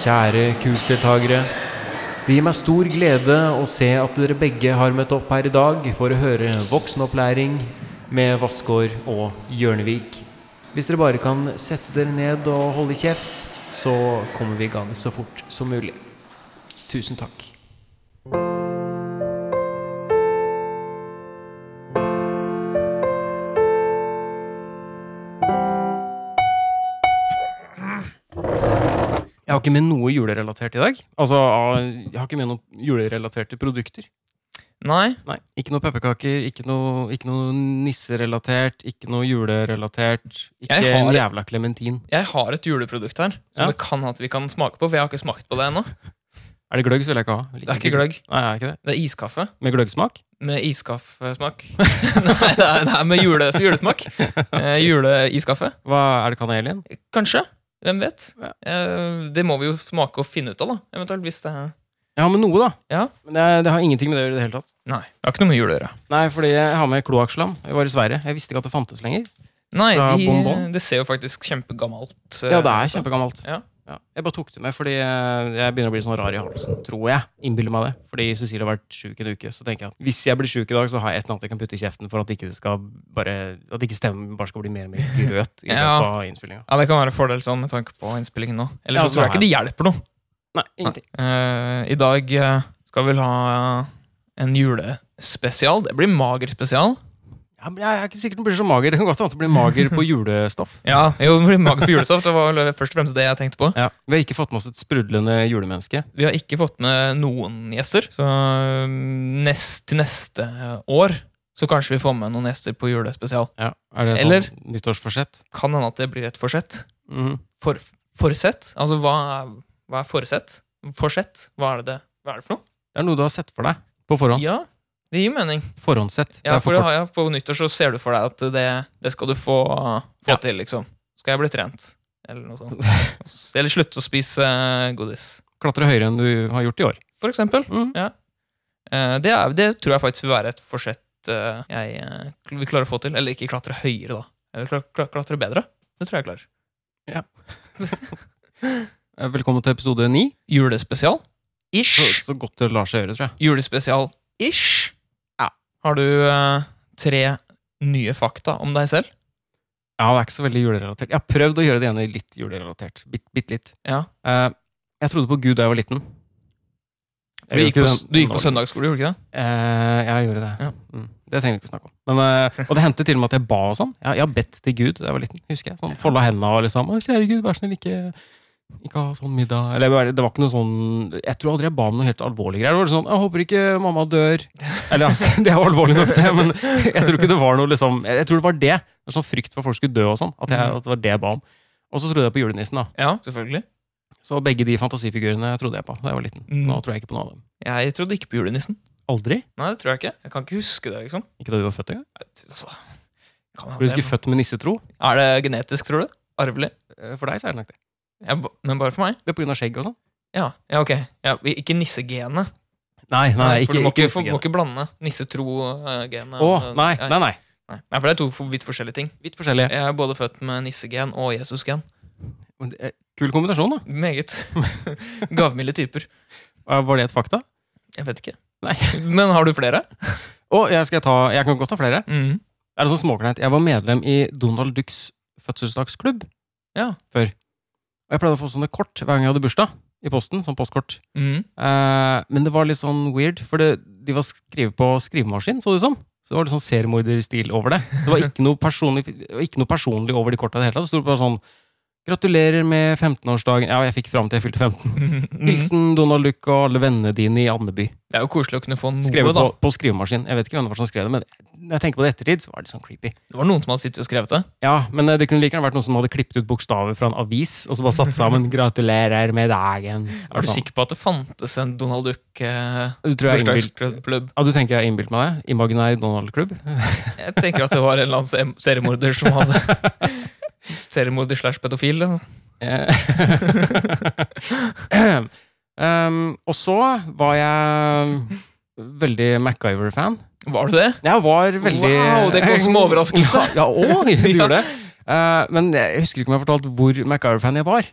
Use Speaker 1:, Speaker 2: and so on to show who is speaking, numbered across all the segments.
Speaker 1: Kjære kursdeltakere. Det gir meg stor glede å se at dere begge har møtt opp her i dag for å høre voksenopplæring med Vassgård og Hjørnevik. Hvis dere bare kan sette dere ned og holde kjeft, så kommer vi i gang så fort som mulig. Tusen takk. Jeg har ikke med noe julerelatert i dag. Altså, ah, jeg har ikke med noen julerelaterte produkter.
Speaker 2: Nei.
Speaker 1: Nei, Ikke noe pepperkaker, ikke noe, ikke noe nisserelatert, ikke noe julerelatert. Ikke
Speaker 2: Jeg har-
Speaker 1: en jævla klementin.
Speaker 2: Jeg har et juleprodukt her
Speaker 1: Ja.
Speaker 2: som det kan at vi kan smake på. For jeg har ikke smakt på det ennå.
Speaker 1: Er det gløgg, så vil jeg ikke ha. Jeg liker
Speaker 2: Det er ikke gløgg.
Speaker 1: Nei, er ikke det.
Speaker 2: Det er iskaffe
Speaker 1: Med gløggsmak?
Speaker 2: med iskaffesmak. Nei, det er, det er med jule, julesmak. Eh, Juleiskaffe.
Speaker 1: Hva Er det kanel igjen?
Speaker 2: Kanskje. Hvem vet?
Speaker 1: Ja.
Speaker 2: Eh, det må vi jo smake og finne ut av, da. Eventuelt hvis det er
Speaker 1: Jeg har med noe, da.
Speaker 2: Ja.
Speaker 1: Men det, er, det har ingenting med det å gjøre i det hele tatt.
Speaker 2: Nei. Det har ikke noe med jul å gjøre.
Speaker 1: Nei, fordi jeg har med kloakkslam. Jeg var i Sverige. Jeg visste ikke at det fantes lenger.
Speaker 2: Nei,
Speaker 1: Fra
Speaker 2: de,
Speaker 1: bonbon?
Speaker 2: det ser jo faktisk kjempegammelt eh, ut.
Speaker 1: Ja, det er kjempegammelt.
Speaker 2: Ja.
Speaker 1: Jeg bare tok det med fordi eh, jeg begynner å bli sånn rar i halsen, tror jeg. Innbiller meg det. Fordi Cecilie har vært sjuk en uke. Så tenker jeg at hvis jeg blir sjuk i dag, så har jeg et eller annet jeg kan putte i kjeften for at ikke, det skal bare, at ikke stemmen bare skal bli mer og mer grøt i
Speaker 2: Ja.
Speaker 1: løpet av innspillinga.
Speaker 2: Ja, Det kan være en fordel sånn med tanke på innspillingen nå. Ellers
Speaker 1: Ja,
Speaker 2: så tror jeg
Speaker 1: så
Speaker 2: ikke det hjelper noe.
Speaker 1: Nei, ingenting.
Speaker 2: Eh, I dag eh, skal vi vel ha en julespesial. Det blir mager spesial.
Speaker 1: Ja, men jeg er ikke sikkert den blir så mager. Det kan godt hende at den blir mager på julestoff.
Speaker 2: Ja, jo, det blir mager på julestoff. Det var vel først og fremst det jeg tenkte på.
Speaker 1: Ja. Vi har ikke fått med oss et sprudlende julemenneske.
Speaker 2: Vi har ikke fått med noen gjester, så eh, nest, til neste år så kanskje vi får med noen gjester på julespesial.
Speaker 1: Ja. Er det sånn
Speaker 2: Eller-
Speaker 1: nyttårsforsett?
Speaker 2: Kan hende at det blir et forsett.
Speaker 1: Mhm.
Speaker 2: For, forsett? Altså, hva er, hva er forsett? Forsett? Hva er det, det- hva er det for noe?
Speaker 1: Det er noe du har sett for deg på forhånd.
Speaker 2: Ja, det gir mening.
Speaker 1: Forhåndssett.
Speaker 2: Ja,
Speaker 1: det er
Speaker 2: for det
Speaker 1: forkort-
Speaker 2: har jeg på nyttår så ser du for deg at det, det skal du få, få
Speaker 1: Ja.
Speaker 2: til, liksom. Skal jeg bli trent? Eller noe sånt. Eller slutte å spise eh, godis,
Speaker 1: Klatre høyere enn du har gjort i år.
Speaker 2: for eksempel.
Speaker 1: Mhm.
Speaker 2: Eh, Det, er, det tror jeg faktisk vil være et forsett eh, jeg eh, vil klare å få til. Eller ikke klatre høyere, da. Eller kla- kla- klatre bedre. Det tror jeg jeg klarer.
Speaker 1: Eh, Velkommen til episode ni.
Speaker 2: Julespesial?
Speaker 1: Så,
Speaker 2: Ish.
Speaker 1: så godt det lar seg gjøre, tror jeg.
Speaker 2: Julespesial ish.
Speaker 1: Ja.
Speaker 2: Har du eh, tre nye fakta om deg selv?
Speaker 1: Ja, det er ikke så veldig julerelatert. Jeg har prøvd å gjøre det ene litt julerelatert. Bitt, bitt litt.
Speaker 2: Ja.
Speaker 1: Eh, jeg trodde på Gud da jeg var liten.
Speaker 2: Du gikk på, s- du gikk på søndagsskole, gjorde du ikke det?
Speaker 1: Eh, ja, jeg gjorde det.
Speaker 2: Ja.
Speaker 1: Mm. Det trenger vi ikke snakke om. Men, eh, og det hendte til og med at jeg ba og sånn. Jeg, jeg har bedt til Gud da jeg var liten. husker jeg. Sånn, Folda hendene og liksom «Å, 'Kjære Gud, vær snill, ikke, ikke ha sånn middag.' Eller jeg bare- det var ikke noe sånn Jeg tror aldri jeg ba om noe helt alvorlig greier. Det var sånn 'Jeg håper ikke mamma dør'. Eller altså, det er jo alvorlig nok, det, men jeg tror ikke det var noe liksom Jeg, jeg tror det var det. Det var Sånn frykt for at folk skulle dø og sånn. At, jeg, at det var det jeg ba om. Og så trodde jeg på julenissen, da.
Speaker 2: Ja, selvfølgelig.
Speaker 1: Så begge de fantasifigurene trodde jeg på da jeg var liten. Nå tror jeg ikke på noe av dem.
Speaker 2: Jeg trodde ikke på julenissen.
Speaker 1: Aldri?
Speaker 2: Nei, det tror jeg ikke. Jeg kan ikke huske det, liksom.
Speaker 1: Ikke da du var født engang?
Speaker 2: Nei, Altså, kan
Speaker 1: Ble
Speaker 2: jeg
Speaker 1: du ikke født med nissetro?
Speaker 2: Er det genetisk, tror du? Arvelig?
Speaker 1: Eh, For deg så er det nok det.
Speaker 2: Jeg, ba- men bare for meg?
Speaker 1: Det er pga. skjegg og sånn?
Speaker 2: Ja, ja ok. Ja, i- ikke nissegenet.
Speaker 1: Nei,
Speaker 2: for du må ikke, for- må ikke blande nissetro-genet.
Speaker 1: Å, nei, nei, nei.
Speaker 2: nei. Nei, for det er to for- vidt forskjellige ting.
Speaker 1: Vidt forskjellige.
Speaker 2: Jeg er både født med nissegen og Jesusgen.
Speaker 1: Men det er Kul kombinasjon, da.
Speaker 2: Meget gavmilde typer.
Speaker 1: Eh, Var det et fakta?
Speaker 2: Jeg vet ikke.
Speaker 1: Nei.
Speaker 2: Men har du flere?
Speaker 1: Å, jeg, skal ta, jeg kan godt ta flere.
Speaker 2: Mm.
Speaker 1: Er det sånn småkleint? Jeg var medlem i Donald Ducks fødselsdagsklubb
Speaker 2: Ja.
Speaker 1: før. Og jeg pleide å få sånne kort hver gang jeg hadde bursdag, i posten. Sånn postkort.
Speaker 2: Mm.
Speaker 1: Eh, men det var litt sånn weird, for det, de var skrevet på skrivemaskin, så det ut som. Så det var litt sånn seriemorderstil over det. Det var ikke noe personlig, det var ikke noe personlig over de korta i det hele tatt. Det sto bare sånn Gratulerer med 15-årsdagen. Ja, jeg fikk fram til jeg fylte 15.
Speaker 2: Mm.
Speaker 1: Hilsen Donald Duck og alle vennene dine i Andeby.
Speaker 2: Det er jo koselig å kunne få noe,
Speaker 1: Skrevet på,
Speaker 2: da.
Speaker 1: på skrivemaskin. Jeg vet ikke hvem det var som skrev det, men når jeg tenker på det i ettertid, så var det sånn creepy.
Speaker 2: Det var noen som hadde sittet og skrevet det.
Speaker 1: Ja, men eh, det kunne like gjerne vært noen som hadde klippet ut bokstaver fra en avis, og så bare satt sammen 'Gratulerer med dagen'.
Speaker 2: Er du sikker på at det fantes en Donald Duck eh,
Speaker 1: sånn. Du tror jeg innbil-
Speaker 2: bursdagsklubb?
Speaker 1: ja, du tenker jeg har innbilt meg det? Imaginær Donald-klubb?
Speaker 2: Jeg tenker at det var en eller annen se- seriemorder som hadde Seriemorder slash pedofil. liksom.
Speaker 1: Eh, um, og så var jeg veldig MacGyver-fan.
Speaker 2: Var du det?
Speaker 1: Jeg var veldig
Speaker 2: Wow, det kom som overraskelse.
Speaker 1: Ja, ja å, du gjorde det. Eh, men jeg husker ikke om jeg har fortalt hvor MacGyver-fan jeg var.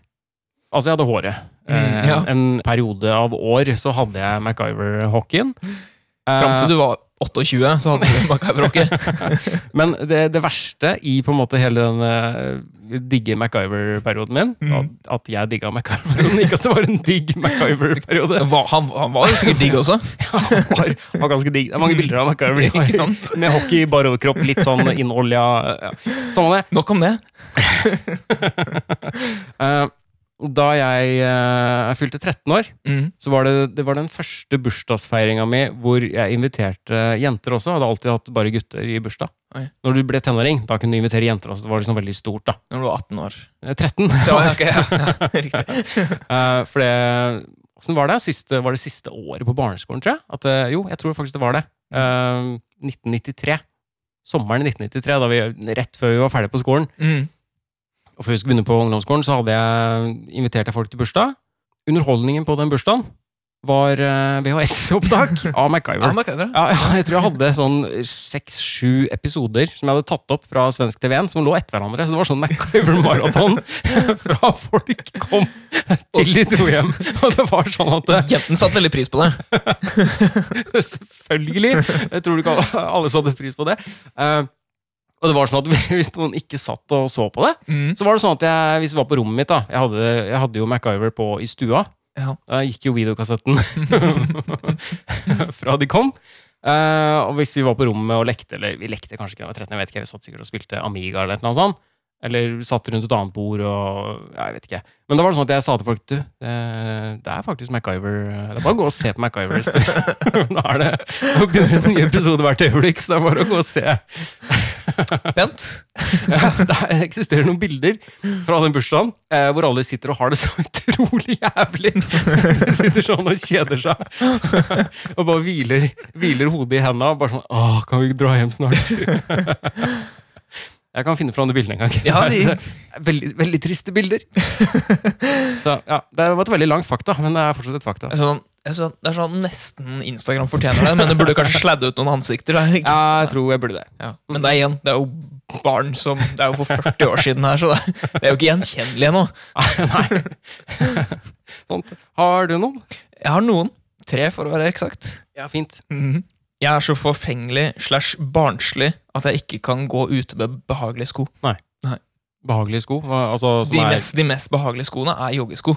Speaker 1: Altså, jeg hadde håret.
Speaker 2: Mm,
Speaker 1: Eh,
Speaker 2: ja.
Speaker 1: En periode av år så hadde jeg MacGyver-hockeyen. Eh,
Speaker 2: Fram til du var 28, så hadde du MacGyver-rocke.
Speaker 1: Men det, det verste i på en måte hele den eh, digge MacGyver-perioden min,
Speaker 2: Mm.
Speaker 1: at, at jeg digga MacGyver-perioden, ikke at det var en digg MacGyver-periode.
Speaker 2: Han, han var jo sikkert digg også.
Speaker 1: Han var, han var ganske digg. Det er mange bilder av MacGyver.
Speaker 2: Ikke sant?
Speaker 1: Med hockey, bare overkropp, litt sånn innolja. Ja. Samme det.
Speaker 2: Nok om det.
Speaker 1: Eh, Da jeg eh, fylte 13 år,
Speaker 2: Mm.
Speaker 1: så var det, det var den første bursdagsfeiringa mi hvor jeg inviterte jenter også. Jeg hadde alltid hatt bare gutter i bursdag.
Speaker 2: Oi.
Speaker 1: Når du ble tenåring, da kunne du invitere jenter også. Det var liksom veldig stort, da.
Speaker 2: Når du var 18 år.
Speaker 1: Eh, 13.
Speaker 2: Det var, ok, ja, ja, riktig.
Speaker 1: Eh, for det Åssen var det? Siste, var det siste året på barneskolen, tror jeg? At, eh, jo, jeg tror faktisk det var det. Eh, 1993. Sommeren 1993, da vi, rett før vi var ferdig på skolen.
Speaker 2: Mm.
Speaker 1: Og før vi skulle begynne på ungdomsskolen, så hadde jeg invitert folk til bursdag. Underholdningen på den bursdagen var eh, VHS-opptak av
Speaker 2: Ja,
Speaker 1: MacGyver.
Speaker 2: MacGyver, ja.
Speaker 1: Ja, ja, jeg tror jeg hadde sånn seks-sju episoder som jeg hadde tatt opp fra svensk TV1, som lå etter hverandre. Så det var sånn MacGyver-maraton fra folk kom til de dro hjem. Og det var sånn at det,
Speaker 2: Jenten satte veldig pris på det.
Speaker 1: Selvfølgelig! Jeg tror ikke alle- alle satte pris på det. Eh, og det var sånn at hvis noen ikke satt og så på det,
Speaker 2: Mm.
Speaker 1: så var det sånn at jeg, hvis jeg var på rommet mitt da, jeg hadde, jeg hadde jo MacGyver på i stua.
Speaker 2: Ja.
Speaker 1: Da gikk jo videokassetten fra de kom. Eh, og hvis vi var på rommet og lekte, eller vi lekte kanskje ikke da jeg var 13, jeg vet ikke, vi satt sikkert og spilte Amiga eller noe sånt, eller satt rundt et annet bord og ja, jeg vet ikke. Men da var det sånn at jeg sa til folk, du, eh, det er faktisk MacGyver, eh, det er bare å gå og se på MacGyver. hvis du- Nå er det, nå begynner en ny episode hvert øyeblikk, så det er bare å gå og se.
Speaker 2: Bent.
Speaker 1: Ja, det eksisterer noen bilder fra den bursdagen eh, hvor alle sitter og har det så utrolig jævlig. De sitter sånn og kjeder seg og bare hviler, hviler hodet i henda. Bare sånn Åh, kan vi dra hjem snart? Jeg kan finne fram de bildene en gang.
Speaker 2: Ja,
Speaker 1: Det
Speaker 2: de-
Speaker 1: er- det er veldig, veldig triste bilder. Så, ja, det var et veldig langt fakta, men det er fortsatt et fakta.
Speaker 2: Det er sånn, det er sånn, det er sånn nesten Instagram fortjener det, men det burde kanskje sladde ut noen ansikter. Da. ikke?
Speaker 1: Ja, jeg tror jeg burde det.
Speaker 2: Ja. Men det er igjen, det er jo barn som Det er jo for 40 år siden her, så det det er jo ikke gjenkjennelig ennå.
Speaker 1: Nei. Sånt. Har du noen?
Speaker 2: Jeg har noen. Tre, for å være eksakt.
Speaker 1: Ja, fint.
Speaker 2: Mhm. Jeg er så forfengelig slash barnslig at jeg ikke kan gå ute med behagelige sko.
Speaker 1: Behagelige sko? hva- Altså, som
Speaker 2: De
Speaker 1: er-
Speaker 2: mest, de mest behagelige skoene er joggesko.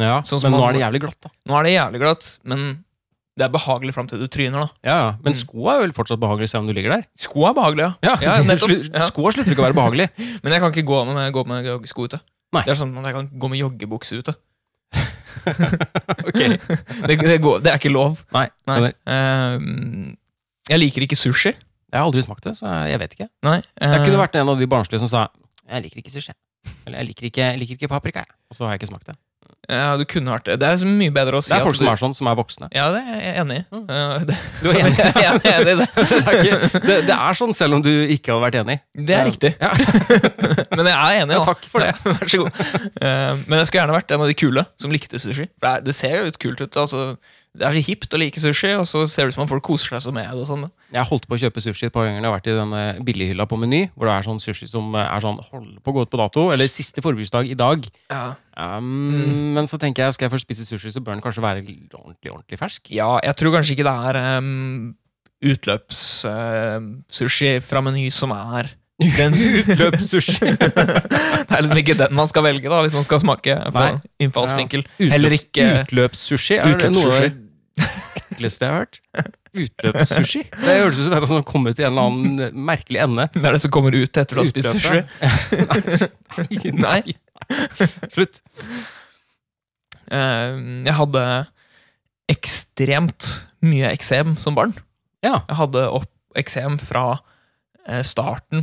Speaker 1: Ja,
Speaker 2: Sånn som
Speaker 1: men nå
Speaker 2: man-
Speaker 1: er det jævlig glatt, da.
Speaker 2: Nå er det jævlig glatt, men det er behagelig fram til du tryner. da
Speaker 1: Ja, ja. Men
Speaker 2: Mm.
Speaker 1: sko er vel fortsatt behagelig selv om du ligger der?
Speaker 2: Sko er behagelige, ja.
Speaker 1: Ja,
Speaker 2: nettopp.
Speaker 1: slu-
Speaker 2: Ja.
Speaker 1: Skoa slutter ikke å være behagelig.
Speaker 2: men jeg kan ikke gå med, gå med joggesko ute.
Speaker 1: Nei.
Speaker 2: Det er sånn at Jeg kan gå med joggebukse ute.
Speaker 1: Ok.
Speaker 2: Det, det, går, det er ikke lov.
Speaker 1: Nei, skjønner.
Speaker 2: Ehm, jeg liker ikke sushi.
Speaker 1: Jeg har aldri smakt det, så jeg vet ikke.
Speaker 2: Nei.
Speaker 1: Jeg
Speaker 2: eh,
Speaker 1: kunne vært en av de barnslige som sa 'jeg liker ikke sushi'. Eller 'jeg liker ikke, jeg liker ikke paprika'. jeg». Og så har jeg ikke smakt det.
Speaker 2: ja, du kunne vært det. Det er så mye bedre å si
Speaker 1: Det er folk
Speaker 2: at
Speaker 1: som
Speaker 2: du,
Speaker 1: er sånn, som er voksne.
Speaker 2: Ja, det er jeg enig i.
Speaker 1: Mm.
Speaker 2: Eh, det,
Speaker 1: Du er enig?
Speaker 2: jeg er enig i det.
Speaker 1: Det er, ikke, det, det er sånn selv om du ikke hadde vært enig.
Speaker 2: Det er riktig.
Speaker 1: Ja.
Speaker 2: Men jeg er enig,
Speaker 1: Ja,
Speaker 2: da.
Speaker 1: takk for det.
Speaker 2: Ja, Vær så god. Eh, Men jeg skulle gjerne vært en av de kule som likte sushi. For det, er, det ser jo litt kult ut. Altså, det er så hipt å like sushi, og så ser det ut som om folk koser seg så med det. og sånn.
Speaker 1: Jeg holdt på å kjøpe sushi et par ganger når jeg har vært i denne billighylla på Meny, hvor det er sånn sushi som er sånn holder på å gå ut på dato, eller siste forbruksdag i dag.
Speaker 2: Ja.
Speaker 1: Um, Men så tenker jeg, skal jeg først spise sushi, så bør den kanskje være ordentlig, ordentlig fersk.
Speaker 2: ja, jeg tror kanskje ikke det er ehm, utløpssushi fra Meny som er den
Speaker 1: Utløpssushi.
Speaker 2: Det er liksom ikke den man skal velge, da, hvis man skal smake fra
Speaker 1: Nei.
Speaker 2: innfallsvinkel.
Speaker 1: Utløps-
Speaker 2: Heller ikke
Speaker 1: Utløpssushi er det noe av
Speaker 2: Utløpssushi.
Speaker 1: det ekleste jeg har hørt. Utløpssushi? Det høres ut som det er sånn kommet til en eller annen merkelig ende.
Speaker 2: Det er det som kommer ut etter du har spist sushi.
Speaker 1: Utløpet. Nei.
Speaker 2: Nei.
Speaker 1: Slutt.
Speaker 2: Eh, Jeg hadde ekstremt mye eksem som barn.
Speaker 1: Ja.
Speaker 2: Jeg hadde opp eksem fra eh, starten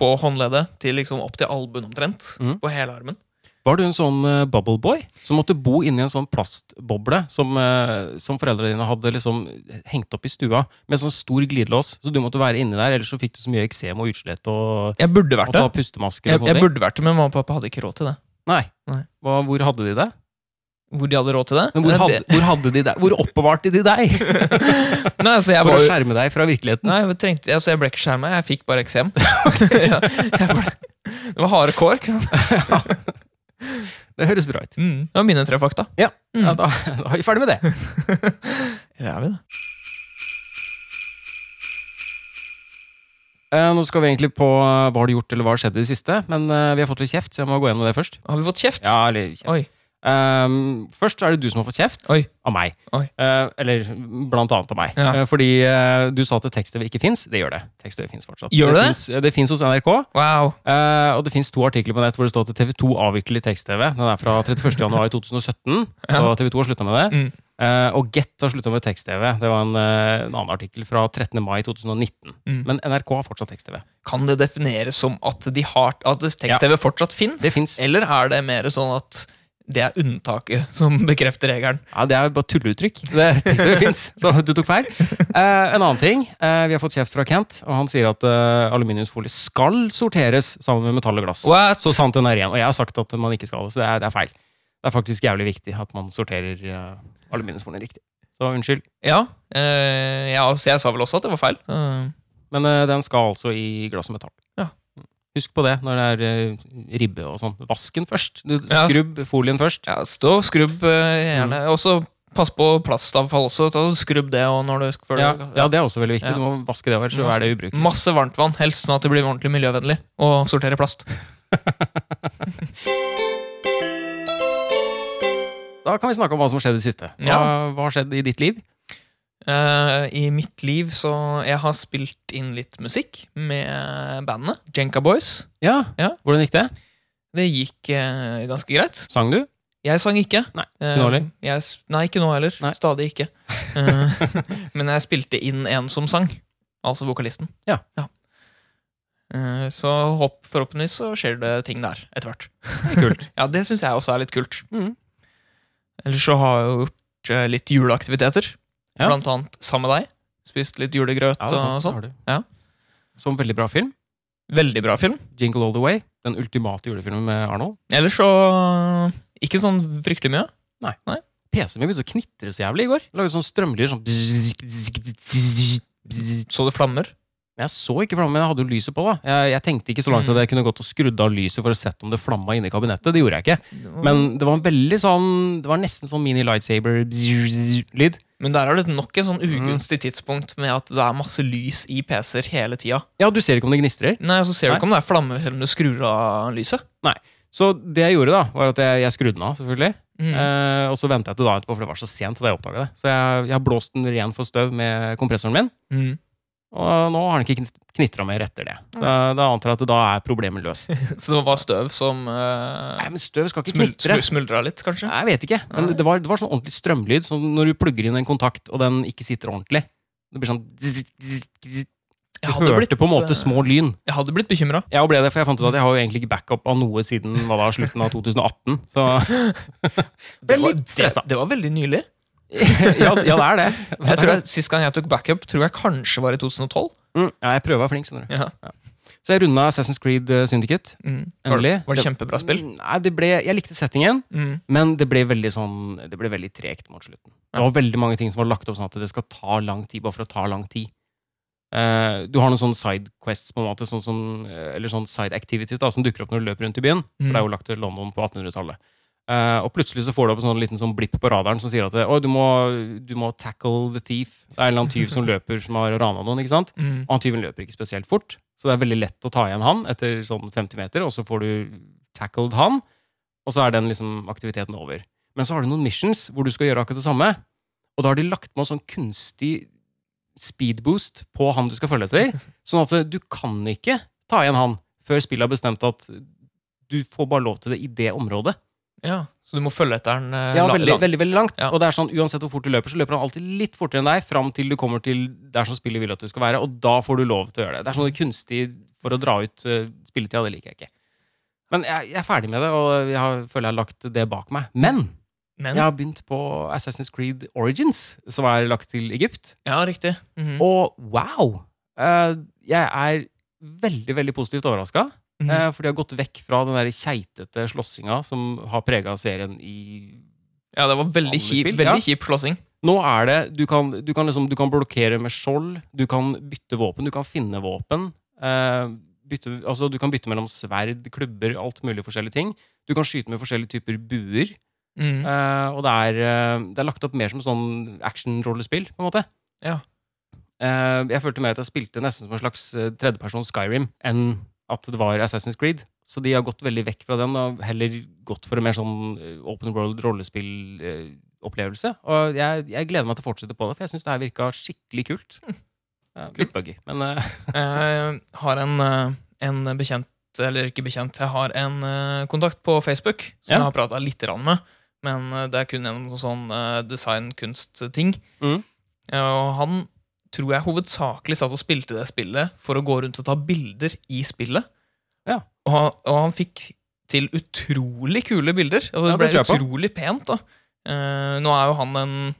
Speaker 2: på håndleddet til liksom opp til albuen omtrent.
Speaker 1: Mhm.
Speaker 2: På hele armen.
Speaker 1: Var du en sånn eh, bubble boy som måtte bo inni en sånn plastboble som, eh, som foreldrene dine hadde liksom hengt opp i stua med sånn stor glidelås? Så du måtte være inni der, ellers så fikk du så mye eksem og utslett og,
Speaker 2: Jeg burde
Speaker 1: og
Speaker 2: vært det.
Speaker 1: ta pustemasker
Speaker 2: Jeg,
Speaker 1: og
Speaker 2: jeg
Speaker 1: sånne ting.
Speaker 2: burde vært det, Men mamma og pappa hadde ikke råd til det.
Speaker 1: Nei.
Speaker 2: Nei.
Speaker 1: Hva, hvor hadde de det?
Speaker 2: Hvor de hadde råd til det?
Speaker 1: Men hvor,
Speaker 2: Nei,
Speaker 1: hadde, hvor hadde de deg? Hvor oppbevarte de deg?
Speaker 2: det nei, altså jeg,
Speaker 1: For å
Speaker 2: var, jo-
Speaker 1: skjerme deg fra virkeligheten?
Speaker 2: nei, jeg, trengte, altså jeg ble ikke skjerma, jeg fikk bare eksem. ja, jeg ble, det var harde kår. ikke sant?
Speaker 1: Det- Det høres bra ut.
Speaker 2: Mm. Det var mine tre fakta. Mm.
Speaker 1: Ja, da, da er vi ferdig med det.
Speaker 2: Eller er vi det?
Speaker 1: Eh, nå skal vi egentlig på eh, hva har du gjort, eller hva har skjedd i det siste. Men eh, vi har fått litt kjeft, så jeg må gå gjennom det først.
Speaker 2: Har vi fått kjeft?
Speaker 1: Ja, eller kjeft.
Speaker 2: Oi.
Speaker 1: Ehm, først er det du som har fått kjeft
Speaker 2: Oi.
Speaker 1: av meg.
Speaker 2: Oi.
Speaker 1: Eh, eller blant annet av meg.
Speaker 2: Ja.
Speaker 1: Eh, fordi eh, du sa at tekst-TV ikke fins. Det gjør det. Tekst-TV fins fortsatt.
Speaker 2: Gjør det?
Speaker 1: finnes- eh, det fins hos NRK.
Speaker 2: Wow.
Speaker 1: Eh, og det fins to artikler på nett hvor det står at TV2 avvikler tekst-TV. Den er fra 31.1.2017,
Speaker 2: Ja.
Speaker 1: og TV2 har slutta med det.
Speaker 2: Mm.
Speaker 1: Eh, og Get har slutta med tekst-TV. Det var en, eh, en annen artikkel fra 13.5.2019.
Speaker 2: Mm.
Speaker 1: Men NRK har fortsatt tekst-TV.
Speaker 2: Kan det defineres som at, de har, at tekst-TV fortsatt fins?
Speaker 1: Det finnes.
Speaker 2: Eller er det mer sånn at det er unntaket som bekrefter regelen?
Speaker 1: Ja, Det er jo bare tulleuttrykk. Det tekst-TV fins, så du tok feil. Eh, en annen ting. eh, vi har fått kjeft fra Kent, og han sier at eh, aluminiumsfolie skal sorteres sammen med metall og glass.
Speaker 2: What?
Speaker 1: Så sant den er igjen. Og jeg har sagt at man ikke skal det, så det er, det er feil. Det er faktisk jævlig viktig at man sorterer uh, aluminiumsfolien riktig. Så unnskyld.
Speaker 2: Ja. Eh, ja, så jeg sa vel også at det var feil. Eh,
Speaker 1: Men eh, den skal altså i glass og metall. Mm.
Speaker 2: Ja.
Speaker 1: Husk på det når det er eh, ribbe og sånn. Vasken først. Du,
Speaker 2: Ja, s-
Speaker 1: skrubb folien først.
Speaker 2: ja, stå og skrubb eh,
Speaker 1: Mm.
Speaker 2: gjerne. Og så pass på plastavfall også. Ta, og skrubb det og når du før du-
Speaker 1: Ja, ja, det er også veldig viktig.
Speaker 2: Ja.
Speaker 1: Du må vaske det, ellers så er det ubrukelig.
Speaker 2: Masse varmt vann, helst sånn at det blir ordentlig miljøvennlig. Og sortere plast.
Speaker 1: Da kan vi snakke om hva som har skjedd i det siste. Hva,
Speaker 2: Ja.
Speaker 1: hva har skjedd i ditt liv?
Speaker 2: Eh, I mitt liv så Jeg har spilt inn litt musikk med bandet Jenka Boys.
Speaker 1: Ja. Hvordan gikk det?
Speaker 2: Det gikk eh, ganske greit.
Speaker 1: Sang du?
Speaker 2: Jeg sang ikke.
Speaker 1: Nei,
Speaker 2: Eh,
Speaker 1: ikke nå heller?
Speaker 2: jeg s- nei, ikke nå heller.
Speaker 1: Nei.
Speaker 2: Stadig ikke. Eh, men jeg spilte inn en som sang. Altså vokalisten.
Speaker 1: Ja.
Speaker 2: Eh, så hopp, forhåpentligvis så skjer det ting der etter hvert.
Speaker 1: Kult.
Speaker 2: Ja, Det syns jeg også er litt kult.
Speaker 1: Mm.
Speaker 2: Ellers så har jeg jo gjort eh, litt juleaktiviteter.
Speaker 1: Ja.
Speaker 2: Blant annet sammen med deg. Spist litt julegrøt
Speaker 1: Ja, det er sant,
Speaker 2: og
Speaker 1: det
Speaker 2: sånn.
Speaker 1: har du.
Speaker 2: Ja.
Speaker 1: Som veldig bra film.
Speaker 2: Veldig bra film.
Speaker 1: 'Jingle All The Way'. Den ultimate julefilmen med Arnold.
Speaker 2: Ellers så ikke sånn fryktelig mye.
Speaker 1: PC-en min begynte å knitre så jævlig i går. Lagde sånn strømlyder sånn Jeg
Speaker 2: Så det flammer.
Speaker 1: så ikke flammen, men jeg hadde jo lyset på. da Jeg, jeg tenkte ikke så langt at jeg kunne gått og skrudd av lyset for å sett om det flamma inne i kabinettet. Det gjorde jeg ikke.
Speaker 2: Mm.
Speaker 1: Men det var en veldig sånn Det var nesten sånn mini lightsaber-lyd.
Speaker 2: Men der er det nok et sånn
Speaker 1: Mm.
Speaker 2: ugunstig tidspunkt med at det er masse lys i PC-er hele tida.
Speaker 1: Ja, du ser ikke om det gnistrer.
Speaker 2: Nei, så ser du
Speaker 1: Nei.
Speaker 2: ikke om det er flamme selv om du skrur av lyset.
Speaker 1: Så det jeg gjorde, da, var at jeg, jeg skrudde den av, selvfølgelig.
Speaker 2: Mm.
Speaker 1: Eh, og så venta jeg til dagen etterpå, for det var så sent at jeg oppdaga det. Så jeg, jeg har blåst den ren for støv med kompressoren min,
Speaker 2: Mm.
Speaker 1: og nå har den ikke knitra mer etter det. Så da antar jeg at da er problemet løst.
Speaker 2: Så det var støv som uh,
Speaker 1: Nei, men støv skal ikke
Speaker 2: smul
Speaker 1: knitre.
Speaker 2: smul smuldra litt, kanskje?
Speaker 1: Nei, Jeg vet ikke, men det- det var, det var sånn ordentlig strømlyd. Sånn når du plugger inn en kontakt, og den ikke sitter ordentlig. Det blir sånn zzz, zzz, zzz. Du
Speaker 2: Jeg hadde
Speaker 1: hørte
Speaker 2: blitt,
Speaker 1: på en måte
Speaker 2: eh,
Speaker 1: små lyn.
Speaker 2: Jeg hadde blitt bekymra.
Speaker 1: Jeg ble det, for jeg fant ut at jeg har jo egentlig ikke backup av noe siden hva da, slutten av 2018. Så Ble
Speaker 2: Det, var-
Speaker 1: litt
Speaker 2: det,
Speaker 1: stressa.
Speaker 2: det var veldig nylig.
Speaker 1: ja, ja, det er det.
Speaker 2: Jeg tror jeg, Sist gang jeg tok backup, tror jeg kanskje var i 2012.
Speaker 1: Mm, ja, jeg prøver å være flink, skjønner du.
Speaker 2: Ja.
Speaker 1: Så jeg runda Assassin's Creed eh, Syndicate.
Speaker 2: Mm. Var,
Speaker 1: Endelig.
Speaker 2: var det kjempebra spill?
Speaker 1: Nei, det ble, jeg likte settingen,
Speaker 2: Mm.
Speaker 1: men det ble veldig sånn Det ble veldig tregt mot slutten. Det var veldig mange ting som var lagt opp sånn at det skal ta lang tid, bare for å ta lang tid. Eh, du har noen sånne side quests, på en måte, sånn som, eh, eller sånne side activities da, som dukker opp når du løper rundt i byen. For det er jo lagt til London på 1800-tallet. Eh, og plutselig så får du opp en sånn liten sånn blipp på radaren som sier at Å, du må, du må tackle the thief. Det er en eller annen tyv som løper, som har rana noen. ikke sant?
Speaker 2: Mm.
Speaker 1: Og han tyven løper ikke spesielt fort, så det er veldig lett å ta igjen han etter sånn 50 meter, og så får du tackled han, og så er den liksom aktiviteten over. Men så har du noen missions hvor du skal gjøre akkurat det samme, og da har de lagt med en sånn kunstig speedboost på han du skal følge etter, sånn at du kan ikke ta igjen han før spillet har bestemt at du får bare lov til det i det området.
Speaker 2: Ja, Så du må følge etter den eh,
Speaker 1: Ja,
Speaker 2: la-
Speaker 1: veldig,
Speaker 2: lang-
Speaker 1: veldig, veldig langt.
Speaker 2: Ja.
Speaker 1: Og det er sånn, uansett hvor fort du løper, så løper han alltid litt fortere enn deg fram til du kommer til der som spillet vil at du skal være, og da får du lov til å gjøre det. Det er sånn kunstig for å dra ut uh, spilletida, det liker jeg ikke. Men jeg, jeg er ferdig med det, og jeg har, føler jeg har lagt det bak meg. Men
Speaker 2: Men,
Speaker 1: jeg
Speaker 2: ja.
Speaker 1: har begynt på Assassin's Creed Origins, som er lagt til Egypt,
Speaker 2: riktig. Mhm.
Speaker 1: og wow! Eh, jeg er veldig, veldig positivt overraska.
Speaker 2: Mhm.
Speaker 1: Eh, For de har gått vekk fra den der keitete slåssinga som har prega serien i
Speaker 2: Ja, det var veldig
Speaker 1: Alle
Speaker 2: kjip,
Speaker 1: spill,
Speaker 2: veldig
Speaker 1: ja.
Speaker 2: kjip slåssing.
Speaker 1: Nå er det Du kan, du kan, liksom, du kan blokkere med skjold, du kan bytte våpen, du kan finne våpen. Eh, bytte, altså, du kan bytte mellom sverd, klubber, alt mulig forskjellige ting. Du kan skyte med forskjellige typer buer.
Speaker 2: Mm.
Speaker 1: Eh, og det er, eh, det er lagt opp mer som sånn action-rollespill, på en måte.
Speaker 2: Ja.
Speaker 1: Eh, jeg følte mer at jeg spilte nesten som en slags eh, tredjeperson Skyrim enn at det var Assassin's Creed. Så de har gått veldig vekk fra den og heller gått for en mer sånn eh, open world-rollespill-opplevelse. og jeg, jeg gleder meg til å fortsette på det, for jeg syns det her virka skikkelig kult.
Speaker 2: Hm.
Speaker 1: Eh, litt buggy, men eh,
Speaker 2: Jeg har en, eh, en bekjent, eller ikke bekjent, jeg har en eh, kontakt på Facebook som
Speaker 1: Ja.
Speaker 2: jeg har prata litt grann med, men eh, det er kun gjennom sånn eh, design-kunst-ting.
Speaker 1: Mhm.
Speaker 2: Eh, Og han tror jeg hovedsakelig satt og spilte det spillet for å gå rundt og ta bilder i spillet.
Speaker 1: Ja.
Speaker 2: Og, han, og han fikk til utrolig kule bilder.
Speaker 1: Ja,
Speaker 2: Altså, det ble
Speaker 1: det tror jeg på.
Speaker 2: utrolig pent, da. Eh, nå er jo han en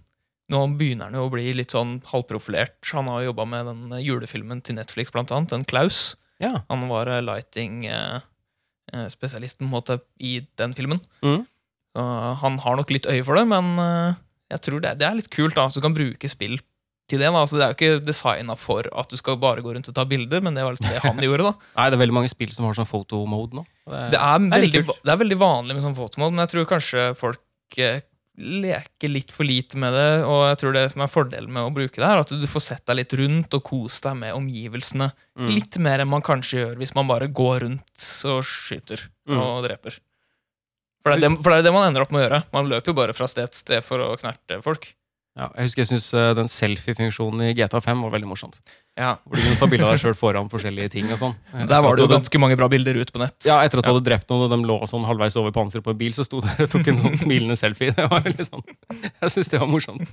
Speaker 2: nå begynner han jo å bli litt sånn halvprofilert. Han har jobba med den eh, julefilmen til Netflix, blant annet. Den Klaus.
Speaker 1: ja.
Speaker 2: Han var eh, lighting-spesialisten eh, på en måte i den filmen.
Speaker 1: Mhm.
Speaker 2: Så eh, han har nok litt øye for det, men eh, jeg tror det, det er litt kult da, at du kan bruke spill til det. Da. Altså, det er jo ikke designa for at du skal bare gå rundt og ta bilder, men det var litt det han gjorde. da.
Speaker 1: Nei, det er veldig mange spill som har sånn photo-mode nå. Og
Speaker 2: Det
Speaker 1: det
Speaker 2: er,
Speaker 1: er litt
Speaker 2: veldig,
Speaker 1: kult.
Speaker 2: det er veldig vanlig med sånn fotomod, men jeg tror kanskje folk eh, leker litt for lite med det. Og jeg tror det som er fordelen med å bruke det, er at du får sett deg litt rundt og kose deg med omgivelsene.
Speaker 1: Mm.
Speaker 2: Litt mer enn man kanskje gjør hvis man bare går rundt og skyter
Speaker 1: Mm.
Speaker 2: og dreper. For det, er det, for det er det man ender opp med å gjøre. Man løper jo bare fra sted til sted for å knerte folk.
Speaker 1: Ja, jeg husker jeg syns den selfie-funksjonen i GTA5 var veldig morsomt.
Speaker 2: Ja,
Speaker 1: Hvor du kunne ta bilde av deg sjøl foran forskjellige ting og sånn.
Speaker 2: Der var det jo
Speaker 1: Etter at du-
Speaker 2: ganske mange bra bilder ut på nett.
Speaker 1: Ja, etter at du hadde drept noen, og de lå sånn halvveis over panseret på en bil, så sto der og tok en sånn smilende selfie. Det var veldig sånn Jeg syns det var morsomt.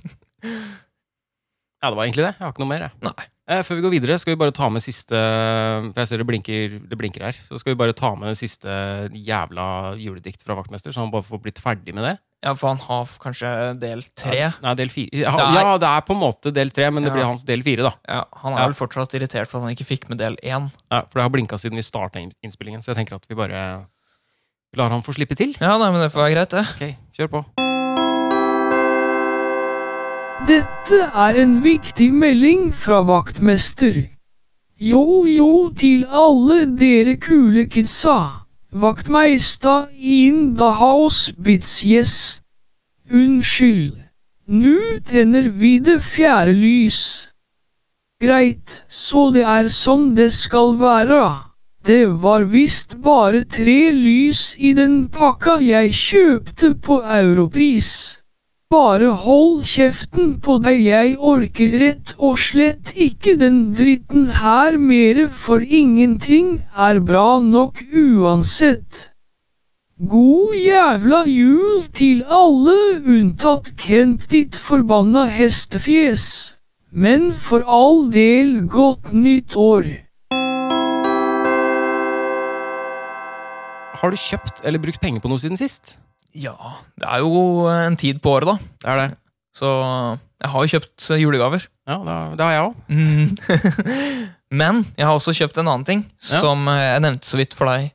Speaker 1: Ja, det var egentlig det. Jeg har ikke noe mer, jeg.
Speaker 2: Nei.
Speaker 1: Eh, Før vi går videre, skal vi bare ta med siste For jeg ser det blinker, det blinker her. Så skal vi bare ta med det siste jævla juledikt fra Vaktmester, så han bare får blitt ferdig med det.
Speaker 2: ja, for han har kanskje del tre.
Speaker 1: Ja, Nei, del fire. Ja,
Speaker 2: Det er-
Speaker 1: ja, det er på en måte del tre, men det
Speaker 2: Ja.
Speaker 1: blir hans del fire, da.
Speaker 2: Ja, han er
Speaker 1: Ja.
Speaker 2: vel fortsatt irritert for at han ikke fikk med del én.
Speaker 1: Ja, for det har blinka siden vi starta innspillingen, så jeg tenker at vi bare lar han få slippe til.
Speaker 2: Ja, nei, men det får være greit, det.
Speaker 1: Ok, kjør på.
Speaker 3: Dette er en viktig melding fra vaktmester. Yo yo til alle dere kule kidsa. Vaktmeister in the house bits yes. Unnskyld. Nu tenner vi det fjerde lys. Greit, så det er sånn det skal være. Det var visst bare tre lys i den pakka jeg kjøpte på Europris. Bare hold kjeften på deg, jeg orker rett og slett ikke den dritten her mere, for ingenting er bra nok uansett. God jævla jul til alle unntatt Kent ditt forbanna hestefjes, men for all del godt nytt år.
Speaker 1: Har du kjøpt eller brukt penger på noe siden sist?
Speaker 2: Ja, det er jo en tid på året, da.
Speaker 1: Det er det.
Speaker 2: Så jeg har jo kjøpt julegaver.
Speaker 1: Ja, det har- det har jeg òg.
Speaker 2: Mm. Men jeg har også kjøpt en annen ting,
Speaker 1: Ja.
Speaker 2: som eh, jeg nevnte så vidt for deg.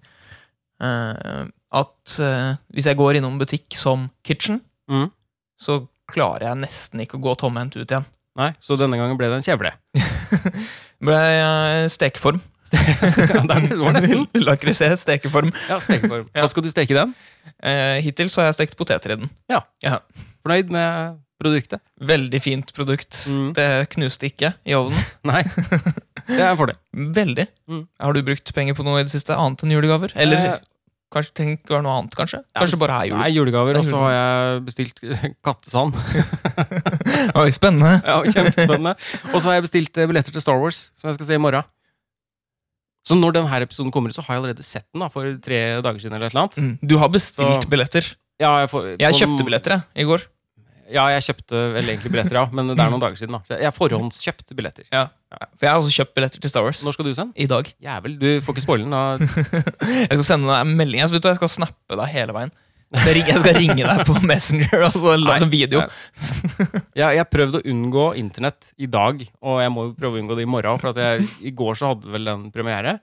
Speaker 2: Eh, At eh, hvis jeg går innom butikk som Kitchen,
Speaker 1: Mhm.
Speaker 2: så klarer jeg nesten ikke å gå tomhendt ut igjen.
Speaker 1: Nei, så denne gangen ble det en kjevle.
Speaker 2: Det ble eh, stekeform.
Speaker 1: Ja, der- det var nesten.
Speaker 2: Lakrisert stekeform.
Speaker 1: Ja, stekeform. Hva skal du steke i den?
Speaker 2: Eh, Hittil så har jeg stekt poteter i den.
Speaker 1: Fornøyd med produktet?
Speaker 2: Veldig fint produkt.
Speaker 1: Mhm.
Speaker 2: Det knuste ikke i ovnen.
Speaker 1: Nei. Det er en fordel.
Speaker 2: Veldig.
Speaker 1: Mm.
Speaker 2: Har du brukt penger på noe i det siste, annet enn julegaver? Eller
Speaker 1: Eh,
Speaker 2: kanskje tenk å være noe annet, kanskje?
Speaker 1: Ja,
Speaker 2: Kanskje
Speaker 1: hvis-
Speaker 2: bare er jul?
Speaker 1: Nei, julegaver,
Speaker 2: Det er
Speaker 1: og så har jeg bestilt kattesand.
Speaker 2: Oi, spennende.
Speaker 1: Ja, kjempespennende. Og så har jeg bestilt eh, billetter til Star Wars, som jeg skal se i morgen. Så når denne episoden kommer ut, så har jeg allerede sett den da, for tre dager siden. eller et eller annet.
Speaker 2: Mm. Du har bestilt
Speaker 1: Så-
Speaker 2: billetter.
Speaker 1: Ja, jeg, får,
Speaker 2: Jeg
Speaker 1: på-
Speaker 2: kjøpte billetter jeg, i går.
Speaker 1: Ja, jeg kjøpte vel egentlig billetter, ja. Men det er noen dager siden. da. Så jeg har forhåndskjøpt billetter.
Speaker 2: For jeg har også kjøpt billetter til Star Wars.
Speaker 1: Når skal du se den?
Speaker 2: I dag.
Speaker 1: Jævel, du får ikke spoile den. da.
Speaker 2: Jeg skal sende deg en melding. Jeg skal, vet du, jeg skal snappe deg hele veien. Jeg skal ringe, jeg skal ringe deg på Messenger og så
Speaker 1: Nei,
Speaker 2: lage video.
Speaker 1: Jeg jeg har prøvd å unngå internett i dag, og jeg må jo prøve å unngå det i morgen. For at jeg, i går så hadde vel den premiere.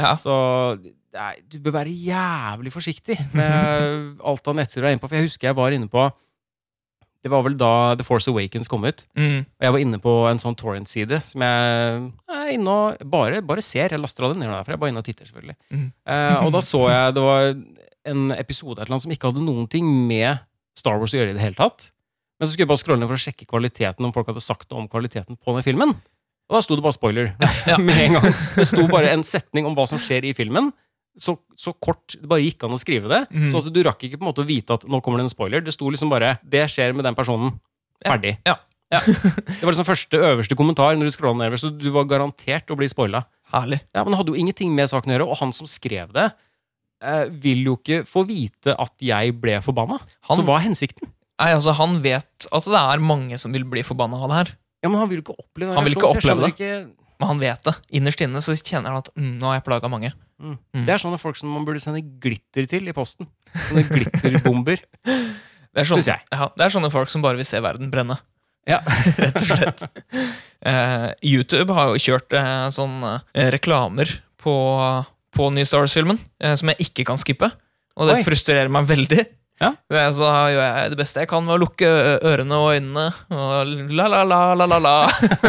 Speaker 2: Ja.
Speaker 1: Så nei, du bør være jævlig forsiktig med alt av nettsider du er inne på. For jeg husker jeg var inne på Det var vel da The Force Awakens kom ut.
Speaker 2: Mm.
Speaker 1: Og jeg var inne på en sånn torrent-side som jeg er inne og bare, bare ser. Jeg laster av den ned derfra. Jeg er bare inne og titter, selvfølgelig.
Speaker 2: Mm.
Speaker 1: Eh, og da så jeg det var en episode et eller annet, som ikke hadde noen ting med Star Wars å gjøre i det hele tatt. Men så skulle jeg bare scrolle ned for å sjekke kvaliteten, om folk hadde sagt noe om kvaliteten på den filmen. Og da sto det bare spoiler
Speaker 2: Ja.
Speaker 1: med en gang. Det sto bare en setning om hva som skjer i filmen. Så, så kort det bare gikk an å skrive det.
Speaker 2: Mhm.
Speaker 1: Så at du rakk ikke på en måte å vite at nå kommer det en spoiler. Det sto liksom bare 'Det skjer med den personen'. Ferdig.
Speaker 2: Ja.
Speaker 1: Det var liksom første øverste kommentar når du scrolla nedover, så du var garantert å bli spoila.
Speaker 2: Herlig.
Speaker 1: Ja, men det hadde jo ingenting med saken å gjøre, og han som skrev det, eh, vil jo ikke få vite at jeg ble forbanna.
Speaker 2: Han-
Speaker 1: Så hva er hensikten?
Speaker 2: Nei, altså, han vet at det er mange som vil bli forbanna av det her.
Speaker 1: Ja, men Han vil jo ikke oppleve den
Speaker 2: Han vil ikke
Speaker 1: reaksjonen, så jeg
Speaker 2: oppleve
Speaker 1: skjønner ikke...
Speaker 2: Men han vet det. Innerst inne så kjenner han at mm, nå har jeg plaga mange.
Speaker 1: Mm.
Speaker 2: Mm.
Speaker 1: Det er sånne folk som man burde sende glitter til i posten. Sånne glitterbomber.
Speaker 2: Det er, sånne,
Speaker 1: Synes jeg.
Speaker 2: ja, det er sånne folk som bare vil se verden brenne.
Speaker 1: Ja.
Speaker 2: Rett og slett. Eh, YouTube har jo kjørt eh, sånne eh, reklamer på, på New Star Wars-filmen eh, som jeg ikke kan skippe. Og det
Speaker 1: Oi.
Speaker 2: frustrerer meg veldig.
Speaker 1: Ja.
Speaker 2: Det er, så da gjør jeg det beste jeg kan med å lukke ø- ørene og øynene og la-la-la-la-la-la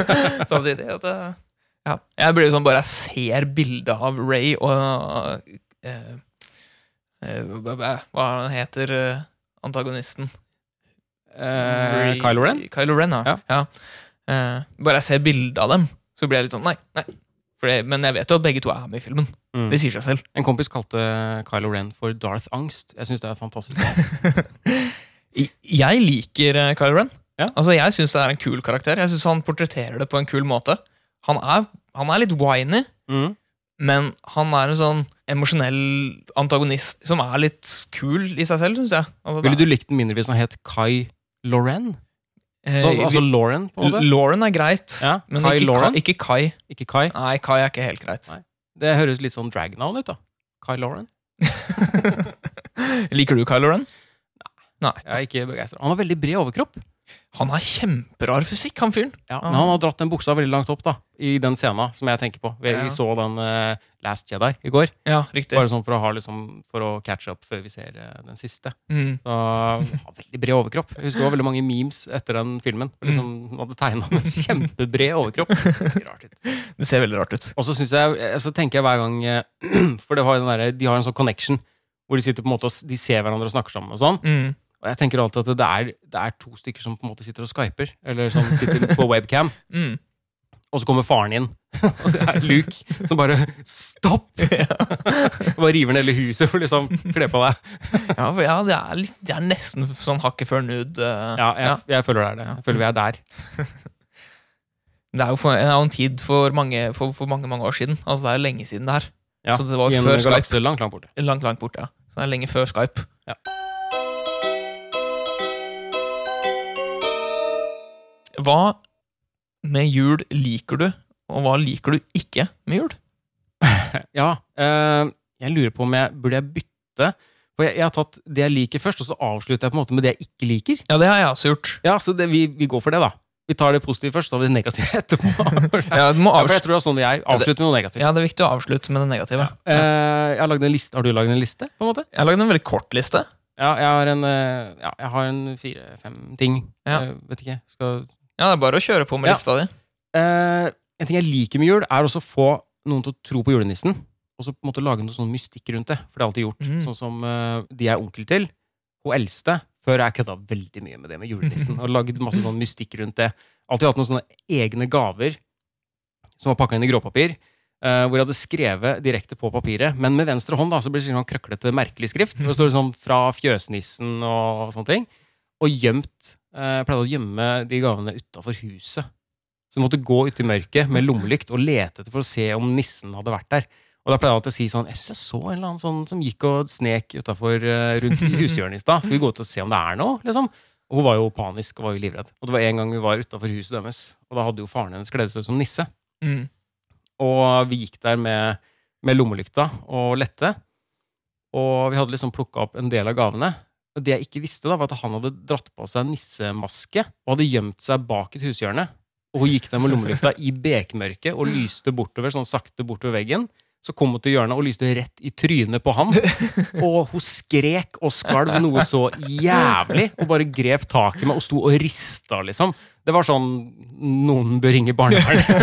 Speaker 2: samtidig. At, eh, ja. Jeg blir jo sånn bare jeg ser bildet av Ray og eh, eh, hva- hva hva heter eh, antagonisten?
Speaker 1: Eh,
Speaker 2: Ray-
Speaker 1: Kylo Ren?
Speaker 2: Kylo Ren, ja.
Speaker 1: Ja.
Speaker 2: ja. Eh, bare jeg ser bilde av dem, så blir jeg litt sånn nei. nei. For det, men jeg vet jo at begge to er med i filmen.
Speaker 1: Mm.
Speaker 2: Det sier seg selv.
Speaker 1: En kompis kalte Kylo Ren for Darth Angst. Jeg syns det er fantastisk.
Speaker 2: I- Jeg liker eh, Kylo Ren.
Speaker 1: Ja.
Speaker 2: Altså, jeg syns det er en kul karakter. Jeg synes Han portretterer det på en kul måte. Han er, han er litt whiny,
Speaker 1: Mm.
Speaker 2: men han er en sånn emosjonell antagonist som er litt kul i seg selv, syns jeg. Altså,
Speaker 1: Ville du likt den mindre hvis han het Kai Loren?
Speaker 2: det er-
Speaker 1: Så,
Speaker 2: eh,
Speaker 1: altså Lauren, på en måte?
Speaker 2: Lauren er greit,
Speaker 1: Ja,
Speaker 2: men
Speaker 1: Kai
Speaker 2: ikke,
Speaker 1: Lauren?
Speaker 2: Kai, ikke Kai.
Speaker 1: Ikke Kai.
Speaker 2: Nei, Kai er ikke helt greit.
Speaker 1: Nei. Det høres litt sånn dragnavn ut, da. Kai Lauren.
Speaker 2: Liker du Kylo Ren?
Speaker 1: Jeg er ikke begeistret. Han har veldig bred overkropp.
Speaker 2: Han har kjemperar fysikk, han fyren.
Speaker 1: Ja, men han har dratt den buksa veldig langt opp da i den scenen som jeg tenker på. Vi
Speaker 2: Ja.
Speaker 1: vi så den eh, Last Jedi i går.
Speaker 2: Ja, riktig.
Speaker 1: Bare sånn for å, ha, liksom, for å catche opp før vi ser eh, den siste.
Speaker 2: Mm.
Speaker 1: Så, han har veldig bred overkropp. Jeg husker det var veldig mange memes etter den filmen. hvor Liksom, han hadde tegna med kjempebred overkropp. Det ser veldig rart ut.
Speaker 2: Det ser veldig rart ut.
Speaker 1: Og så, synes jeg, eh, så tenker jeg hver gang eh, For det har jo den der, de har en sånn connection hvor de sitter på en måte og s- de ser hverandre og snakker sammen. og sånn
Speaker 2: Mm.
Speaker 1: Og jeg tenker alltid at det er, det er to stykker som på en måte sitter og skyper, eller som sitter på webcam,
Speaker 2: Mm.
Speaker 1: og så kommer faren inn. Og det er Luke som bare 'stopp!' Og bare river ned hele huset for liksom kle på deg.
Speaker 2: Ja, for ja, det, er litt, det er nesten sånn hakket før nude. eh.
Speaker 1: Ja, jeg, jeg føler det er det. Jeg føler vi er der.
Speaker 2: Det er jo for, det er jo en tid for mange, for, for mange mange år siden. Altså, det er jo lenge siden det her.
Speaker 1: Ja,
Speaker 2: Så det var
Speaker 1: I en
Speaker 2: før Skype.
Speaker 1: galakse langt, langt borte.
Speaker 2: Langt, langt borte, ja. Så det er lenge før Skype.
Speaker 1: Ja.
Speaker 2: Hva med jul liker du, og hva liker du ikke med jul?
Speaker 1: Ja, eh, jeg lurer på om jeg burde jeg bytte. For jeg, jeg har tatt det jeg liker først, og så avslutter jeg på en måte med det jeg ikke liker.
Speaker 2: Ja, det har jeg også gjort.
Speaker 1: Ja, så det, vi, vi går for det, da. Vi tar det positive først, så tar vi det negative etterpå. Ja,
Speaker 2: Ja, du må
Speaker 1: for jeg
Speaker 2: avslutte.
Speaker 1: tror det er sånn det er. Avslutt med noe negativt.
Speaker 2: Ja, Det er viktig å avslutte med det negative.
Speaker 1: Eh, jeg har, lagd en liste. har du lagd en liste? på en måte?
Speaker 2: Jeg har lagd en veldig kort liste.
Speaker 1: Ja, jeg har en, eh, ja, jeg har en fire-fem ting.
Speaker 2: Ja.
Speaker 1: Jeg vet ikke. Skal...
Speaker 2: Ja, Det er bare å kjøre på med
Speaker 1: Ja.
Speaker 2: lista di.
Speaker 1: Eh, en ting jeg liker med jul, er også å få noen til å tro på julenissen. Og så på en måte lage noe sånn mystikk rundt det. For det er alltid gjort.
Speaker 2: Mm.
Speaker 1: Sånn som eh, de jeg er onkel til. Hun eldste. Før har jeg kødda veldig mye med det med julenissen. og lagd masse sånn mystikk rundt det. Alltid hatt noen sånne egne gaver som var pakka inn i gråpapir. eh, hvor jeg hadde skrevet direkte på papiret, men med venstre hånd. da, så blir det sånn krøklete, merkelig skrift. Hvor det står sånn 'Fra fjøsnissen' og sånne ting. Og gjemt eh, Jeg pleide å gjemme de gavene utafor huset. Så jeg måtte gå ut i mørket med lommelykt og lete etter for å se om nissen hadde vært der. Og da pleide jeg alltid å si sånn Jeg syns jeg så en eller annen sånn som gikk og snek utafor rundt hushjørnet i stad. Skal vi gå ut og se om det er noe? liksom? Og hun var jo panisk og var jo livredd. Og det var en gang vi var utafor huset deres, og da hadde jo faren hennes kledd seg ut som nisse.
Speaker 2: Mm.
Speaker 1: Og vi gikk der med, med lommelykta og lette. Og vi hadde liksom plukka opp en del av gavene. Og det jeg ikke visste, da, var at han hadde dratt på seg en nissemaske og hadde gjemt seg bak et hushjørne. Og hun gikk der med lommelykta i bekmørket og lyste bortover sånn sakte bortover veggen. Så kom hun til hjørnet og lyste rett i trynet på han. Og hun skrek og skalv noe så jævlig, og bare grep tak i meg og sto og rista, liksom. Det var sånn noen bør ringe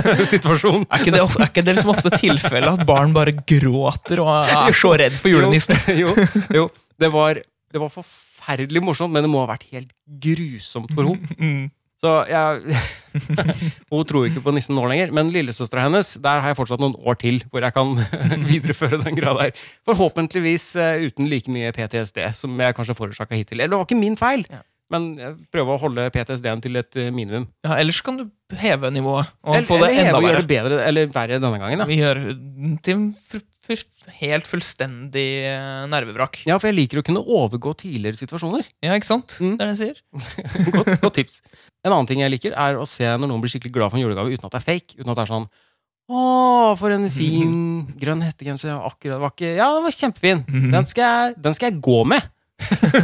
Speaker 1: barnevernet-situasjon.
Speaker 2: Er ikke, det, of- er ikke det liksom ofte tilfellet at barn bare gråter og er så redd for julenissen?
Speaker 1: Jo, jo, jo. Det, var, det var forferdelig morsomt, men det må ha vært helt grusomt for henne.
Speaker 2: Mm.
Speaker 1: Så jeg, Hun tror ikke på nissen nå lenger, men lillesøstera hennes der har jeg fortsatt noen år til hvor jeg kan videreføre den grada her. Forhåpentligvis eh, uten like mye PTSD som jeg kanskje forårsaka hittil. Eller det var ikke min feil,
Speaker 2: Ja.
Speaker 1: men jeg prøver å holde PTSD-en til et eh, minimum.
Speaker 2: Ja, ellers kan du heve nivået og
Speaker 1: Eller,
Speaker 2: få det
Speaker 1: eller heve
Speaker 2: enda
Speaker 1: og gjøre
Speaker 2: verre.
Speaker 1: det bedre eller verre denne gangen. da
Speaker 2: Vi gjør huden til en fr- fr- helt fullstendig eh, nervevrak.
Speaker 1: Ja, for jeg liker å kunne overgå tidligere situasjoner.
Speaker 2: Ja, ikke sant?
Speaker 1: Mm.
Speaker 2: Det er det jeg sier.
Speaker 1: godt, godt tips. En annen ting jeg liker, er å se når noen blir skikkelig glad for en julegave uten at det er fake. Uten at det er sånn Å, for en fin grønn hettegenser. Ja, Akkurat, det var ikke Ja, den var kjempefin. Den skal jeg, den skal jeg gå med,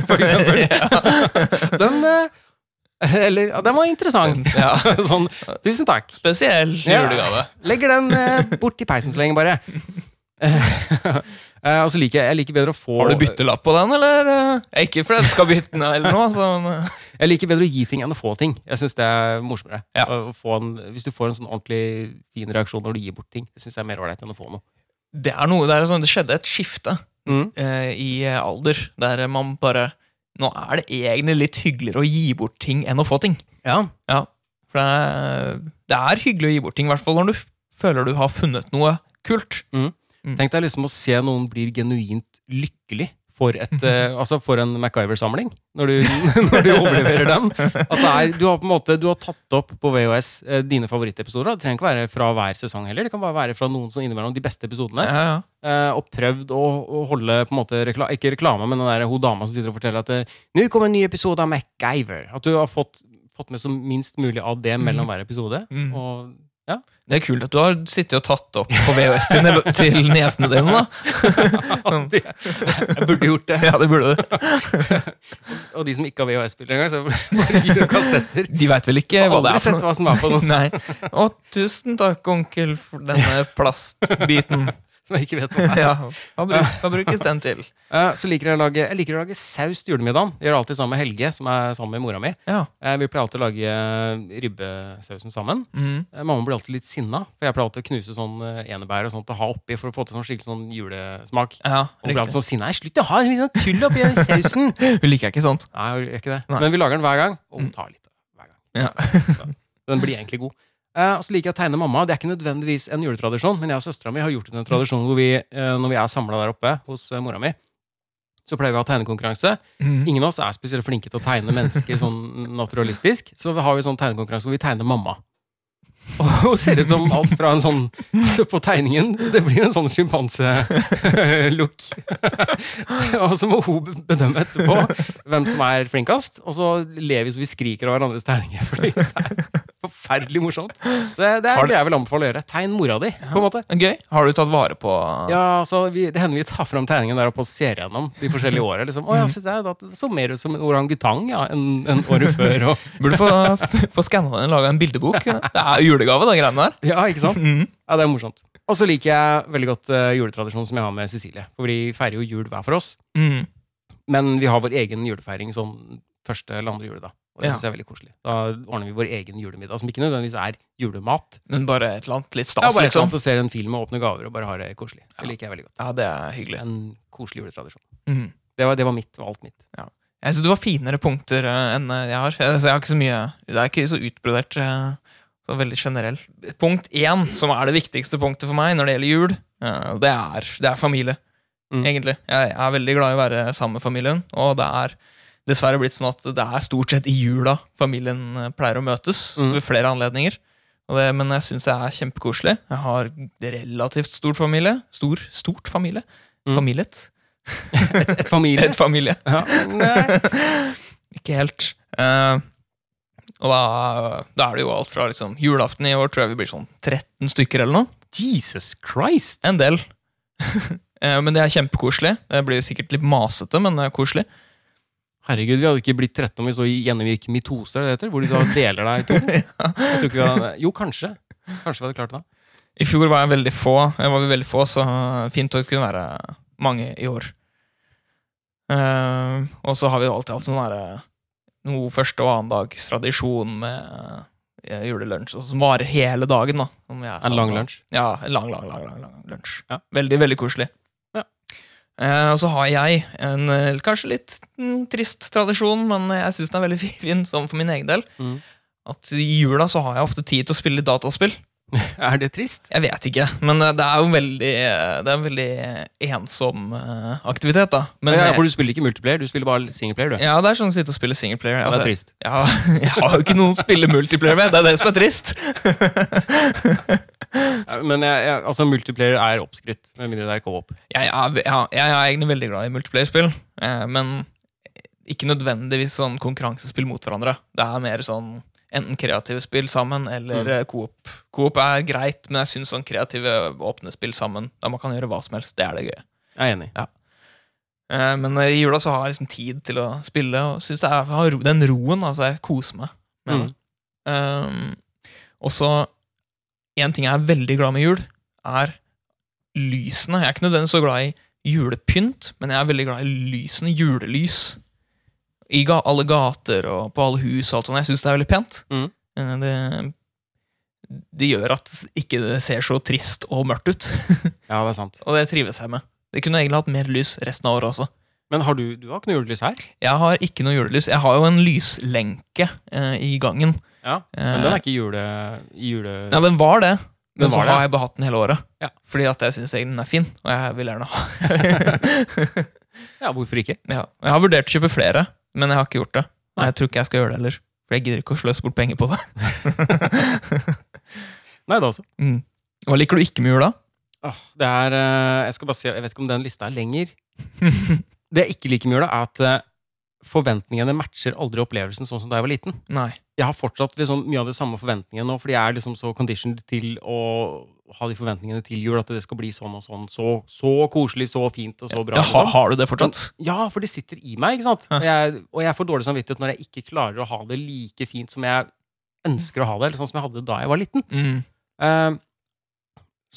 Speaker 1: for eksempel. Den eh, Eller ja, Den var interessant.
Speaker 2: Ja.
Speaker 1: Sånn. Tusen takk.
Speaker 2: Spesiell
Speaker 1: Ja.
Speaker 2: julegave.
Speaker 1: Legger den eh, bort i peisen så lenge, bare. Eh, eh, og så liker jeg, jeg liker bedre å få
Speaker 2: Har du byttelapp på den, eller? eh, Ikke fordi jeg skal bytte den eller noe. Så, men, eh,
Speaker 1: Jeg liker bedre å gi ting enn å få ting. Jeg synes det er morsommere.
Speaker 2: Ja.
Speaker 1: Å få en, hvis du får en sånn ordentlig fin reaksjon når du gir bort ting, det synes jeg er mer ålreit enn å få noe.
Speaker 2: det er noe der, sånn, det skjedde et skifte
Speaker 1: Mm.
Speaker 2: eh, i eh, alder, der man bare Nå er det egentlig litt hyggeligere å gi bort ting enn å få ting.
Speaker 1: Ja.
Speaker 2: Ja, for det er, det er hyggelig å gi bort ting, i hvert fall når du føler du har funnet noe kult.
Speaker 1: Tenk deg liksom å se noen blir genuint lykkelig for, et, eh, altså for en MacGyver-samling, når, du- når du overleverer den. At det er, du har på en måte du har tatt opp på VHS eh, dine favorittepisoder. og Det trenger ikke være fra hver sesong heller. Det kan bare være fra noen som innimellom de beste episodene.
Speaker 2: Ja, ja.
Speaker 1: eh, og prøvd å, å holde på en måte rekla Ikke reklame, men den der hun dama som sitter og forteller at eh, nå kommer en ny episode av MacGyver. At du har fått, fått med så minst mulig av det mellom hver episode.
Speaker 2: Mm.
Speaker 1: Og
Speaker 2: Det er kult at du har sittet og tatt opp på VHS til, ne- til nesene dine. da.
Speaker 1: jeg burde gjort det.
Speaker 2: Ja, det burde du.
Speaker 1: Og de som ikke har VHS-spiller engang, så bare gir de kassetter.
Speaker 2: De veit vel ikke
Speaker 1: Jeg har
Speaker 2: hva det
Speaker 1: aldri sett
Speaker 2: er for noe.
Speaker 1: hva som er på noe
Speaker 2: Nei. Å, tusen takk, onkel, for denne plastbiten.
Speaker 1: som jeg ikke vet hva er.
Speaker 2: Ja, Hva, bruk, hva brukes den til?
Speaker 1: Eh, Så liker jeg å lage, jeg liker å lage saus til julemiddagen. Jeg gjør det alltid sammen med Helge, som er sammen med mora mi.
Speaker 2: Ja.
Speaker 1: Eh, Vi pleier alltid å lage eh, ribbesausen sammen.
Speaker 2: Mm.
Speaker 1: Eh, Mamma blir alltid litt sinna, for jeg pleier alltid å knuse sånn eh, enebær og sånt å ha oppi for å få til sånn skikkelig sånn julesmak.
Speaker 2: ja
Speaker 1: Og sånn- blir alltid
Speaker 2: riktig.
Speaker 1: sånn sinna. «Nei, Slutt å ha så mye sånn tull oppi den sausen!
Speaker 2: Hun liker ikke sånt.
Speaker 1: Nei, hun gjør ikke det.
Speaker 2: Nei. Mm.
Speaker 1: Men vi lager den hver gang, og hun tar litt hver gang.
Speaker 2: Ja.
Speaker 1: Så, den blir egentlig god. Eh, og så liker jeg å tegne mamma. Det er ikke nødvendigvis en juletradisjon, men jeg og søstera mi har gjort en tradisjon hvor vi, eh, når vi er samla der oppe hos eh, mora mi, så pleier vi å ha tegnekonkurranse.
Speaker 2: Mm.
Speaker 1: Ingen av oss er spesielt flinke til å tegne mennesker sånn naturalistisk, så vi har vi sånn tegnekonkurranse hvor vi tegner mamma. Og hun ser ut som alt fra en sånn På tegningen Det blir en sånn sjimpanse-look. Og så må hun bedømme etterpå hvem som er flinkest, og så ler vi så vi skriker av hverandres tegninger. Fordi det er forferdelig morsomt. Det, det er
Speaker 2: Har
Speaker 1: en
Speaker 2: du-
Speaker 1: greie jeg vil anbefale å gjøre. Tegn mora di, på en måte.
Speaker 2: Gøy. Har du tatt vare på
Speaker 1: Ja, altså, vi, Det hender vi tar fram tegningen der oppe og ser gjennom de forskjellige åra. Liksom. Å,
Speaker 2: Mhm.
Speaker 1: ja, se der, da så mer ut som en orangutang ja, enn enn året før. Og,
Speaker 2: Burde få, få skanna den og laga en bildebok. Det er jo julegave, de greiene der.
Speaker 1: ja, ikke sant?
Speaker 2: Mm.
Speaker 1: Ja, Det er morsomt. Og så liker jeg veldig godt eh, juletradisjonen som jeg har med Cecilie. For vi feirer jo jul hver for oss,
Speaker 2: Mm.
Speaker 1: men vi har vår egen julefeiring sånn første eller andre juledag. Og det
Speaker 2: Ja.
Speaker 1: synes jeg er veldig koselig. Da ordner vi vår egen julemiddag, som ikke nødvendigvis er julemat.
Speaker 2: Men bare et eller annet litt
Speaker 1: Det er
Speaker 2: stas,
Speaker 1: bare et eller
Speaker 2: liksom.
Speaker 1: annet å se en film og åpne gaver og bare ha det koselig. Det liker jeg veldig godt.
Speaker 2: Ja, det er hyggelig.
Speaker 1: En koselig juletradisjon.
Speaker 2: Mm.
Speaker 1: Det var, det var mitt og alt mitt.
Speaker 2: Jeg synes det var finere punkter eh, enn eh, jeg har. Eh, Så jeg har ikke så mye Det er ikke så utbrodert. eh, Så veldig generell. Punkt én, som er det viktigste punktet for meg når det gjelder jul, eh, det er, det er familie.
Speaker 1: Mm.
Speaker 2: Egentlig. Jeg er veldig glad i å være sammen med familien, og det er dessverre blitt sånn at det er stort sett i jula familien eh, pleier å møtes
Speaker 1: Mm.
Speaker 2: ved flere anledninger. Og det, men jeg syns det er kjempekoselig. Jeg har relativt stor familie. Stor, stort familie.
Speaker 1: Mm.
Speaker 2: Familiet.
Speaker 1: Et, et familie.
Speaker 2: Et familie.
Speaker 1: Ja. Nei.
Speaker 2: Ikke helt. Eh, og da, da er det jo alt fra liksom, julaften i år tror jeg vi blir sånn 13 stykker eller noe.
Speaker 1: Jesus Christ!
Speaker 2: En del. Eh, men det er kjempekoselig. Det blir jo sikkert litt masete, men det er koselig.
Speaker 1: Herregud, vi hadde ikke blitt 13 om vi så gjennomgikk mitose, er det det heter? Hvor de så deler deg i to. Jeg tror ikke vi hadde, jo, kanskje. Kanskje vi hadde klart det.
Speaker 2: I fjor var jeg veldig få, jeg var veldig få, så fint å kunne være mange i år. Eh, og så har vi jo alltid hatt sånn derre noe første og annen dags tradisjon med eh, julelunsj, og som varer hele dagen, da. om jeg er
Speaker 1: En lang
Speaker 2: sammen.
Speaker 1: lunsj.
Speaker 2: Ja, en lang, lang, lang, lang, lang lunsj.
Speaker 1: Ja.
Speaker 2: Veldig, veldig koselig.
Speaker 1: Ja.
Speaker 2: Eh, og så har jeg en eh, kanskje litt mm, trist tradisjon, men jeg syns den er veldig fin, sånn for min egen del,
Speaker 1: Mm.
Speaker 2: at i jula så har jeg ofte tid til å spille litt dataspill.
Speaker 1: Er det trist?
Speaker 2: Jeg vet ikke, men eh, det er jo veldig, eh, det er en veldig ensom eh, aktivitet, da. Men,
Speaker 1: ja, for du spiller ikke multiplayer, du spiller bare singleplayer, du.
Speaker 2: ja, det er sånn å sitte og spille singleplayer.
Speaker 1: det
Speaker 2: Altså,
Speaker 1: er trist.
Speaker 2: ja, jeg har jo ikke noen å spille multiplayer med, det er det som er trist.
Speaker 1: Ja, Men jeg, jeg, altså, multiplayer er oppskrytt, med mindre det er co-op.
Speaker 2: Jeg er, ve- ja, jeg er egentlig veldig glad i multiplayer-spill, eh, men ikke nødvendigvis sånn konkurransespill mot hverandre. Det er mer sånn enten kreative spill sammen eller
Speaker 1: Mm.
Speaker 2: eh, coop. Coop er greit, men jeg syns sånn kreative, åpne spill sammen, der man kan gjøre hva som helst, det er det gøye.
Speaker 1: Jeg er enig.
Speaker 2: Eh, Men eh, i jula så har jeg liksom tid til å spille, og syns det er jeg har ro- den roen. Altså, jeg koser meg med det. Um, og så En ting jeg er veldig glad med jul, er lysene. Jeg er ikke nødvendigvis så glad i julepynt, men jeg er veldig glad i lysene. Julelys. I ga alle gater og på alle hus og alt sånt. Jeg syns det er veldig pent.
Speaker 1: Mm.
Speaker 2: Eh, Det, det gjør at ikke det ser så trist og mørkt ut.
Speaker 1: Ja, det er sant.
Speaker 2: og det trives jeg med. Det kunne egentlig hatt mer lys resten av året også.
Speaker 1: Men har du, du har ikke noe julelys her?
Speaker 2: Jeg har ikke noe julelys. Jeg har jo en lyslenke eh, i gangen.
Speaker 1: Ja,
Speaker 2: Eh,
Speaker 1: Men den er ikke jule... jule...
Speaker 2: ja, den var det, men
Speaker 1: Den
Speaker 2: så
Speaker 1: var det.
Speaker 2: har jeg behatt den hele året.
Speaker 1: Ja.
Speaker 2: Fordi at jeg syns den er fin, og jeg vil gjerne ha
Speaker 1: Ja, hvorfor ikke?
Speaker 2: ja. Jeg har vurdert å kjøpe flere, men jeg har ikke gjort det.
Speaker 1: Nei.
Speaker 2: Jeg tror ikke jeg skal gjøre det heller. For jeg gidder ikke å sløse bort penger på det.
Speaker 1: Nei, det også.
Speaker 2: Mm. Hva liker du ikke med jula?
Speaker 1: Åh, det er eh, Jeg skal bare si, jeg vet ikke om den lista er lenger. Det jeg ikke liker med jula, er at eh, forventningene matcher aldri opplevelsen sånn som da jeg var liten.
Speaker 2: Nei.
Speaker 1: Jeg har fortsatt liksom mye av de samme forventningene nå, fordi jeg er liksom så conditioned til å ha de forventningene til jul, at det skal bli sånn og sånn. Så, så koselig, så fint og så bra.
Speaker 2: Ja,
Speaker 1: liksom.
Speaker 2: har, har du det fortsatt?
Speaker 1: Ja, for det sitter i meg, ikke sant?
Speaker 2: Ja.
Speaker 1: Og jeg, og jeg får dårlig samvittighet når jeg ikke klarer å ha det like fint som jeg ønsker å ha det, eller sånn som jeg hadde det da jeg var liten.
Speaker 2: Mm.
Speaker 1: Eh,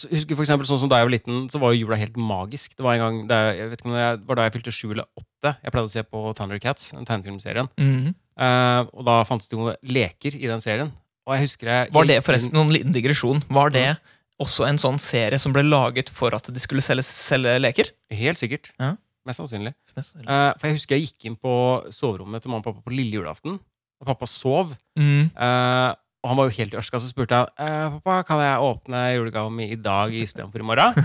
Speaker 1: så jeg husker for eksempel, sånn som Da jeg var liten, så var jo jula helt magisk. Det var en gang, da jeg, jeg vet ikke om det var da jeg fylte sju eller åtte. Jeg pleide å se på Thundercats, den tegnefilmserien.
Speaker 2: Mm.
Speaker 1: Eh, og da fantes det jo leker i den serien. Og jeg husker jeg
Speaker 2: Var det forresten noen liten digresjon? Var det også en sånn serie som ble laget for at de skulle selge, selge leker?
Speaker 1: Helt sikkert.
Speaker 2: Ja.
Speaker 1: Mest sannsynlig. Eh, for jeg husker jeg gikk inn på soverommet til mamma og pappa på lille julaften, og pappa sov.
Speaker 2: Mm.
Speaker 1: Eh, og han var jo helt ørska, så spurte jeg eh, pappa, kan jeg åpne julegaven min i dag istedenfor i morgen.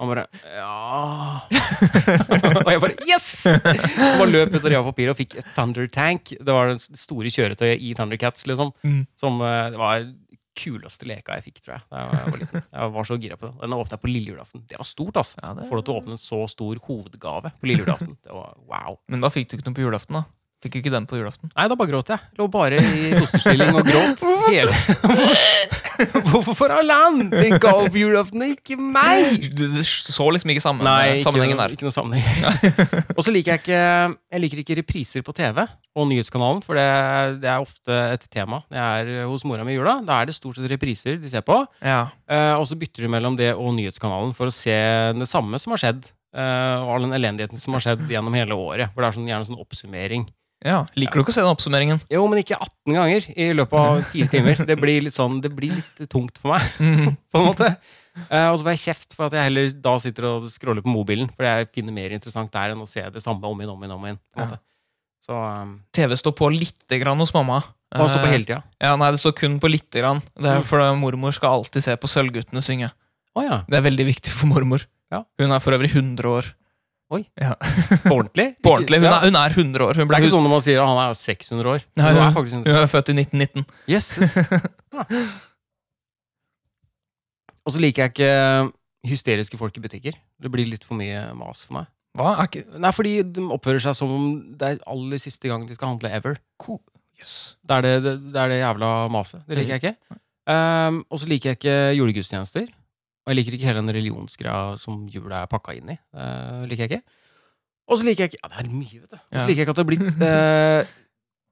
Speaker 1: Han bare ja Og jeg bare yes! Og bare løp ut og rev papir og fikk et Thunder Tank. Det var det store kjøretøyet i Thundercats, liksom.
Speaker 2: Mm.
Speaker 1: Som eh, det var kuleste leka jeg fikk, tror jeg. Da jeg var liten. Jeg var så gira på den. Den åpna jeg på lille julaften. Det var stort, altså.
Speaker 2: Ja, det-
Speaker 1: Får du til å åpne en så stor hovedgave på lille julaften. Det var wow.
Speaker 2: Men da fikk du ikke noe på julaften, da. Fikk du ikke den på julaften?
Speaker 1: Nei, da bare gråt jeg. Lå bare i fosterstilling og gråt. Hele. Hvorfor for Allan? Den ga opp julaften, og ikke meg!
Speaker 2: Du, du så liksom ikke sammen,
Speaker 1: Nei, ikke
Speaker 2: sammenhengen
Speaker 1: noe,
Speaker 2: der.
Speaker 1: ikke noe sammenheng. eh, og så liker jeg ikke Jeg liker ikke repriser på TV og Nyhetskanalen, for det, det er ofte et tema når jeg er eh, hos mora mi i jula. Da er det stort sett repriser de ser på.
Speaker 2: Ja.
Speaker 1: Eh, og så bytter de mellom det og Nyhetskanalen for å se det samme som har skjedd. eh, og all den elendigheten som har skjedd gjennom hele året. For det er sånn, gjerne sånn oppsummering.
Speaker 2: ja. Liker du ikke å se den oppsummeringen?
Speaker 1: Jo, men ikke 18 ganger i løpet av fire timer. Det blir litt sånn, det blir litt tungt for meg,
Speaker 2: Mhm.
Speaker 1: på en måte. Eh, og så får jeg kjeft for at jeg heller da sitter og scroller på mobilen, for jeg finner mer interessant der enn å se det samme om igjen, om igjen, om igjen. på en
Speaker 2: Ja.
Speaker 1: måte. Så um,
Speaker 2: TV står på lite grann hos mamma.
Speaker 1: han står på
Speaker 2: Eh,
Speaker 1: hele tida.
Speaker 2: Ja, Nei, det står kun på lite grann. Det er
Speaker 1: Mm.
Speaker 2: for Mormor skal alltid se på Sølvguttene synge.
Speaker 1: Å ja.
Speaker 2: Det er veldig viktig for mormor.
Speaker 1: Ja.
Speaker 2: Hun er for øvrig 100 år.
Speaker 1: På ordentlig?
Speaker 2: På ordentlig, hun,
Speaker 1: Ja.
Speaker 2: er, hun er 100 år.
Speaker 1: Det
Speaker 2: Hun ble
Speaker 1: er ikke
Speaker 2: ikke
Speaker 1: sånn når man sier at han er 600 år.
Speaker 2: Nei,
Speaker 1: Hun
Speaker 2: ja.
Speaker 1: er faktisk
Speaker 2: Hun er født i 1919.
Speaker 1: Jøsses. Og så liker jeg ikke hysteriske folk i butikker. Det blir litt for mye mas for meg.
Speaker 2: Hva? Er ikke
Speaker 1: Nei, fordi de oppfører seg som om det er aller siste gang de skal handle ever.
Speaker 2: ko... Jøss.
Speaker 1: Det er det, det, det, er det jævla maset. Det liker jeg ikke. Ehm, og så liker jeg ikke julegudstjenester. Og jeg liker ikke hele den religionsgreia som jula er pakka inn i. Eh, liker jeg ikke. Og så liker jeg ikke Ja, det er mye, vet du. Og så
Speaker 2: Ja.
Speaker 1: liker jeg ikke at det har blitt eh,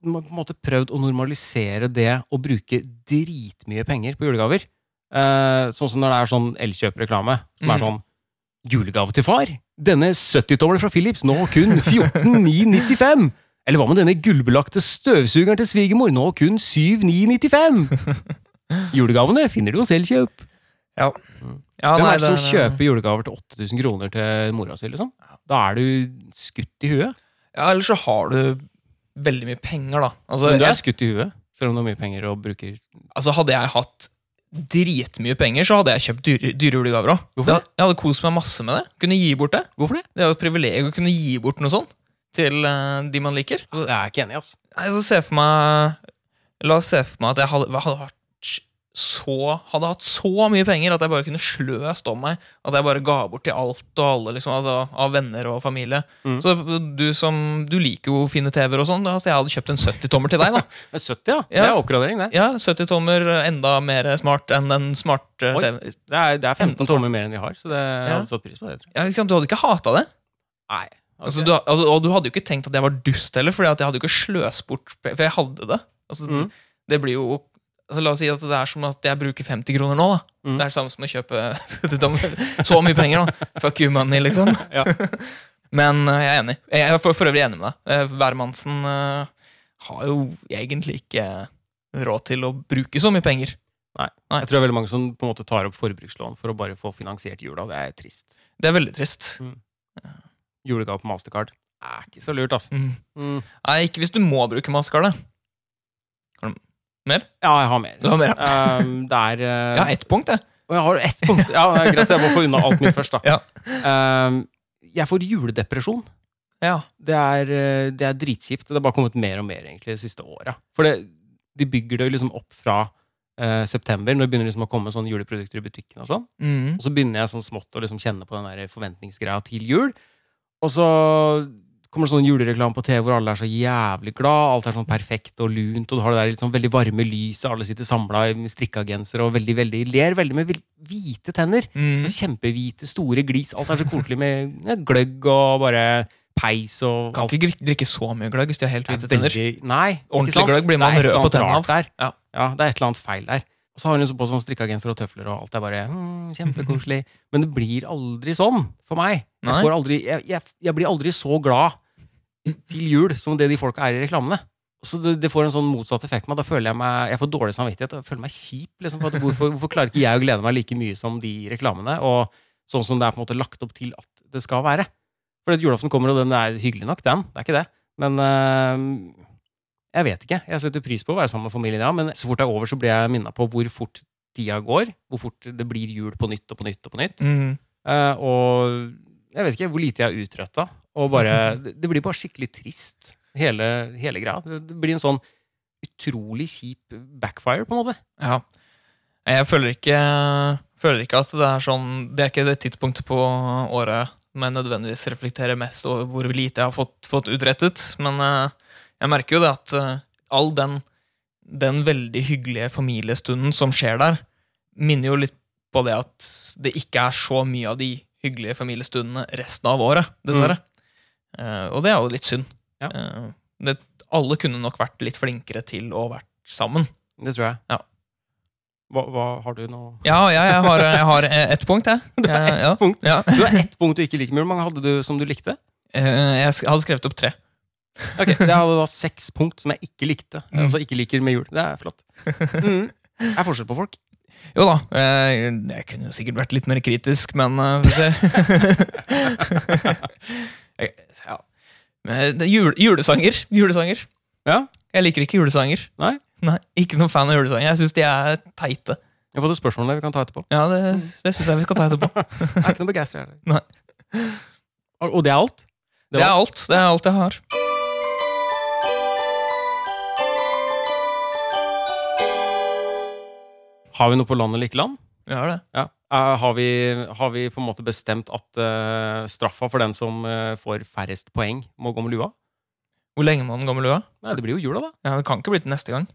Speaker 1: man har på en måte prøvd å normalisere det å bruke dritmye penger på julegaver. Eh, Eh, sånn som når det er sånn Elkjøp-reklame, som er
Speaker 2: Mm.
Speaker 1: sånn Julegave til far! Denne 70-tommelen fra Philips, nå kun 14995! Eller hva med denne gullbelagte støvsugeren til svigermor, nå kun 7995! Julegavene finner du hos Elkjøp.
Speaker 2: Ja,
Speaker 1: Hvem
Speaker 2: nei,
Speaker 1: er det som
Speaker 2: det-
Speaker 1: kjøper julegaver til 8000 kroner til mora si, liksom? Da er du skutt i huet.
Speaker 2: Ja, Eller så har du veldig mye penger, da. Altså,
Speaker 1: Men du er
Speaker 2: jeg,
Speaker 1: skutt i huet, selv om du har mye penger og bruker
Speaker 2: altså Hadde jeg hatt dritmye penger, så hadde jeg kjøpt dyre, dyre julegaver òg.
Speaker 1: Hvorfor
Speaker 2: Jeg hadde kost meg masse med det. Kunne gi bort det.
Speaker 1: Hvorfor det?
Speaker 2: Det er jo et privilegium å kunne gi bort noe sånt til eh, de man liker.
Speaker 1: Jeg er ikke enig, altså.
Speaker 2: Nei, så se for meg La oss se for meg at jeg hadde, hadde vært så Hadde hatt så mye penger at jeg bare kunne sløst om meg. At jeg bare ga bort til alt og alle, liksom, altså, av venner og familie.
Speaker 1: Mm.
Speaker 2: Så du som Du liker jo fine TV-er og sånn, da, så jeg hadde kjøpt en 70-tommer til deg, da.
Speaker 1: Men 70, ja. Det er
Speaker 2: Yes.
Speaker 1: oppgradering, det.
Speaker 2: Ja, altså- 70-tommer enda mer smart enn den smarte
Speaker 1: Oi.
Speaker 2: TV.
Speaker 1: Det er, det er 15
Speaker 2: 15
Speaker 1: tommer mer enn vi har, så det, jeg
Speaker 2: Ja.
Speaker 1: hadde satt pris på det. tror jeg.
Speaker 2: Ja, ikke sant? Du hadde ikke hata det?
Speaker 1: Nei.
Speaker 2: Altså, du, altså, og du hadde jo ikke tenkt at jeg var dust heller, Fordi at jeg hadde jo ikke sløst bort For jeg hadde det. Altså,
Speaker 1: Mm.
Speaker 2: det blir jo altså, La oss si at det er som at jeg bruker 50 kroner nå. Da.
Speaker 1: Mm.
Speaker 2: Det er det samme som å kjøpe 70 tommer. så mye penger, da. Fuck you money, liksom.
Speaker 1: Ja.
Speaker 2: Men eh, jeg er enig. Jeg er for, for øvrig enig med deg. Eh, Hvermannsen eh, har jo egentlig ikke råd til å bruke så mye penger.
Speaker 1: Jeg tror det er veldig mange som på en måte tar opp forbrukslån for å bare få finansiert jula. Det er trist.
Speaker 2: Det er veldig trist.
Speaker 1: Julegave på mastercard er ikke så lurt, altså.
Speaker 2: Mm. Nei, ikke hvis du må bruke maskara.
Speaker 1: Ja, jeg har mer.
Speaker 2: Du har mer, ja.
Speaker 1: Ehm, det er eh,
Speaker 2: Jeg har ett punkt, jeg.
Speaker 1: Og jeg har ett punkt. Ja, det er greit, jeg må få unna alt mitt først, da.
Speaker 2: Ja.
Speaker 1: Ehm, jeg får juledepresjon.
Speaker 2: Ja.
Speaker 1: Det er, eh, det er dritkjipt. Det har bare kommet mer og mer egentlig de siste åra. For det, de bygger det liksom opp fra eh, september, når det begynner liksom å komme sånne juleprodukter i butikken. og sånn.
Speaker 2: Mm.
Speaker 1: Og så begynner jeg sånn smått å liksom kjenne på den der forventningsgreia til jul. Og så kommer det sånn julereklame på TV hvor alle er så jævlig glad, alt er sånn perfekt og lunt, og du har det der litt sånn veldig varme lyset, alle sitter samla i strikkagensere og veldig, veldig, ler veldig med vel- hvite tenner.
Speaker 2: Mm.
Speaker 1: Så kjempehvite, store glis, alt er så koselig med ja, gløgg og bare peis og
Speaker 2: Kan
Speaker 1: alt.
Speaker 2: ikke drikke- drikke så mye gløgg hvis de har helt hvite tenner.
Speaker 1: Veldig- Nei, ikke
Speaker 2: Ordentlig
Speaker 1: sant?
Speaker 2: gløgg blir man
Speaker 1: Det er et
Speaker 2: rød
Speaker 1: eller
Speaker 2: på
Speaker 1: annet
Speaker 2: tennene
Speaker 1: rart Der.
Speaker 2: Ja.
Speaker 1: Ja, det er et eller annet feil der. Og så har hun liksom på sånn strikkagenser og tøfler, og alt er bare mm, kjempekoselig. Men det blir aldri sånn for meg.
Speaker 2: Nei.
Speaker 1: Jeg, får aldri, jeg, jeg, jeg blir aldri så glad til jul som det de folka er i reklamene. Så det, det får en sånn motsatt effekt. på meg. Da føler jeg meg, jeg får dårlig samvittighet. og Jeg føler meg kjip. Liksom, for at hvorfor, hvorfor klarer ikke jeg å glede meg like mye som de i reklamene? Og sånn som det er på en måte lagt opp til at det skal være. For at julaften kommer, og den er hyggelig nok, den. Det er ikke det. Men eh, jeg vet ikke. Jeg setter pris på å være sammen med familien, ja, men så fort det er over, så blir jeg minna på hvor fort tida går. Hvor fort det blir jul på nytt og på nytt og på nytt.
Speaker 2: Mm.
Speaker 1: Eh, og jeg vet ikke hvor lite jeg har utretta. Og bare, det, det blir bare skikkelig trist, hele, hele greia. Det, det blir en sånn utrolig kjip backfire, på en måte.
Speaker 2: Ja. Jeg føler ikke, føler ikke at det er sånn Det er ikke det tidspunktet på året men nødvendigvis reflekterer mest over hvor lite jeg har fått, fått utrettet. Men eh, jeg merker jo det at eh, all den, den veldig hyggelige familiestunden som skjer der, minner jo litt på det at det ikke er så mye av de hyggelige familiestundene resten av året, dessverre. Eh, og det er jo litt synd.
Speaker 1: Ja.
Speaker 2: Eh, det, alle kunne nok vært litt flinkere til å vært sammen.
Speaker 1: Det tror jeg.
Speaker 2: Ja.
Speaker 1: Hva, hva har du nå
Speaker 2: Ja, ja jeg, har, jeg har eh, ett punkt, jeg. Jeg, ja,
Speaker 1: punkt.
Speaker 2: ja.
Speaker 1: Du har ett punkt du ikke liker med jul. Hvor mange hadde du som du likte?
Speaker 2: Eh, jeg sk- hadde skrevet opp tre.
Speaker 1: Ok, Jeg hadde da seks punkt som jeg ikke likte.
Speaker 2: Mm.
Speaker 1: Altså ikke liker med jul. Det er flott. Mm. Det er forskjell på folk.
Speaker 2: Jo da, eh, jeg kunne jo sikkert vært litt mer kritisk, men eh, det Jeg- Eh, ja. Men det er jule, Julesanger. Julesanger.
Speaker 1: Ja.
Speaker 2: Jeg liker ikke julesanger.
Speaker 1: Nei?
Speaker 2: Nei, Ikke noen fan av julesanger. Jeg syns de er teite.
Speaker 1: Jeg har fått et spørsmål der vi kan ta etterpå.
Speaker 2: Ja, Det, det syns jeg vi skal ta etterpå.
Speaker 1: Jeg er ikke noe begeistra heller.
Speaker 2: Nei.
Speaker 1: Og og det er alt?
Speaker 2: Det er alt. Det er alt jeg har.
Speaker 1: Har vi noe på land eller ikke land?
Speaker 2: Vi har det.
Speaker 1: Ja. Eh, har, vi, har vi på en måte bestemt at eh, straffa for den som eh, får færrest poeng, må gå med lua?
Speaker 2: Hvor lenge må den gå med lua?
Speaker 1: Nei, det blir jo jula, da.
Speaker 2: Ja, det kan ikke bli til neste gang.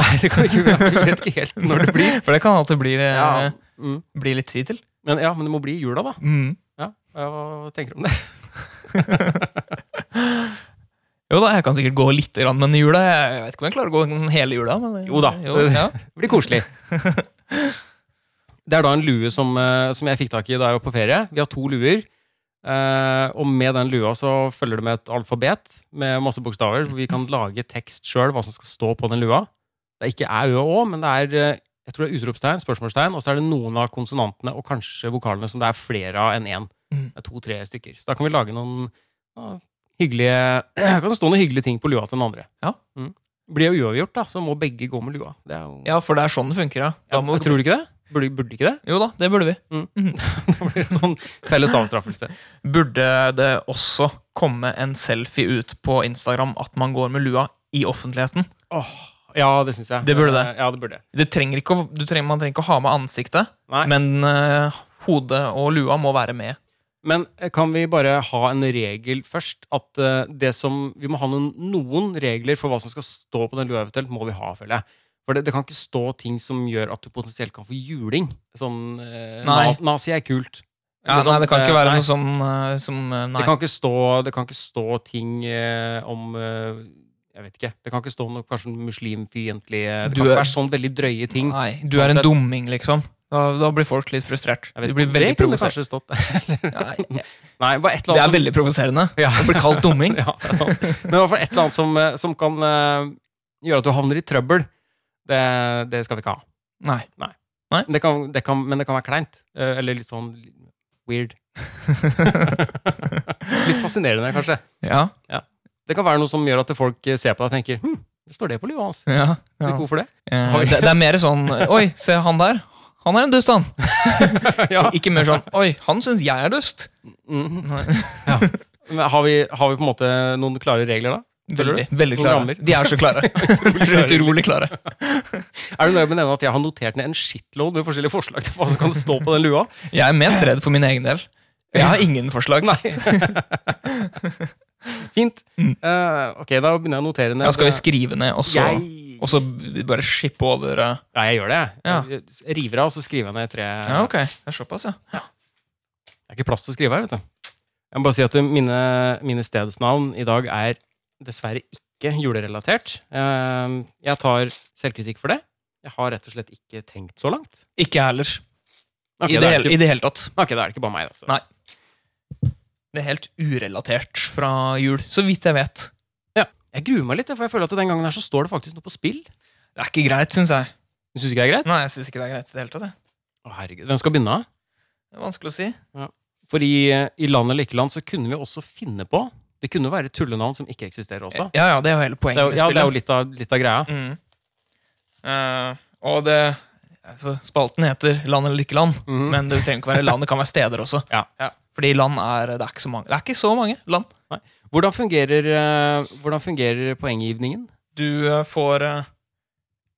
Speaker 1: Nei, det kan ikke være. Vi vet ikke helt når det blir.
Speaker 2: For det kan alltid bli, eh,
Speaker 1: Ja. Mm.
Speaker 2: bli litt tid til.
Speaker 1: Men, ja, men det må bli jula, da.
Speaker 2: Mm.
Speaker 1: Ja. eh, Hva tenker du om det?
Speaker 2: Jo da, jeg kan sikkert gå litt, grann, men i jula Jeg vet ikke om jeg klarer å gå den hele jula. Men
Speaker 1: Jo da.
Speaker 2: ja.
Speaker 1: Det blir koselig. Det er da en lue som, eh, som jeg fikk tak i da jeg var på ferie. Vi har to luer. Eh, og med den lua så følger det med et alfabet med masse bokstaver. hvor Vi kan lage tekst sjøl hva som skal stå på den lua. Det er ikke æ, ø og å, men det er eh, jeg tror det er utropstegn, spørsmålstegn, og så er det noen av konsonantene og kanskje vokalene som det er flere av enn én.
Speaker 2: Mm.
Speaker 1: Det er to-tre stykker. Så da kan vi lage noen ja, hyggelige kan det stå noen hyggelige ting på lua til den andre.
Speaker 2: Ja.
Speaker 1: Mm. Blir det uavgjort, da, så må begge gå med lua. Det er jo...
Speaker 2: Ja, for det er sånn det funker, ja. Da må,
Speaker 1: Jeg tror du ikke det? Burde, burde ikke det?
Speaker 2: jo da, det burde vi.
Speaker 1: Det blir en sånn felles avstraffelse.
Speaker 2: Burde det også komme en selfie ut på Instagram at man går med lua i offentligheten?
Speaker 1: Åh, ja, det syns jeg.
Speaker 2: Det burde det.
Speaker 1: Ja, det burde. det.
Speaker 2: Det trenger ikke, å- du trenger, man trenger ikke å ha med ansiktet,
Speaker 1: Nei. Men,
Speaker 2: men eh, hodet og lua må være med.
Speaker 1: eh, kan vi bare ha en regel først? At eh, det som, Vi må ha noen, noen regler for hva som skal stå på den lua eventuelt, må vi ha, føler jeg. For det, det kan ikke stå ting som gjør at du potensielt kan få juling. Sånn eh,
Speaker 2: Nei.
Speaker 1: na- Nazi er kult.
Speaker 2: Ja,
Speaker 1: Eller
Speaker 2: nei,
Speaker 1: sånt,
Speaker 2: det kan
Speaker 1: eh,
Speaker 2: ikke være
Speaker 1: nei.
Speaker 2: noe sånn eh, som eh, Nei.
Speaker 1: Det kan, ikke stå, det kan ikke stå ting eh, om eh, Jeg vet ikke. Det kan ikke stå noe kanskje muslimfiendtlige Det
Speaker 2: Du
Speaker 1: kan
Speaker 2: er-
Speaker 1: ikke være sånn veldig drøye ting.
Speaker 2: nei. Du er en
Speaker 1: Uansett.
Speaker 2: dumming, liksom. Da, da blir folk litt frustrert.
Speaker 1: Jeg vet
Speaker 2: De
Speaker 1: ikke
Speaker 2: blir
Speaker 1: om
Speaker 2: veldig
Speaker 1: det kunne
Speaker 2: provosert.
Speaker 1: kanskje stått Eller-
Speaker 2: Nei,
Speaker 1: Nei, bare et eller
Speaker 2: Det
Speaker 1: annet
Speaker 2: er veldig provoserende
Speaker 1: som, ja,
Speaker 2: å bli kalt dumming.
Speaker 1: ja, det er sant. Men i hvert fall et eller annet som, eh, som kan eh, gjøre at du havner i trøbbel. Det, det skal vi ikke ha.
Speaker 2: Nei.
Speaker 1: Men det kan, det kan, men det kan være kleint. eh, Eller litt sånn weird. Litt fascinerende, kanskje.
Speaker 2: Ja.
Speaker 1: Det kan være noe som gjør at folk eh, ser på deg og tenker hm, det står det på lua hans.
Speaker 2: ja, ja.
Speaker 1: Litt god for det.
Speaker 2: Eh, det, det er mer sånn Oi, se han der. Han er en dust, han.
Speaker 1: ja.
Speaker 2: Ikke mer sånn Oi, han syns jeg er dust.
Speaker 1: Mhm.
Speaker 2: Nei.
Speaker 1: Ja. Men har, vi, har vi på en måte noen klare regler, da? Føler du?
Speaker 2: Veldig, veldig
Speaker 1: Noen rammer?
Speaker 2: klare. De er så klare. De er Utrolig klare.
Speaker 1: Er du nøye med å nevne at jeg har notert ned en shitload med forskjellige forslag til hva som kan stå på den lua?
Speaker 2: Jeg er mest redd for min egen del. Jeg har ingen forslag.
Speaker 1: Fint. Eh, ok, da begynner jeg å notere ned.
Speaker 2: Mm.
Speaker 1: Eh,
Speaker 2: Ja, skal vi skrive ned, og så,
Speaker 1: Jeg...
Speaker 2: og så bare skippe over eh,
Speaker 1: Ja, jeg gjør det.
Speaker 2: Ja.
Speaker 1: Jeg Jeg river av, og så skriver jeg ned tre
Speaker 2: Ja, ok. Det er såpass, ja.
Speaker 1: Det er ikke plass til å skrive her, vet du. Jeg må bare si at mine, mine stedsnavn i dag er dessverre ikke julerelatert. Eh, jeg tar selvkritikk for det. Jeg har rett og slett ikke tenkt så langt.
Speaker 2: Ikke jeg heller.
Speaker 1: Ok, da
Speaker 2: I, det
Speaker 1: er det
Speaker 2: hele,
Speaker 1: ikke,
Speaker 2: I det hele tatt.
Speaker 1: ok, da er det ikke bare meg, altså.
Speaker 2: Nei. Det er helt urelatert fra jul, så vidt jeg vet.
Speaker 1: Jeg gruer meg litt, for jeg føler at den gangen her så står det faktisk noe på spill.
Speaker 2: Det er ikke greit, syns jeg.
Speaker 1: Du syns ikke det er greit?
Speaker 2: Nei, jeg syns ikke det er greit i det hele tatt. jeg.
Speaker 1: Å, herregud. Hvem skal begynne?
Speaker 2: Det er vanskelig å si.
Speaker 1: For i, i land eller ikke land så kunne vi også finne på Det kunne være tullenavn som ikke eksisterer også.
Speaker 2: Ja, ja, det er jo hele
Speaker 1: Det er
Speaker 2: poenget
Speaker 1: jo,
Speaker 2: med
Speaker 1: ja, det
Speaker 2: spillet.
Speaker 1: er jo litt, av, litt av greia.
Speaker 2: Mm. Eh, og det altså, Spalten heter Land eller ikke land,
Speaker 1: Mhm.
Speaker 2: men det trenger ikke være land, det kan være steder også.
Speaker 1: Ja.
Speaker 2: Fordi land er Det er ikke så mange, det er ikke så mange land.
Speaker 1: Hvordan fungerer, eh, hvordan fungerer poenggivningen?
Speaker 2: Du eh, får eh,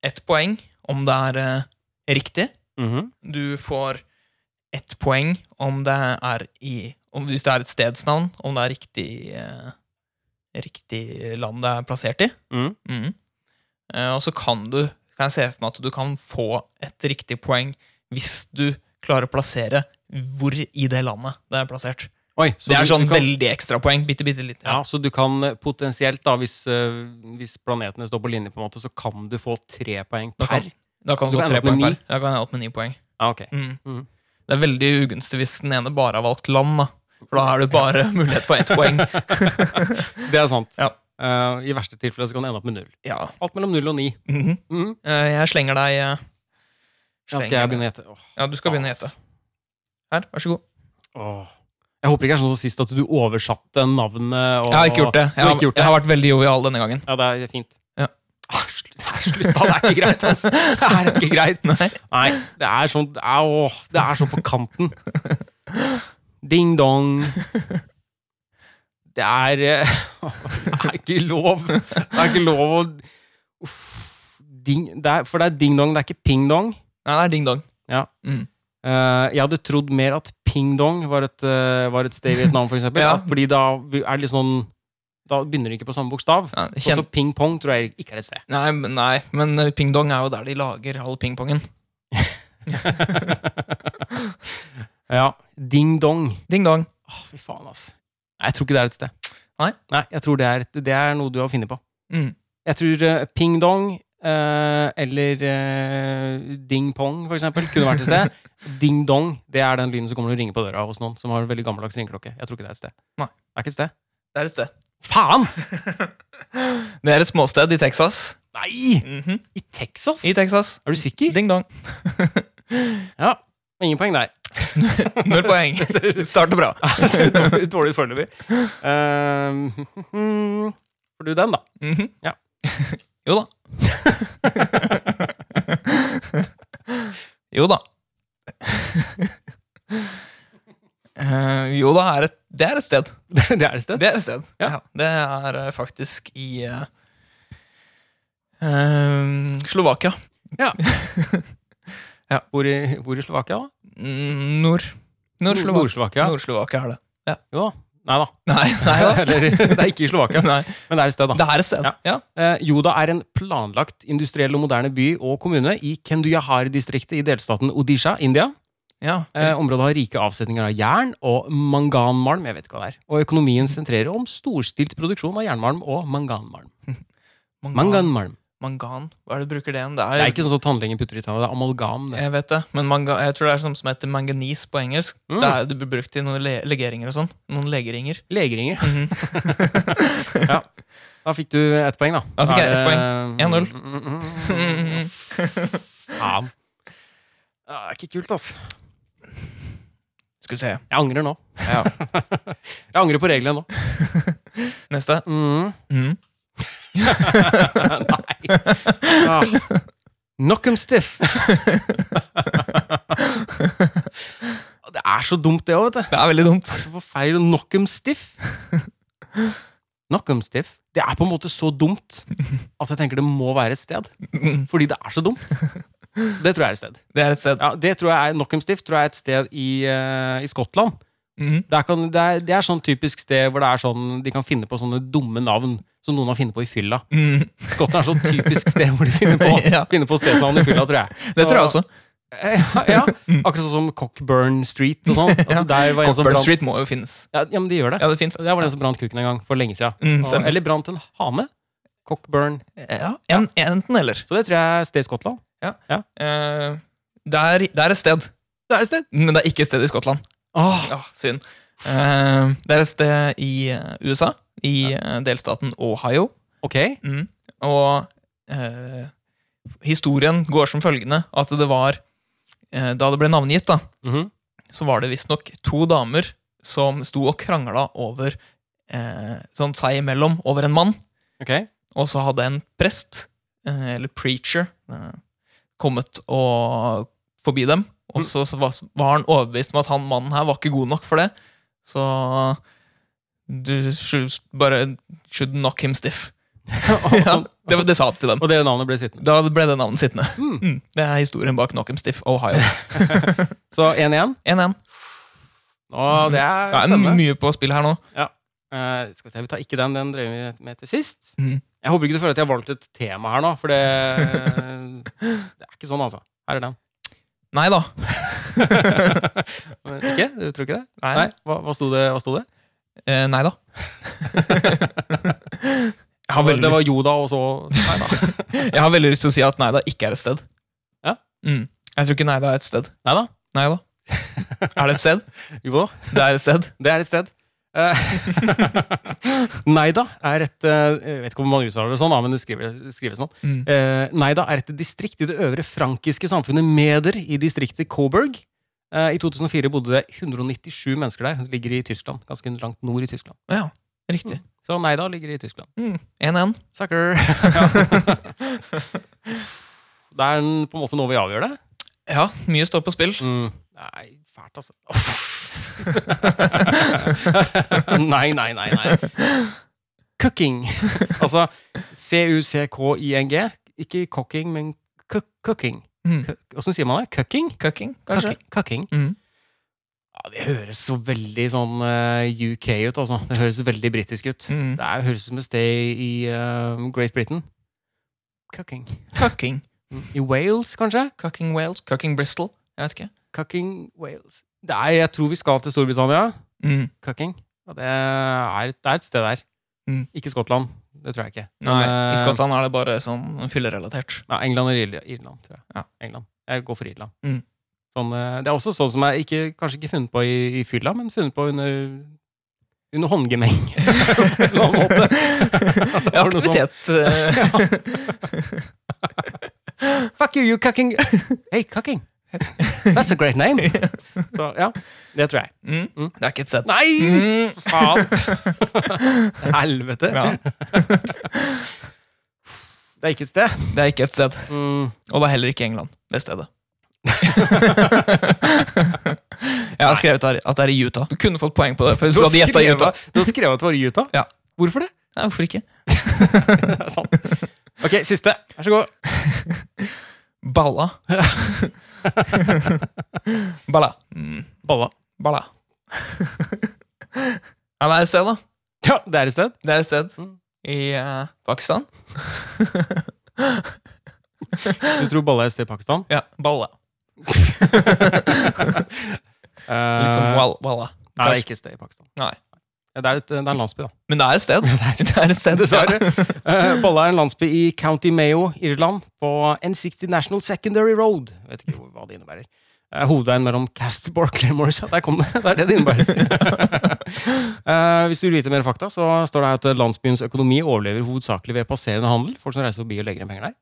Speaker 2: ett poeng om det er eh, riktig.
Speaker 1: Mhm.
Speaker 2: Du får ett poeng om det er i om, Hvis det er et stedsnavn, om det er riktig eh, Riktig land det er plassert i.
Speaker 1: Mhm.
Speaker 2: Mhm. Eh, og så kan du kan jeg se for meg at du kan få et riktig poeng hvis du klarer å plassere hvor i det landet det er plassert.
Speaker 1: Oi, så
Speaker 2: det er
Speaker 1: du-
Speaker 2: sånn
Speaker 1: du kan,
Speaker 2: veldig ekstrapoeng. Bitte, bitte litt.
Speaker 1: ja, Så du kan eh, potensielt, da, hvis, eh, hvis planetene står på linje, på en måte, så kan du få tre poeng
Speaker 2: Da kan-
Speaker 1: per?
Speaker 2: Da kan
Speaker 1: Du
Speaker 2: du,
Speaker 1: kan
Speaker 2: få
Speaker 1: ende
Speaker 2: tre
Speaker 1: opp
Speaker 2: poeng
Speaker 1: med
Speaker 2: per. Da kan jeg ende opp med ni poeng.
Speaker 1: Ja, ok.
Speaker 2: Mm.
Speaker 1: Mhm.
Speaker 2: Det er veldig ugunstig hvis den ene bare har valgt land, da. For da har du bare mulighet for ett poeng.
Speaker 1: Det er sant.
Speaker 2: Ja.
Speaker 1: Eh, I verste tilfelle så kan det ende opp med null.
Speaker 2: Ja.
Speaker 1: Alt mellom null og ni.
Speaker 2: Mhm.
Speaker 1: Mhm.
Speaker 2: Eh, Jeg slenger deg eh,
Speaker 1: Ja, skal jeg
Speaker 2: slenger deg-
Speaker 1: begynne å gjette? Åh,
Speaker 2: Ja, du skal begynne å gjette.
Speaker 1: ass.
Speaker 2: Her, vær så god.
Speaker 1: Åh. Jeg håper ikke det er sånn som sist at du oversatte navnet og
Speaker 2: Jeg har ikke gjort det.
Speaker 1: Du
Speaker 2: Jeg
Speaker 1: har
Speaker 2: har,
Speaker 1: ikke gjort det?
Speaker 2: jeg har vært veldig jovial denne gangen.
Speaker 1: Ja, det er fint.
Speaker 2: Ja.
Speaker 1: Ah, slutt, det er slutt, da. Det er ikke greit, altså. Det er ikke greit.
Speaker 2: Nei.
Speaker 1: Nei, det er sånn det er, åh, det er sånn på kanten. Ding dong. Det er eh, Det er ikke lov. Det er ikke lov å uff, ding, det er, For det er ding dong, det er ikke ping dong.
Speaker 2: Nei, det er ding dong.
Speaker 1: Eh, jeg hadde trodd mer at Ping Dong var et, eh, var et sted i Vietnam, for eksempel.
Speaker 2: Ja.
Speaker 1: At- Fordi da er det litt sånn Da begynner det ikke på samme bokstav.
Speaker 2: Ja,
Speaker 1: Og
Speaker 2: kjen-
Speaker 1: så ping pong tror jeg ikke er et sted.
Speaker 2: Nei, men- nei, men eh, ping-dong er jo der de lager all pingpongen.
Speaker 1: ja. Ding Dong.
Speaker 2: Ding-dong.
Speaker 1: Åh, fy faen, altså. Nei, jeg tror ikke det er et sted.
Speaker 2: Nei?
Speaker 1: jeg tror det er, et, det er noe du har funnet på.
Speaker 2: Mm.
Speaker 1: Jeg tror eh, Ping Dong eh, eller eh, ding pong, for eksempel, kunne vært et sted. ding dong, det er den lyden som kommer til å ringe på døra hos noen som har en veldig gammeldags ringeklokke. Jeg tror ikke det er et sted.
Speaker 2: Nei.
Speaker 1: Det er ikke et sted.
Speaker 2: Det er et sted.
Speaker 1: Faen!
Speaker 2: Det er et småsted i Texas.
Speaker 1: Nei!
Speaker 2: Mhm.
Speaker 1: I Texas?
Speaker 2: I Texas.
Speaker 1: er du sikker?
Speaker 2: Ding dong.
Speaker 1: Ja. Ingen poeng der.
Speaker 2: Null poeng. Starter bra.
Speaker 1: Dårlig foreløpig. Uh, får du den, da?
Speaker 2: Mhm.
Speaker 1: Ja.
Speaker 2: jo da. jo da. Eh, jo da, er et, det er et sted.
Speaker 1: Det er et sted.
Speaker 2: Det er et sted.
Speaker 1: Ja.
Speaker 2: det er eh, faktisk i eh, eh, Slovakia.
Speaker 1: Hvor i, hvor i Slovakia, da?
Speaker 2: Mm, Nord. Nord-Slovakia.
Speaker 1: Nord-Slovakia.
Speaker 2: Nord-Slovakia er det.
Speaker 1: Jo da. Nei da.
Speaker 2: Nei, nei da.
Speaker 1: Eller, det er ikke i Slovakia,
Speaker 2: Nei.
Speaker 1: men det er et sted, da.
Speaker 2: Det er et sted.
Speaker 1: Ja.
Speaker 2: Ja.
Speaker 1: Eh, Joda er en planlagt industriell og moderne by og kommune i Kenduyahar-distriktet i delstaten Odisha, India.
Speaker 2: Ja.
Speaker 1: Eh, området har rike avsetninger av jern og manganmalm. jeg vet ikke hva det er. Og økonomien sentrerer om storstilt produksjon av jernmalm og manganmalm.
Speaker 2: Mangan.
Speaker 1: Manganmalm.
Speaker 2: Mangan. Hva er det du bruker det igjen? Det
Speaker 1: Det
Speaker 2: er,
Speaker 1: er ikke sånn som tannlegen putter i tanna. Det er amalgam. det.
Speaker 2: Jeg vet det, men manga, jeg tror det er sånn som heter manganis på engelsk.
Speaker 1: Mm.
Speaker 2: Det, er, det blir brukt i noen le legeringer og sånn. Noen legeringer.
Speaker 1: Legeringer.
Speaker 2: Mhm.
Speaker 1: ja. Da fikk du ett poeng, da.
Speaker 2: Da fikk
Speaker 1: Er
Speaker 2: jeg
Speaker 1: det-
Speaker 2: ett poeng. 1-0.
Speaker 1: Mm, mm, mm, mm. Faen. Ja, Det er ikke kult, ass.
Speaker 2: Skal vi se.
Speaker 1: Jeg angrer nå.
Speaker 2: Ja.
Speaker 1: Jeg angrer på reglene nå.
Speaker 2: Neste.
Speaker 1: Mm.
Speaker 2: Mhm.
Speaker 1: Nei. Ah. Knock 'em stiff. det er så dumt, det òg, vet du.
Speaker 2: Det er veldig dumt.
Speaker 1: Hvorfor feil å knock 'em stiff? Knock 'em stiff. Det er på en måte så dumt at jeg tenker det må være et sted.
Speaker 2: Mhm.
Speaker 1: Fordi det er så dumt. Så det tror jeg er et sted.
Speaker 2: Det er et sted.
Speaker 1: Ja, det tror jeg er Knock 'em stiff tror jeg er et sted i, eh, i Skottland.
Speaker 2: Mhm.
Speaker 1: Det er, kan, det, er, det er sånn typisk sted hvor det er sånn, de kan finne på sånne dumme navn som noen har funnet på i fylla.
Speaker 2: Mhm.
Speaker 1: Skottland er sånn typisk sted hvor de finner på,
Speaker 2: Ja.
Speaker 1: finner på stedsnavn i fylla, tror jeg.
Speaker 2: Det
Speaker 1: Så-
Speaker 2: tror jeg også.
Speaker 1: Ja, ja, akkurat sånn som Cockburn Street og sånn. At
Speaker 2: Ja.
Speaker 1: der var en som
Speaker 2: Cockburn
Speaker 1: brant,
Speaker 2: Street må jo finnes.
Speaker 1: ja, ja, men de gjør det.
Speaker 2: Ja, det fins.
Speaker 1: Der var det en som brant kuken en gang, for lenge siden.
Speaker 2: Mm,
Speaker 1: Og,
Speaker 2: stemmer.
Speaker 1: eller brant en hane. Cockburn.
Speaker 2: Ja, en, enten eller.
Speaker 1: Så det tror jeg er sted i Skottland.
Speaker 2: Eh, det, er, det er et sted,
Speaker 1: Det er et sted.
Speaker 2: men det er ikke et sted i Skottland.
Speaker 1: Åh,
Speaker 2: Ja, synd. Eh, det er et sted i eh, USA, i eh, delstaten Ohio.
Speaker 1: ok.
Speaker 2: Mm. Og eh, historien går som følgende at det var eh, Da det ble navngitt, da,
Speaker 1: Mhm.
Speaker 2: så var det visstnok to damer som sto og krangla over eh, Sånn seg imellom over en mann.
Speaker 1: Ok.
Speaker 2: Og så hadde en prest, eh, eller preacher, eh, kommet og forbi dem.
Speaker 1: Mm.
Speaker 2: Og så så var var han overbevist om at han mannen her var ikke god nok for det. Så du should, bare should knock him stiff.
Speaker 1: og,
Speaker 2: Ja,
Speaker 1: sånn.
Speaker 2: det, var- det sa han til dem.
Speaker 1: og det navnet ble sittende.
Speaker 2: Da ble det navnet sittende.
Speaker 1: Mm.
Speaker 2: Mm. Det er historien bak Knock 'em Stiff, Ohio.
Speaker 1: Så 1-1.
Speaker 2: 1-1.
Speaker 1: Å, det er
Speaker 2: Det er
Speaker 1: spennende.
Speaker 2: mye på spill her nå.
Speaker 1: Eh, skal vi se, vi tar ikke den, den drev vi med til sist.
Speaker 2: Mhm.
Speaker 1: Jeg håper ikke du føler at jeg har valgt et tema her nå, for det, det er ikke sånn, altså. Her er den.
Speaker 2: Nei da.
Speaker 1: Men ikke? Du tror ikke det?
Speaker 2: Nei,
Speaker 1: Nei, hva, hva sto det? Hva sto det?
Speaker 2: Eh, nei da. Jeg har, veldig
Speaker 1: det var
Speaker 2: lyst,
Speaker 1: Joda, og så Nei da.
Speaker 2: jeg har veldig lyst til å si at nei da ikke er et sted.
Speaker 1: Ja.
Speaker 2: Mm. Jeg tror ikke nei da er et sted.
Speaker 1: Nei da.
Speaker 2: Nei da. Er det et sted?
Speaker 1: Jo da.
Speaker 2: Det er et sted.
Speaker 1: Det er et sted. Eh, Neida er et eh, Jeg vet ikke om man uttaler det sånn, da, men det skriver- skrives sånn.
Speaker 2: Mm.
Speaker 1: Eh, Neida er et distrikt i det øvre frankiske samfunnet Meder i distriktet Coburg. Eh, I 2004 bodde det 197 mennesker der. Det ligger i Tyskland. Ganske langt nord i Tyskland.
Speaker 2: Ja, riktig.
Speaker 1: Så Neida ligger i Tyskland.
Speaker 2: 1-1.
Speaker 1: Sucker! det er en, på en måte nå vi avgjør det.
Speaker 2: Ja, mye står på spill.
Speaker 1: Nei, fælt, altså. nei, nei, nei, nei. Cooking. altså C-U-C-K-I-N-G. Ikke cooking, men cook- cooking.
Speaker 2: Mm.
Speaker 1: Cook- Åssen sier man det? Cooking?
Speaker 2: Cucking, kanskje?
Speaker 1: Cooking. cooking.
Speaker 2: Mm.
Speaker 1: Ja, det høres så veldig sånn eh, UK ut, altså. Det høres veldig britisk ut.
Speaker 2: Mm.
Speaker 1: Det er, høres ut som et sted i eh, Great Britain. Cooking.
Speaker 2: Cucking.
Speaker 1: I Wales, kanskje?
Speaker 2: Cucking Wales. Cucking Bristol. Jeg vet ikke.
Speaker 1: Cooking Wales. Nei, jeg tror vi skal til Storbritannia.
Speaker 2: Mm.
Speaker 1: Cooking. Og det er, det er et sted der.
Speaker 2: Mm.
Speaker 1: Ikke Skottland. Det tror jeg ikke.
Speaker 2: Nei,
Speaker 1: Men, eh,
Speaker 2: I Skottland er det bare sånn fyllerelatert.
Speaker 1: Nei, England eller Irl- Irland, tror jeg.
Speaker 2: Ja.
Speaker 1: England. Jeg går for Irland.
Speaker 2: Mm.
Speaker 1: Sånn, eh, det er også sånn som jeg ikke, kanskje ikke funnet på i, i fylla, men funnet på under, under håndgemeng. på en eller annen måte. Det var noe sånn,
Speaker 2: Aktivitet. eh,
Speaker 1: Fuck you, you cucking Hey, cucking! That's a great name! Så ja, det tror jeg.
Speaker 2: mm.
Speaker 1: Mm.
Speaker 2: Det er ikke et sett.
Speaker 1: Nei!
Speaker 2: Mm.
Speaker 1: Faen! Helvete!
Speaker 2: Ja,
Speaker 1: Det er ikke et sted.
Speaker 2: det er ikke et sted.
Speaker 1: Mm.
Speaker 2: Og det er heller ikke England, det stedet. Jeg har skrevet her at det er i Utah. Du kunne fått poeng på det. For hvis du hadde gjetta
Speaker 1: skrevet-
Speaker 2: Utah.
Speaker 1: Du har skrevet at det var i Utah?
Speaker 2: Ja.
Speaker 1: Hvorfor det?
Speaker 2: Nei, hvorfor ikke?
Speaker 1: Det er sant. Ok, siste. Vær så god.
Speaker 2: Balla. Balla. Mm.
Speaker 1: Balla.
Speaker 2: Balla. Ja, det er et sted, da.
Speaker 1: Ja, det er et sted.
Speaker 2: Det er et sted
Speaker 1: Mm.
Speaker 2: i eh, Pakistan.
Speaker 1: Du tror Balla er et sted i Pakistan?
Speaker 2: Ja, Balla.
Speaker 1: Eh,
Speaker 2: Litt som wal Walla.
Speaker 1: Nei, det er
Speaker 2: kanskje.
Speaker 1: ikke et sted i Pakistan.
Speaker 2: Nei.
Speaker 1: Ja, Det er, et, det er en landsby, da.
Speaker 2: Men det er et sted. Det er et sted, ja.
Speaker 1: Dessverre. Eh, Balla er en landsby i County Mayo, Irland, på N60 National Secondary Road. Jeg vet ikke hvor- hva det innebærer. Eh, Hovedveien mellom Castborg og Claymores. Ja, der kom det! Det er det det innebærer. Eh, hvis du vil vite mer fakta, så står det her at landsbyens økonomi overlever hovedsakelig ved passerende handel. Folk som reiser forbi og legger igjen penger der.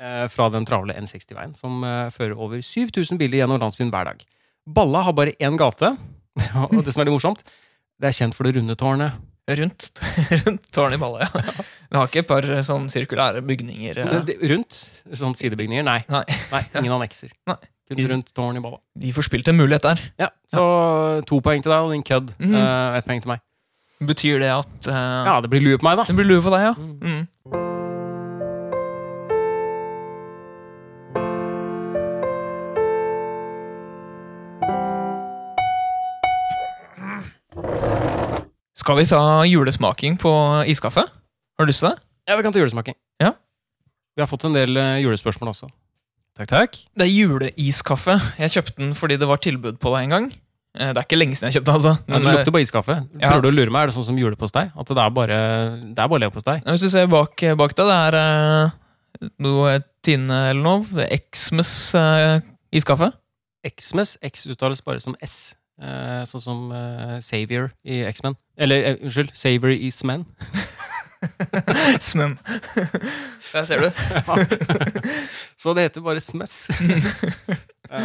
Speaker 1: Eh, fra den travle N60-veien, som eh, fører over 7000 biler gjennom landsbyen hver dag. Balla har bare én gate, og det som er litt morsomt, det er kjent for det runde tårnet.
Speaker 2: Rundt, rundt tårnet i Balla, ja. Det har ikke et par eh, sånn sirkulære bygninger. eh.
Speaker 1: Det- det- Rundt sånn sidebygninger? Nei.
Speaker 2: Nei.
Speaker 1: ingen annekser.
Speaker 2: Nei.
Speaker 1: Kun rundt tårn i balla.
Speaker 2: De forspilte en mulighet der.
Speaker 1: Ja, så to poeng til deg og din kødd.
Speaker 2: Mhm.
Speaker 1: Eh, Ett poeng til meg.
Speaker 2: Betyr det at eh,
Speaker 1: Ja, det blir lue på meg, da.
Speaker 2: Det blir lue på deg, ja.
Speaker 1: Mm.
Speaker 2: Mm. Skal vi ta julesmaking på iskaffe? Har du lyst til det?
Speaker 1: Ja, Vi kan ta julesmaking.
Speaker 2: Ja.
Speaker 1: Vi har fått en del eh, julespørsmål også. Takk, takk.
Speaker 2: Det er juleiskaffe. Jeg kjøpte den fordi det var tilbud på det en gang. Eh, Det er ikke lenge siden jeg kjøpte den, altså.
Speaker 1: Men, det
Speaker 2: eh,
Speaker 1: lukter bare iskaffe.
Speaker 2: ja.
Speaker 1: Prøver du å lure meg? Er det sånn som julepostei? At det er bare, det er bare leverpostei?
Speaker 2: Nei, Hvis du ser bak, bak deg, det er eh, noe Tine eller noe. Xmas eh, iskaffe.
Speaker 1: Xmas X uttales bare som S. eh, sånn som eh, Savior i X-Men. Eller eh, unnskyld, Savior is Men.
Speaker 2: Smen. Der ser du.
Speaker 1: så det heter bare Smess. Ja.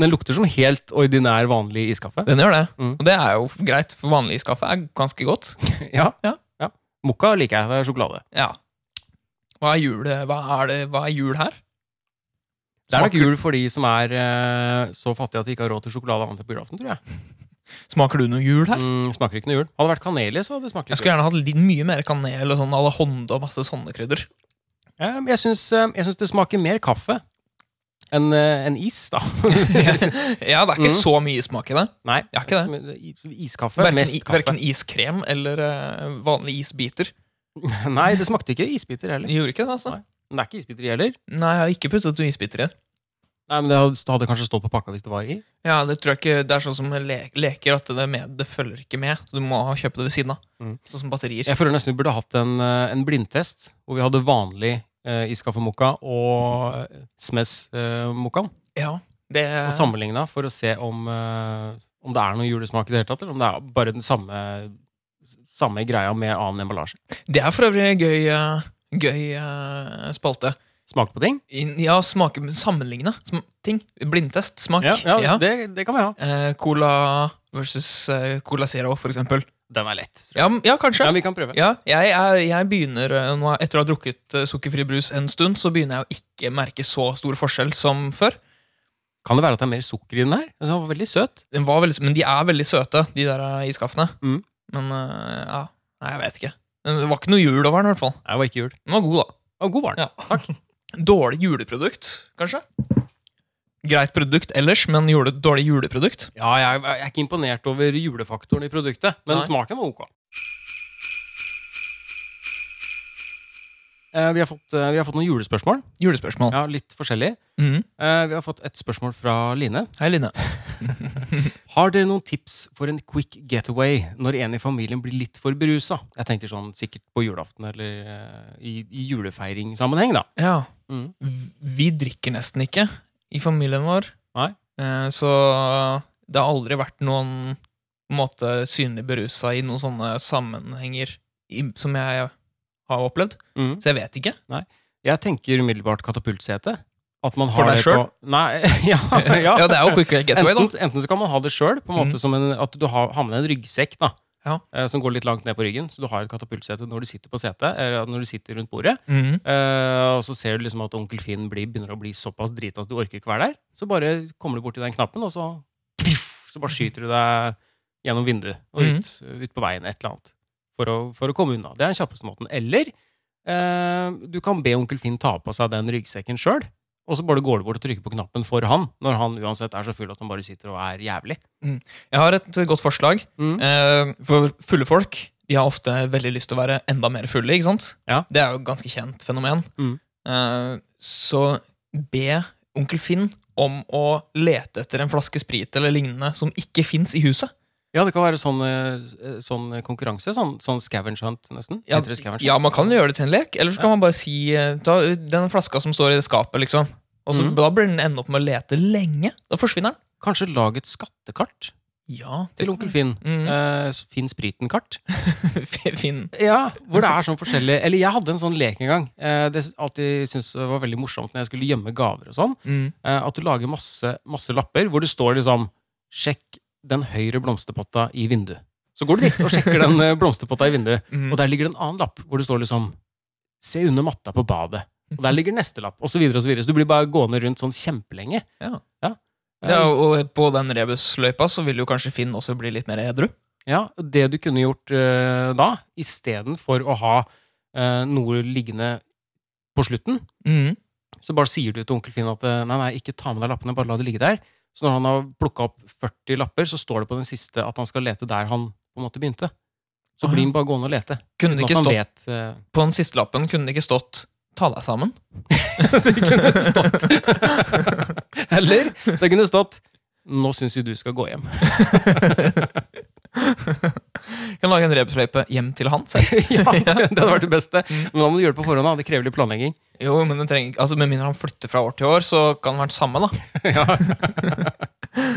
Speaker 1: Den lukter som helt ordinær, vanlig iskaffe.
Speaker 2: Den gjør det.
Speaker 1: Mm.
Speaker 2: Og det er jo greit, for vanlig iskaffe er ganske godt.
Speaker 1: Ja.
Speaker 2: Ja.
Speaker 1: ja. Mokka liker jeg. Det er sjokolade.
Speaker 2: Ja. Hva er jul, eh, hva er det, hva er jul her?
Speaker 1: Det er nok
Speaker 2: Smaker-
Speaker 1: jul for de som er eh, så fattige at de ikke har råd til sjokolade annet enn på julaften. tror jeg.
Speaker 2: Smaker du noe jul her?
Speaker 1: Mm, smaker ikke noe jul. Hadde det vært kanel i, så hadde det smakt
Speaker 2: Jeg
Speaker 1: litt
Speaker 2: skulle gjerne hatt litt mye mer kanel og sånn à la Honda og masse sånne krydder.
Speaker 1: jul. Eh, men jeg syns, eh, jeg syns det smaker mer kaffe enn eh, enn is, da. Nei.
Speaker 2: Ja, det er ikke
Speaker 1: Mm.
Speaker 2: så mye smak i det. Ja, ikke det.
Speaker 1: som- is- Iskaffe.
Speaker 2: Verken,
Speaker 1: mest
Speaker 2: i-
Speaker 1: kaffe.
Speaker 2: verken iskrem eller eh, vanlige isbiter.
Speaker 1: Nei, det smakte ikke isbiter heller.
Speaker 2: De gjorde ikke det, altså.
Speaker 1: Men det er ikke isbiter i heller.
Speaker 2: Nei, jeg har ikke puttet noen isbiter i.
Speaker 1: Nei, men Det hadde, det hadde kanskje stått på pakka hvis det var i.
Speaker 2: Ja, Det tror jeg ikke, det er sånn som med le leker, at det, er med, det følger ikke med. Så du må ha kjøpe det ved siden av.
Speaker 1: Mm.
Speaker 2: Sånn som batterier.
Speaker 1: Jeg føler nesten vi burde hatt en, eh, en blindtest hvor vi hadde vanlig eh, iskaffemokka og smes-mokkaen.
Speaker 2: Ja, det,
Speaker 1: og sammenligna for å se om, eh, om det er noe julesmak i det hele tatt, eller om det er bare den samme, samme greia med annen emballasje.
Speaker 2: det er for øvrig gøy, eh, gøy eh, spalte.
Speaker 1: Smak på ting.
Speaker 2: In, ja, smake, sammenligne sm ting. Blindtest. Smak.
Speaker 1: Ja, ja,
Speaker 2: Ja.
Speaker 1: Det, det kan vi ha.
Speaker 2: Eh, cola versus eh, Cola Zero, for eksempel.
Speaker 1: Den er lett.
Speaker 2: Ja, m- ja kanskje.
Speaker 1: Ja,
Speaker 2: Ja,
Speaker 1: vi kan prøve.
Speaker 2: jeg, er, jeg begynner eh, nå, Etter å ha drukket eh, sukkerfri brus en stund, så begynner jeg å ikke merke så stor forskjell som før.
Speaker 1: Kan det være at det er mer sukker i den her? Altså, den var veldig søt.
Speaker 2: Den var veldig, men de er veldig søte, de der eh, iskaffene.
Speaker 1: Mm.
Speaker 2: Men eh, ja, nei, jeg vet ikke. Men Det var ikke noe jul over den, i hvert fall.
Speaker 1: Nei, det var ikke jul.
Speaker 2: Den var god, da.
Speaker 1: Å, god var den.
Speaker 2: Ja. Dårlig juleprodukt, kanskje? Greit produkt ellers, men jule, dårlig juleprodukt.
Speaker 1: Ja, jeg, jeg er ikke imponert over julefaktoren i produktet, men
Speaker 2: Nei.
Speaker 1: smaken var ok. Eh, vi, har fått, eh, vi har fått noen julespørsmål.
Speaker 2: Julespørsmål.
Speaker 1: Ja, Litt forskjellig.
Speaker 2: Mhm.
Speaker 1: Eh, vi har fått et spørsmål fra Line.
Speaker 2: Hei, Line.
Speaker 1: Har dere noen tips for en quick getaway når en i familien blir litt for berusa? Jeg tenker sånn sikkert på julaften eller eh, i, i julefeiringssammenheng, da.
Speaker 2: Ja.
Speaker 1: Mm.
Speaker 2: v- Vi drikker nesten ikke i familien vår.
Speaker 1: Nei.
Speaker 2: Eh, Så det har aldri vært noen på en måte, synlig berusa i noen sånne sammenhenger i, som jeg har opplevd.
Speaker 1: Mm.
Speaker 2: Så jeg vet ikke.
Speaker 1: Jeg tenker umiddelbart katapultsete. At man
Speaker 2: For
Speaker 1: har
Speaker 2: deg
Speaker 1: det
Speaker 2: selv?
Speaker 1: på- Nei, ja, ja.
Speaker 2: Ja, det er jo quick getaway, da.
Speaker 1: enten, enten så kan man ha det sjøl,
Speaker 2: Mm.
Speaker 1: at du har, har med deg en ryggsekk da,
Speaker 2: Ja.
Speaker 1: eh, som går litt langt ned på ryggen, så du har et katapultsete når du sitter på setet, eller når du sitter rundt bordet.
Speaker 2: Mhm.
Speaker 1: Eh, og så ser du liksom at onkel Finn blir, begynner å bli såpass drita at du orker ikke være der. Så bare kommer du borti den knappen, og så, så bare skyter du deg gjennom vinduet og
Speaker 2: Mhm.
Speaker 1: ut, ut på veien et eller annet. For å, for å komme unna. Det er den kjappeste måten. Eller eh, du kan be onkel Finn ta på seg den ryggsekken sjøl. Og så bare går du bort og trykker på knappen for han, når han uansett er så full at han bare sitter og er jævlig.
Speaker 2: Jeg har et godt forslag.
Speaker 1: Mm.
Speaker 2: Eh, For fulle folk de har ofte veldig lyst til å være enda mer fulle. ikke sant?
Speaker 1: Ja.
Speaker 2: Det er jo et ganske kjent fenomen.
Speaker 1: Mm.
Speaker 2: Eh, Så be onkel Finn om å lete etter en flaske sprit eller lignende som ikke fins i huset.
Speaker 1: Ja, det kan være sånn, eh, sånn konkurranse. Sånn, sånn scavenger hunt, nesten.
Speaker 2: Ja,
Speaker 1: Heter det sånn. scavenger
Speaker 2: ja,
Speaker 1: hunt?
Speaker 2: man kan jo gjøre det til en lek, eller så kan man bare si eh, ta den flaska som står i det skapet, liksom. Og så
Speaker 1: Mm.
Speaker 2: Da blir den ende opp med å lete lenge. Da forsvinner den.
Speaker 1: Kanskje lag et skattekart
Speaker 2: Ja, det
Speaker 1: til
Speaker 2: kan-
Speaker 1: onkel Finn.
Speaker 2: Mm.
Speaker 1: Eh, Finn spriten-kart.
Speaker 2: Finn.
Speaker 1: Ja, Hvor det er sånn forskjellig Eller jeg hadde en sånn lek en gang. Eh, det s- alltid syntes det var veldig morsomt når jeg skulle gjemme gaver og sånn.
Speaker 2: Mm.
Speaker 1: Eh, at du lager masse, masse lapper hvor det står liksom 'Sjekk den høyre blomsterpotta i vinduet'. Så går du dit og sjekker den eh, blomsterpotta i vinduet,
Speaker 2: Mm.
Speaker 1: og der ligger det en annen lapp hvor det står liksom 'Se under matta på badet'. Og der ligger neste lapp, og så videre og så videre. Så du blir bare gående rundt sånn kjempelenge.
Speaker 2: Ja.
Speaker 1: ja.
Speaker 2: Det er, jo- og på den rebusløypa så vil jo kanskje Finn også bli litt mer edru.
Speaker 1: Ja, og det du kunne gjort eh, da, istedenfor å ha eh, noe liggende på slutten,
Speaker 2: Mm.
Speaker 1: så bare sier du til onkel Finn at eh, nei, nei, ikke ta med deg lappene, bare la det ligge der. Så når han har plukka opp 40 lapper, så står det på den siste at han skal lete der han på en måte begynte. Så
Speaker 2: Å, ja.
Speaker 1: blir han bare gående og lete.
Speaker 2: Kunne det
Speaker 1: uten at
Speaker 2: ikke
Speaker 1: han
Speaker 2: stått,
Speaker 1: vet eh,
Speaker 2: På den siste lappen kunne det ikke stått 'ta deg sammen'?
Speaker 1: Det kunne stått Eller det kunne stått 'Nå syns vi du skal gå hjem'.
Speaker 2: Kan lage en rebusløype hjem til han selv.
Speaker 1: ja, Det hadde vært det beste.
Speaker 2: Mm.
Speaker 1: Men da må du gjøre det på forhånd. da. Det krever litt planlegging.
Speaker 2: Jo, men den trenger, altså Med mindre han flytter fra år til år, så kan han være den samme, da.
Speaker 1: Ja.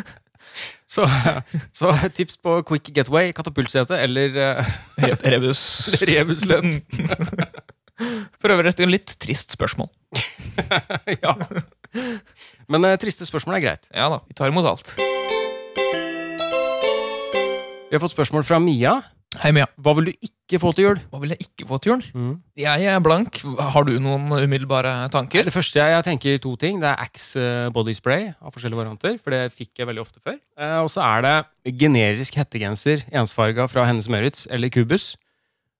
Speaker 1: så, så tips på quick getaway, katapultsete eller eh,
Speaker 2: Re- Rebus.
Speaker 1: rebusløp.
Speaker 2: Mm. For øvrig et litt trist spørsmål.
Speaker 1: ja. Men eh, triste spørsmål er greit.
Speaker 2: Ja da, vi tar imot alt.
Speaker 1: Vi har fått spørsmål fra Mia.
Speaker 2: Hei, Mia.
Speaker 1: Hva vil du ikke få til jul?
Speaker 2: Hva vil jeg ikke få til jul? Jeg er blank. Har du noen umiddelbare tanker?
Speaker 1: Det første jeg, jeg tenker to ting. Det er Axe eh, body spray av forskjellige varianter. For det fikk jeg veldig ofte før. Eh, Og så er det generisk hettegenser, ensfarga fra Hennes Maurits eller Cubus.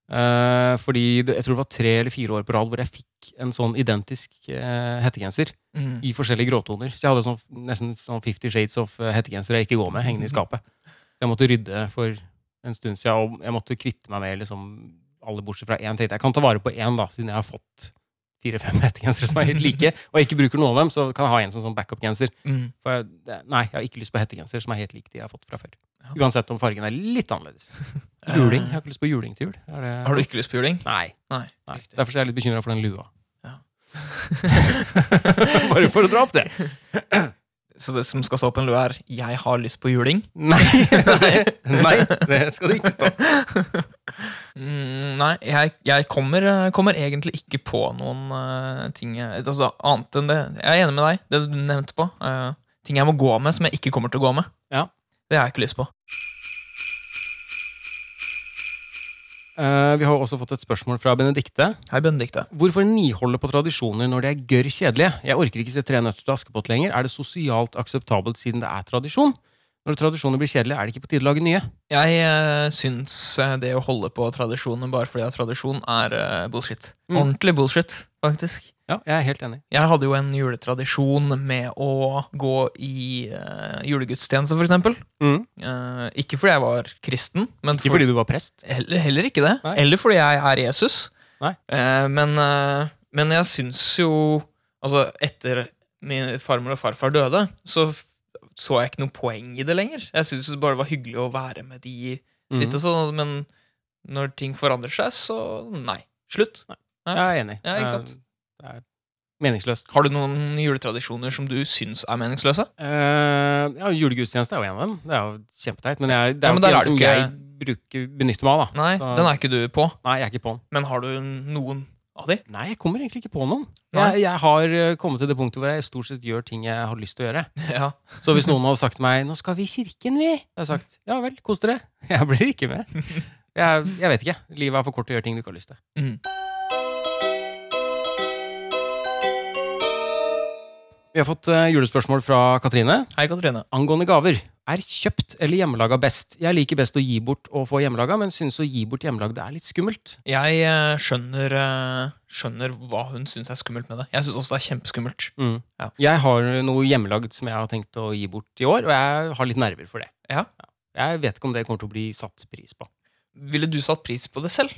Speaker 1: Eh, fordi det, jeg tror det var tre eller fire år på rad hvor jeg fikk en sånn identisk eh, hettegenser.
Speaker 2: Mm.
Speaker 1: i forskjellige gråtoner. Så jeg hadde sånn, nesten sånn 50 Shades of eh, hettegenser jeg ikke går med, hengende i skapet. Så jeg måtte rydde for en stund siden, og jeg måtte kvitte meg med liksom, alle bortsett fra én. Tenkte jeg kan ta vare på én, da, siden jeg har fått fire-fem hettegensere som er helt like, og jeg ikke bruker noen av dem, så kan jeg ha en som sånn backup-genser.
Speaker 2: Mm.
Speaker 1: For jeg, det- nei, jeg har ikke lyst på hettegenser som er helt lik de jeg har fått fra før.
Speaker 2: Ja.
Speaker 1: Uansett om fargen er litt annerledes. Juling. Jeg har ikke lyst på juling til jul. Er det...
Speaker 2: Har du ikke lyst på juling?
Speaker 1: Nei.
Speaker 2: Nei,
Speaker 1: Nei.
Speaker 2: riktig.
Speaker 1: Derfor er jeg litt bekymra for den lua.
Speaker 2: Ja.
Speaker 1: Bare for å dra opp det.
Speaker 2: Så det som skal stå på en lue, er 'jeg har lyst på juling'?
Speaker 1: Nei, nei, det skal det ikke stå.
Speaker 2: Mm, nei, jeg, jeg kommer, eh, kommer egentlig ikke på noen eh, ting jeg- altså, annet enn det. Jeg er enig med deg, det du nevnte på. eh, ting jeg må gå med som jeg ikke kommer til å gå med.
Speaker 1: Ja.
Speaker 2: Det har jeg ikke lyst på.
Speaker 1: Eh, vi har også fått et spørsmål fra Benedikte.
Speaker 2: Hei, Benedikte.
Speaker 1: Hvorfor niholde på tradisjoner når de er gørr kjedelige? Jeg orker ikke se Tre nøtter til Askepott lenger. Er det sosialt akseptabelt siden det er tradisjon? Når tradisjoner blir kjedelige, er det ikke på tide å lage nye?
Speaker 2: Jeg eh, syns eh, det å holde på tradisjoner bare fordi det er tradisjon, er eh, bullshit.
Speaker 1: Mm.
Speaker 2: Ordentlig bullshit, faktisk.
Speaker 1: Ja, jeg er helt enig.
Speaker 2: Jeg hadde jo en juletradisjon med å gå i eh, julegudstjeneste, for eksempel.
Speaker 1: Mm.
Speaker 2: Eh, ikke fordi jeg var kristen, men
Speaker 1: Ikke
Speaker 2: for-
Speaker 1: fordi du var prest.
Speaker 2: Heller, heller ikke det.
Speaker 1: Nei.
Speaker 2: Eller fordi jeg er Jesus.
Speaker 1: Nei.
Speaker 2: Eh, men, eh, men jeg syns jo Altså, etter min farmor og farfar døde, så f- så jeg ikke noe poeng i det lenger. Jeg syntes det bare var hyggelig å være med de
Speaker 1: Mhm.
Speaker 2: litt og sånn, men når ting forandrer seg, så nei. Slutt.
Speaker 1: Jeg er enig. Eh,
Speaker 2: Ja, ikke sant?
Speaker 1: Det er meningsløst.
Speaker 2: Har du noen juletradisjoner som du syns er meningsløse?
Speaker 1: Eh, ja, Julegudstjeneste er jo en av dem. Det er jo kjempeteit. Men jeg, det
Speaker 2: Ja,
Speaker 1: er jo ikke
Speaker 2: men der
Speaker 1: en
Speaker 2: er du
Speaker 1: som
Speaker 2: ikke-
Speaker 1: jeg bruker, benytter meg av. da.
Speaker 2: Nei,
Speaker 1: Så-
Speaker 2: den er ikke du på.
Speaker 1: Nei, jeg er ikke på den.
Speaker 2: Men har du noen av de?
Speaker 1: Nei, jeg kommer egentlig ikke på noen.
Speaker 2: Nei.
Speaker 1: Jeg, jeg har eh, kommet til det punktet hvor jeg stort sett gjør ting jeg har lyst til å gjøre.
Speaker 2: Ja.
Speaker 1: Så hvis noen hadde sagt til meg 'Nå skal vi i kirken, vi', jeg har sagt 'Ja vel, kos dere'. Jeg blir ikke med. Jeg, jeg vet ikke. Livet er for kort til å gjøre ting du ikke har lyst til.
Speaker 2: Mm.
Speaker 1: Vi har fått eh, julespørsmål fra Katrine
Speaker 2: Hei, Katrine.
Speaker 1: angående gaver. Er kjøpt eller hjemmelaga best? Jeg liker best å gi bort og få hjemmelaga, men synes å gi bort hjemmelagd er litt skummelt.
Speaker 2: Jeg eh, skjønner, eh, skjønner hva hun syns er skummelt med det. Jeg syns også det er kjempeskummelt. Ja.
Speaker 1: Jeg har noe hjemmelagd som jeg har tenkt å gi bort i år, og jeg har litt nerver for det.
Speaker 2: Ja.
Speaker 1: Jeg vet ikke om det kommer til å bli satt pris på.
Speaker 2: Ville du satt pris på det selv?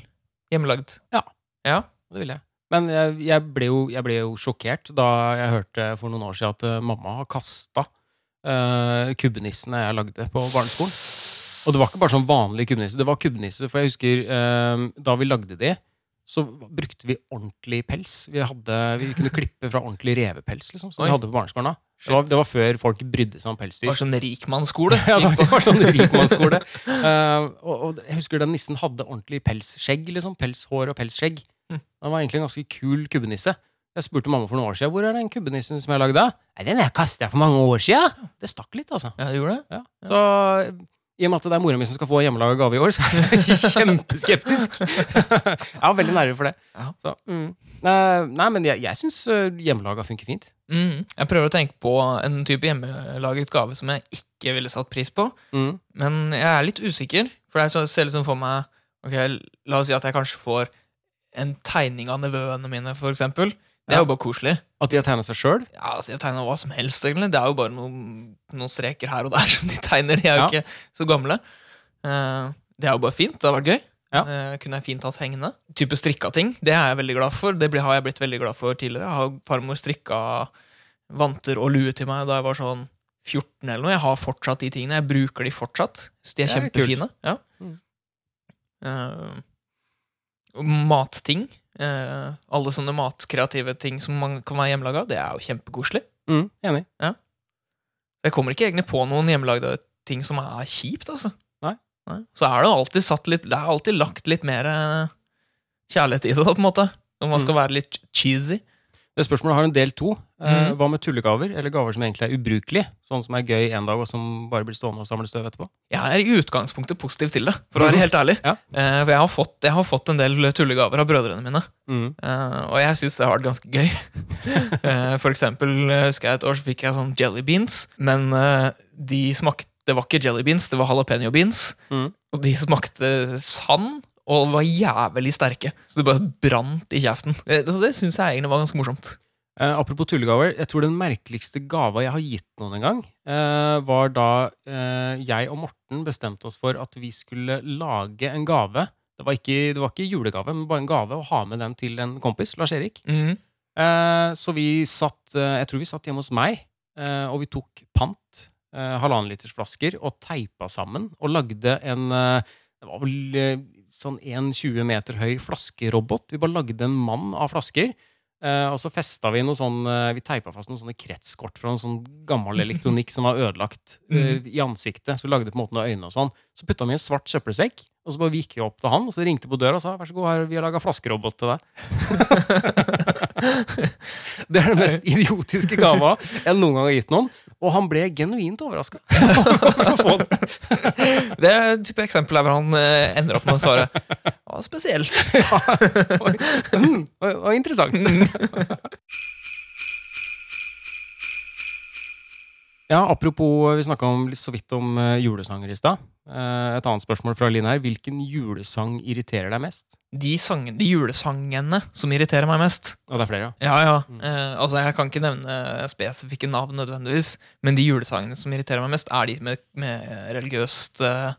Speaker 2: Hjemmelagd?
Speaker 1: Det vil jeg. Men jeg, jeg, ble jo, jeg ble jo sjokkert da jeg hørte for noen år siden at eh, mamma har kasta kubbenissene jeg lagde på barneskolen. Og det var ikke bare sånn vanlig kubbenisse. Det var kubbenisse, for jeg husker eh, da vi lagde de, så brukte vi ordentlig pels. Vi, hadde, vi kunne klippe fra ordentlig revepels, liksom, som
Speaker 2: Oi.
Speaker 1: vi hadde på barneskolen da.
Speaker 2: Shit.
Speaker 1: Det var, det var før folk brydde seg om pelsdyr.
Speaker 2: Det var sånn rikmannsskole.
Speaker 1: Ja, det var, det var sånn rikmannsskole. Eh, og, og jeg husker den nissen hadde ordentlig pelsskjegg. liksom, Pelshår og pelsskjegg.
Speaker 2: Mm.
Speaker 1: Han var egentlig en ganske kul kubbenisse. Jeg spurte mamma for noen år siden hvor er den kubbenissen som jeg lagde. av?» Nei, den der kastet jeg for mange år siden. Det stakk litt, altså.
Speaker 2: Ja, du gjorde det?
Speaker 1: Ja. Så i og med at det er mora mi som skal få hjemmelaga gave i år, så er jeg kjempeskeptisk. jeg var veldig nervøs for det.
Speaker 2: Ja.
Speaker 1: Så, mm. Eh, nei, men jeg, eh, jeg syns hjemmelaga funker fint.
Speaker 2: Mm. Jeg prøver å tenke på en type hjemmelaget gave som jeg ikke ville satt pris på.
Speaker 1: Mm.
Speaker 2: Men jeg er litt usikker, for jeg så- ser liksom for meg Ok, La oss si at jeg kanskje får en tegning av nevøene mine, for eksempel. Det er
Speaker 1: Ja.
Speaker 2: jo bare koselig.
Speaker 1: At de har tegna seg sjøl.
Speaker 2: Ja, altså, De tegner hva som helst, egentlig. Det er jo bare noen, noen streker her og der som de tegner. De er jo
Speaker 1: Ja.
Speaker 2: ikke så gamle. Eh, det er jo bare fint. Det har vært gøy.
Speaker 1: Ja.
Speaker 2: Eh, kunne jeg fint hatt hengende. Type strikka ting. Det er jeg veldig glad for. Det blir- har jeg blitt veldig glad for tidligere. Jeg har farmor strikka vanter og lue til meg da jeg var sånn 14 eller noe. Jeg har fortsatt de tingene. Jeg bruker de fortsatt. Så de
Speaker 1: Det
Speaker 2: er
Speaker 1: er
Speaker 2: kjempefine. Ja.
Speaker 1: Mm.
Speaker 2: Eh, og matting. Eh, alle sånne matkreative ting som man kan være hjemmelaga, det er jo kjempekoselig.
Speaker 1: Mm, enig.
Speaker 2: Jeg kommer ikke egentlig på noen hjemmelagde ting som er kjipt, altså.
Speaker 1: Nei.
Speaker 2: Så er det jo alltid satt litt Det er alltid lagt litt mer eh, kjærlighet i det, da, på en måte. Når man skal
Speaker 1: Mm.
Speaker 2: være litt cheesy.
Speaker 1: Det spørsmålet har en del to. Eh,
Speaker 2: Mhm.
Speaker 1: hva med tullegaver, eller gaver som egentlig er ubrukelige? Sånn som er gøy en dag, og som bare blir stående og samle støv etterpå?
Speaker 2: Jeg er i utgangspunktet positiv til det, for å være helt ærlig.
Speaker 1: Mm. Ja.
Speaker 2: Eh, for jeg har, fått, jeg har fått en del tullegaver av brødrene mine, eh, og jeg syns det har vært ganske gøy. Eh, for eksempel eh, husker jeg et år så fikk jeg sånn jelly beans, men eh, de smakte Det var ikke jelly beans, det var jalapeño beans.
Speaker 1: Mhm.
Speaker 2: Og de smakte sand og var jævlig sterke. Så det bare brant i kjeften. Eh, så Det syns jeg egentlig var ganske morsomt.
Speaker 1: Eh, apropos tullegaver, jeg tror den merkeligste gava jeg har gitt noen en gang, eh, var da eh, jeg og Morten bestemte oss for at vi skulle lage en gave. Det var, ikke, det var ikke julegave, men bare en gave å ha med den til en kompis, Lars-Erik.
Speaker 2: Mhm.
Speaker 1: Eh, så vi satt eh, Jeg tror vi satt hjemme hos meg, eh, og vi tok pant, eh, halvannen liters flasker, og teipa sammen og lagde en eh, Det var vel eh, sånn 1,20 meter høy flaskerobot. Vi bare lagde en mann av flasker. Eh, og så festa vi noe sånn eh, Vi teipa fast noen sånne kretskort fra noen sånn gammel elektronikk som var ødelagt eh, i ansiktet. Så vi lagde på en måte noen øyne og sånn. Så putta vi i en svart søppelsekk, og så bare vi gikk opp til han, og så ringte på døra og sa vær så god, her, vi har laga flaskerobot til deg. Det er den mest idiotiske gava jeg noen gang har gitt noen. Og han ble genuint overraska.
Speaker 2: Det er et type eksempel der hvor han eh, ender opp med å svare Ja, spesielt.
Speaker 1: Mm, Og interessant. Ja, Apropos, eh, vi snakka så vidt om eh, julesanger i stad. Eh, Et annet spørsmål fra Line her. Hvilken julesang irriterer deg mest?
Speaker 2: De, sang, de julesangene som irriterer meg mest.
Speaker 1: Og det er flere, ja.
Speaker 2: Ja, ja. Eh, altså, Jeg kan ikke nevne spesifikke navn nødvendigvis, men de julesangene som irriterer meg mest, er de med, med religiøst eh,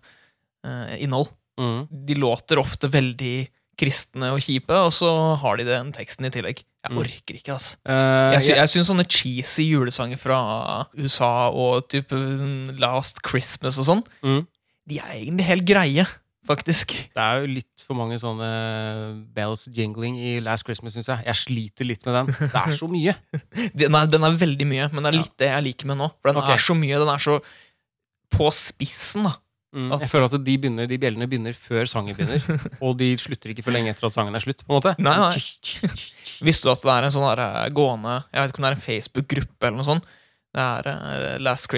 Speaker 2: eh, innhold.
Speaker 1: Mm.
Speaker 2: De låter ofte veldig kristne og kjipe, og så har de den teksten i tillegg. Jeg orker ikke, altså.
Speaker 1: Mm. Eh,
Speaker 2: Jeg, sy
Speaker 1: jeg,
Speaker 2: jeg syns sånne cheesy julesanger fra USA og type Last Christmas og sånn,
Speaker 1: mm.
Speaker 2: de er egentlig helt greie, faktisk.
Speaker 1: Det er jo litt for mange sånne eh, bells jingling i Last Christmas, syns jeg. Jeg sliter litt med den. Det er så mye.
Speaker 2: Den er, den er veldig mye, men det er litt det jeg liker med nå. For den
Speaker 1: Ok.
Speaker 2: er så mye, den er så på spissen, da.
Speaker 1: Mm. Jeg føler at de, begynner, de bjellene begynner før sangen begynner. Og de slutter ikke for lenge etter at sangen er slutt. på en måte
Speaker 2: Nei, nei. Visste du at det er en sånn der, eh, gående Jeg vet ikke om det er en Facebook-gruppe eller noe sånt. Det er eh, Last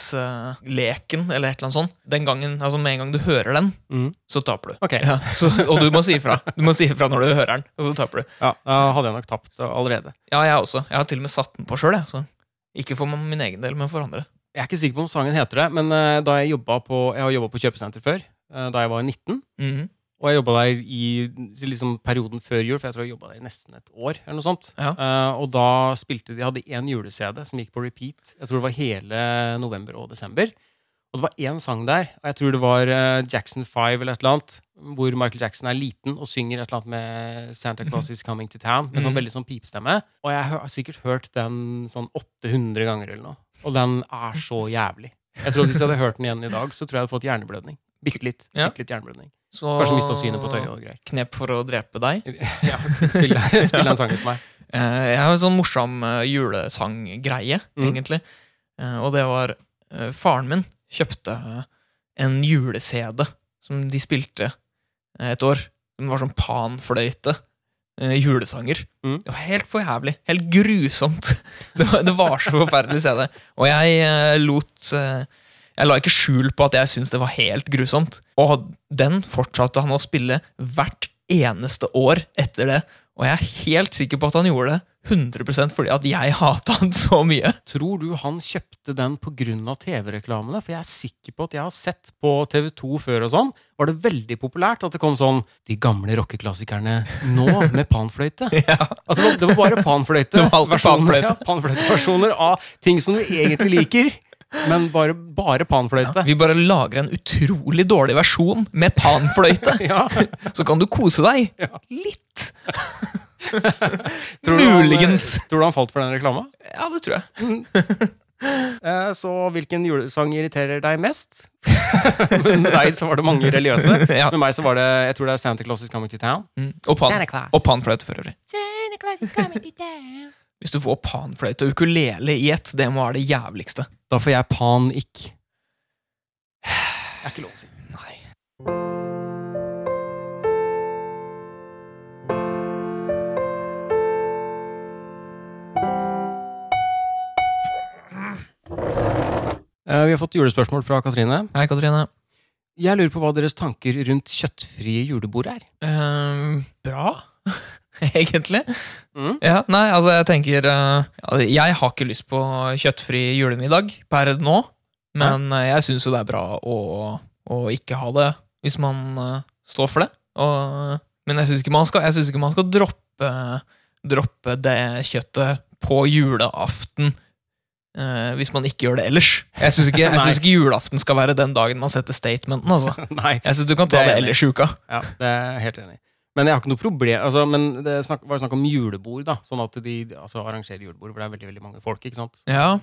Speaker 2: Christmas-leken eh, eller et eller annet sånt. Den gangen, altså Med en gang du hører den,
Speaker 1: Mm.
Speaker 2: så taper du.
Speaker 1: Ok, ja.
Speaker 2: Ja, så, og du må si ifra. Du må si ifra når du hører den, og så taper du.
Speaker 1: Da hadde jeg nok tapt allerede.
Speaker 2: Ja, jeg også. Jeg har til og med satt den på sjøl, jeg. Så. Ikke for min egen del, men for andre.
Speaker 1: Jeg er ikke sikker på om sangen heter det, men eh, da jeg jobba på Jeg har jobba på kjøpesenter før, eh, da jeg var 19.
Speaker 2: Mhm.
Speaker 1: Og jeg jobba der i liksom, perioden før jul, for jeg tror jeg jobba der i nesten et år. eller noe sånt.
Speaker 2: Ja.
Speaker 1: Eh, og da spilte de hadde én jule-CD som gikk på repeat. Jeg tror det var hele november og desember. Og det var én sang der, og jeg tror det var eh, Jackson 5 eller et eller annet, hvor Michael Jackson er liten og synger et eller annet med Santa Claus is coming to town, med sånn
Speaker 2: Mhm.
Speaker 1: veldig sånn pipestemme. Og jeg har sikkert hørt den sånn 800 ganger eller noe. Og den er så jævlig. Jeg tror at Hvis jeg hadde hørt den igjen i dag, så tror jeg jeg hadde fått hjerneblødning. Bitte litt.
Speaker 2: Ja.
Speaker 1: Bitte litt hjerneblødning.
Speaker 2: Så
Speaker 1: Kanskje mista synet på tøyet og greier.
Speaker 2: Knep for å drepe deg.
Speaker 1: Ja, spill, spill en sang til meg.
Speaker 2: Eh, Jeg har en sånn morsom eh, julesanggreie,
Speaker 1: Mm.
Speaker 2: egentlig. Eh, Og det var eh, Faren min kjøpte eh, en jule-CD som de spilte eh, et år. Den var sånn panfløyte. eh, Julesanger.
Speaker 1: Mm.
Speaker 2: Det var helt for jævlig. Helt grusomt. Det var, det var så forferdelig CD. Og jeg eh, lot eh, Jeg la ikke skjul på at jeg syntes det var helt grusomt. Og den fortsatte han å spille hvert eneste år etter det. Og jeg er helt sikker på at han gjorde det 100 fordi at jeg hata han så mye.
Speaker 1: Tror du han kjøpte den pga. TV-reklamene? For jeg er sikker på at jeg har sett på TV2 før og sånn, var det veldig populært at det kom sånn De gamle rockeklassikerne nå med panfløyte.
Speaker 2: Ja.
Speaker 1: At det, var, det var bare panfløyte.
Speaker 2: Det var alltid
Speaker 1: versjoner-
Speaker 2: panfløyte.
Speaker 1: Ja, panfløyteversjoner av ting som du egentlig liker, men bare, bare panfløyte.
Speaker 2: Vi bare lager en utrolig dårlig versjon med panfløyte,
Speaker 1: Ja.
Speaker 2: så kan du kose deg
Speaker 1: Ja.
Speaker 2: litt.
Speaker 1: Tror du han- eh,
Speaker 2: Muligens.
Speaker 1: Tror du han falt for den reklama?
Speaker 2: Ja, det tror jeg.
Speaker 1: Eh, Så hvilken julesang irriterer deg mest? Med deg så var det mange religiøse.
Speaker 2: Ja.
Speaker 1: Med meg så var det jeg tror det er Santa Claus is coming to town.
Speaker 2: Mm. Og, pan,
Speaker 4: Santa Claus.
Speaker 2: og panfløyte for øvrig.
Speaker 4: Santa Claus is coming to town.
Speaker 2: Hvis du får panfløyte og ukulele i ett, det må være det jævligste.
Speaker 1: Da får jeg panikk. Det er ikke lov å si.
Speaker 2: Nei.
Speaker 1: Eh, Vi har fått julespørsmål fra Katrine.
Speaker 2: Hei, Katrine.
Speaker 1: Jeg lurer på hva deres tanker rundt kjøttfrie julebord er.
Speaker 2: Eh, bra, egentlig.
Speaker 1: Mm.
Speaker 2: Ja, nei, altså jeg tenker eh, altså, Jeg har ikke lyst på kjøttfri julemiddag per nå, men eh, jeg syns jo det er bra å, å ikke ha det hvis man eh, står for det. Og, men jeg syns ikke man skal, jeg synes ikke man skal droppe, droppe det kjøttet på julaften. eh, hvis man ikke gjør det ellers. Jeg syns ikke, jeg
Speaker 1: Nei.
Speaker 2: synes ikke julaften skal være den dagen man setter statementen. Altså.
Speaker 1: Nei,
Speaker 2: Jeg synes Du kan ta
Speaker 1: Det er
Speaker 2: det,
Speaker 1: jeg enig i.
Speaker 2: ellers i uka.
Speaker 1: ja, det er jeg helt enig i. Men jeg har ikke noe problem altså, Men det snakk, var snakk om julebord, da. Sånn at de altså, arrangerer julebord hvor det er veldig veldig mange folk. ikke sant?
Speaker 2: Ja.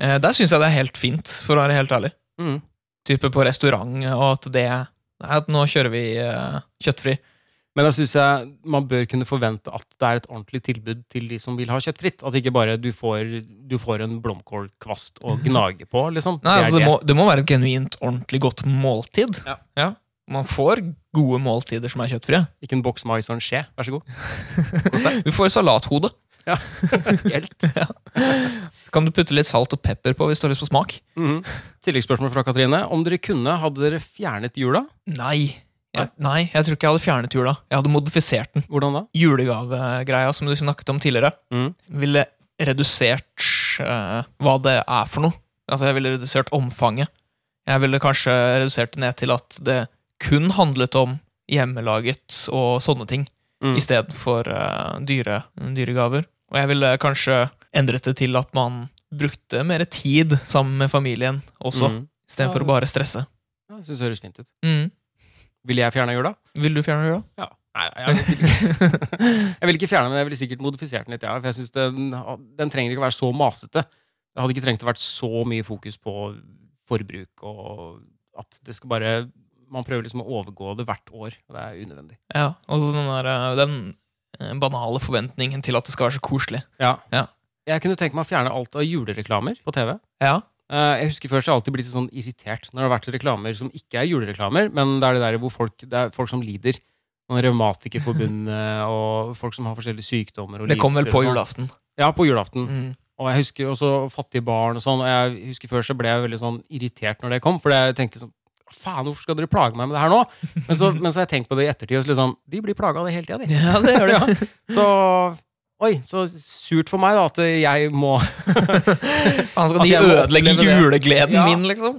Speaker 2: Eh, der syns jeg det er helt fint, for å være helt ærlig.
Speaker 1: Mm.
Speaker 2: type på restaurant, og at det Nei, at nå kjører vi eh, kjøttfri.
Speaker 1: Men da syns jeg man bør kunne forvente at det er et ordentlig tilbud til de som vil ha kjøttfritt. At ikke bare du får, du får en blomkålkvast å gnage på, liksom. Det
Speaker 2: Nei,
Speaker 1: er
Speaker 2: altså, det,
Speaker 1: det.
Speaker 2: må, det må være et genuint, ordentlig godt måltid.
Speaker 1: Ja.
Speaker 2: Man får gode måltider som er kjøttfrie.
Speaker 1: Ikke en boks mais og en skje. Vær så god.
Speaker 2: Du får salathode.
Speaker 1: Helt.
Speaker 2: Så Kan du putte litt salt og pepper på hvis du har lyst på smak?
Speaker 1: Mhm. Tilleggsspørsmål fra Katrine. Om dere kunne, hadde dere fjernet jula?
Speaker 2: Nei. Jeg, nei, jeg tror ikke jeg hadde fjernet jula. Jeg hadde modifisert den.
Speaker 1: Hvordan da?
Speaker 2: Julegavegreia som du snakket om tidligere,
Speaker 1: Mhm.
Speaker 2: ville redusert eh, hva det er for noe. Altså, jeg ville redusert omfanget. Jeg ville kanskje redusert det ned til at det kun handlet om hjemmelaget og sånne ting,
Speaker 1: Mm.
Speaker 2: istedenfor uh, dyre, dyregaver. Og jeg ville kanskje endret det til at man brukte mer tid sammen med familien også,
Speaker 1: Mhm.
Speaker 2: istedenfor
Speaker 1: Ja.
Speaker 2: å bare stresse.
Speaker 1: Ja, jeg synes det høres fint ut.
Speaker 2: Mm.
Speaker 1: Ville jeg fjerna jula?
Speaker 2: Vil du fjerne det, da?
Speaker 1: Ja, Nei, jeg vil ikke, jeg vil ikke fjerne den, men jeg ville sikkert modifisert den litt. Ja, for jeg synes den, den trenger ikke å være så masete. Det hadde ikke trengt å vært så mye fokus på forbruk og at det skal bare Man prøver liksom å overgå det hvert år. og Det er unødvendig.
Speaker 2: Ja, og så den, der, eh, den eh, banale forventningen til at det skal være så koselig.
Speaker 1: Ja.
Speaker 2: Ja.
Speaker 1: Jeg kunne tenkt meg å fjerne alt av julereklamer på TV.
Speaker 2: Ja,
Speaker 1: Eh, Jeg husker Før så har jeg alltid blitt litt sånn irritert når det har vært reklamer som ikke er julereklamer, men det er det der hvor folk, det er folk som lider. Noen Revmatikerforbundet og folk som har forskjellige sykdommer. Og
Speaker 2: Det kom vel
Speaker 1: lidelser og
Speaker 2: på
Speaker 1: sånn.
Speaker 2: julaften.
Speaker 1: Ja, på julaften.
Speaker 2: Mm.
Speaker 1: Og jeg husker også fattige barn og sånn. Og jeg husker før så ble jeg veldig sånn irritert når det kom, for jeg tenkte sånn Faen, hvorfor skal dere plage meg med det her nå? Men så, men så har jeg tenkt på det i ettertid, og så liksom De blir plaga av det hele tida, de.
Speaker 2: Ja, det gjør det.
Speaker 1: Ja. Så Oi, så surt for meg, da, at jeg må
Speaker 2: Han skal
Speaker 1: At
Speaker 2: de
Speaker 1: jeg må
Speaker 2: ødelegge
Speaker 1: oppleve det.
Speaker 2: julegleden
Speaker 1: Ja.
Speaker 2: min, liksom.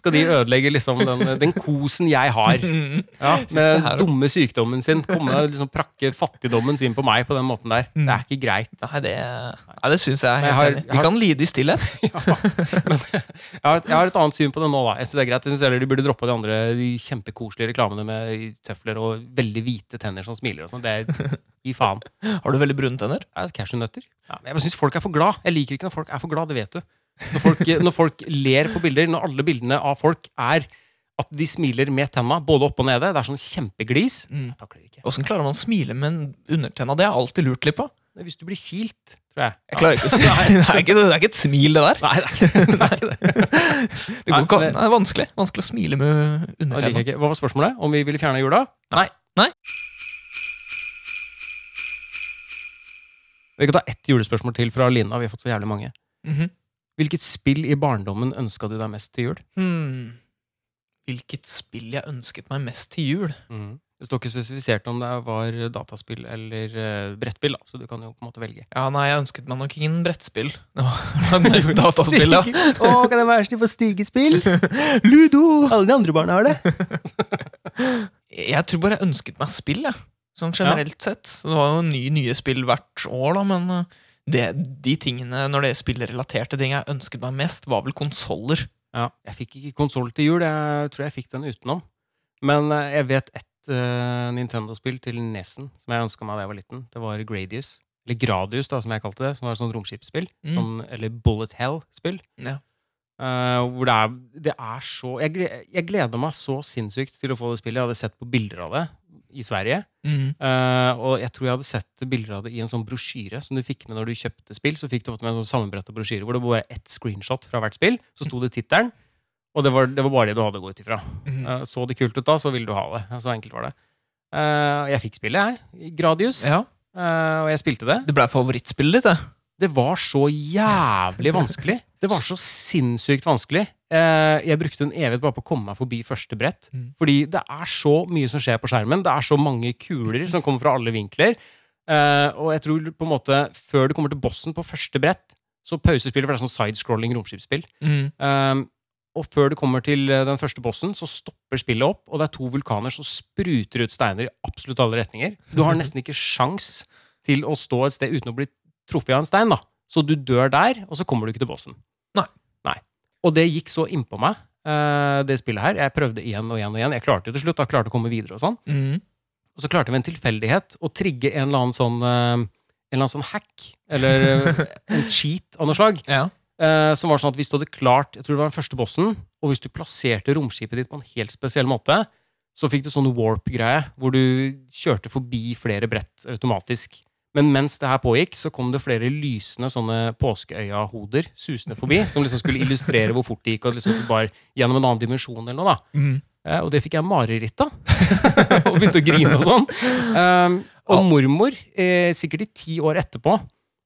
Speaker 1: Skal de ødelegge liksom den, den kosen jeg har?
Speaker 2: Mm.
Speaker 1: Ja,
Speaker 2: Sitte
Speaker 1: med
Speaker 2: her og-
Speaker 1: dumme sykdommen sin. Komme og liksom prakke fattigdommen sin på meg på den måten der. Det er ikke greit.
Speaker 2: Nei, det, nei, det syns jeg er
Speaker 1: Nei, jeg
Speaker 2: helt
Speaker 1: har-
Speaker 2: enig.
Speaker 1: jeg
Speaker 2: De
Speaker 1: har-
Speaker 2: kan lide i stillhet.
Speaker 1: Ja, men jeg har, et, jeg har et annet syn på det nå, da. Jeg synes det er greit. Jeg synes heller de burde droppe de andre de kjempekoselige reklamene med tøfler og veldig hvite tenner som smiler og sånn. Det er Gi faen.
Speaker 2: Har du veldig brune tenner?
Speaker 1: Ja, Cashewnøtter. Ja, men jeg syns folk er for glad. Jeg liker ikke når folk er for glad, det vet du. Når folk, når folk ler på bilder, når alle bildene av folk er at de smiler med tenna, både oppe og nede, det er sånn kjempeglis Jeg takler det ikke.
Speaker 2: Åssen klarer man å smile med en undertenna? Det har jeg alltid lurt litt på.
Speaker 1: Hvis du blir kilt, tror jeg.
Speaker 2: Jeg klarer ikke å si det. Er ikke, det er ikke et smil, det der.
Speaker 1: Nei, det er ikke det. Er ikke det.
Speaker 2: Det, går
Speaker 1: Nei,
Speaker 2: ikke,
Speaker 1: det-
Speaker 2: an. nei, det er vanskelig. Vanskelig å smile med
Speaker 1: Det liker
Speaker 2: undertenna.
Speaker 1: jeg ikke. Hva var spørsmålet? Om vi ville fjerne jula? Nei.
Speaker 2: Nei.
Speaker 1: Vi kan ta ett julespørsmål til fra Lina. Vi har fått så jævlig mange.
Speaker 2: Mhm.
Speaker 1: Hvilket spill i barndommen ønska du deg mest til jul?
Speaker 2: Hmm. Hvilket spill jeg ønsket meg mest til jul?
Speaker 1: Det står ikke spesifisert om det var dataspill eller eh, brettspill, da. så du kan jo på en måte velge.
Speaker 2: Ja, nei, jeg ønsket meg nok ingen brettspill. Det var mest dataspill, ja.
Speaker 1: Å, kan det være snill for stigespill? Ludo! Alle de andre barna har det.
Speaker 2: Jeg tror bare jeg ønsket meg spill, jeg. Sånn generelt sett. Det var jo ny, nye spill hvert år, da, men eh, det, de tingene, når det er spillrelaterte ting jeg ønsket meg mest, var vel konsoller.
Speaker 1: Ja. Jeg fikk ikke konsoll til jul. Jeg tror jeg fikk den utenom. Men eh, jeg vet ett eh, Nintendo-spill til Nesen som jeg ønska meg da jeg var liten. Det var Gradius. Eller Gradius, da, som jeg kalte det. Som var et sånt romskipsspill.
Speaker 2: Mm.
Speaker 1: Sånn, eller Bullet Hell-spill.
Speaker 2: Ja.
Speaker 1: Eh, hvor det er, det er så jeg, gle- jeg gleder meg så sinnssykt til å få det spillet. Jeg hadde sett på bilder av det i Sverige.
Speaker 2: Mm.
Speaker 1: Eh, og jeg tror jeg hadde sett bilder av det i en sånn brosjyre som du fikk med når du kjøpte spill. Så fikk du ofte med en sånn sammenbretta brosjyre hvor det var ett screenshot fra hvert spill. Så sto det tittelen, og det var, det var bare det du hadde å gå ut ifra.
Speaker 2: Mhm.
Speaker 1: Eh, så det kult ut da, så ville du ha det. Så enkelt var det. Eh, jeg fikk spillet, jeg. i Gradius.
Speaker 2: Ja,
Speaker 1: Eh, og jeg spilte det.
Speaker 2: Det ble favorittspillet ditt, det.
Speaker 1: Det var så jævlig vanskelig. Det var så sinnssykt vanskelig. Eh, Jeg brukte en evighet bare på å komme meg forbi første brett.
Speaker 2: Mm.
Speaker 1: Fordi det er så mye som skjer på skjermen. Det er så mange kuler som kommer fra alle vinkler. Eh, Og jeg tror på en måte før du kommer til bossen på første brett, så pauser spillet, for det er sånn sidescrolling romskipsspill.
Speaker 2: Mm.
Speaker 1: Um, og før du kommer til eh, den første bossen, så stopper spillet opp, og det er to vulkaner som spruter ut steiner i absolutt alle retninger. Du har nesten ikke sjans til å stå et sted uten å bli truffet av en stein, da. Så du dør der, og så kommer du ikke til bossen.
Speaker 2: Nei.
Speaker 1: Nei. Og det gikk så innpå meg, eh, det spillet her. Jeg prøvde igjen og igjen og igjen. Jeg klarte det til slutt, da klarte jeg å komme videre og sånn.
Speaker 2: Mm.
Speaker 1: Og så klarte jeg ved en tilfeldighet å trigge en eller annen sånn eh, en eller annen sånn hack, eller eh, en cheat av noe slag,
Speaker 2: Ja.
Speaker 1: Eh, som var sånn at hvis du hadde klart Jeg tror det var den første bossen, og hvis du plasserte romskipet ditt på en helt spesiell måte, så fikk du sånn warp-greie, hvor du kjørte forbi flere brett automatisk. Men mens det her pågikk, så kom det flere lysende sånne påskeøya-hoder susende forbi, som liksom skulle illustrere hvor fort det gikk, og liksom bare gjennom en annen dimensjon eller noe, da.
Speaker 2: Mm.
Speaker 1: Eh, Og det fikk jeg mareritt av. og begynte å grine og sånn. Um, og mormor, eh, sikkert i ti år etterpå,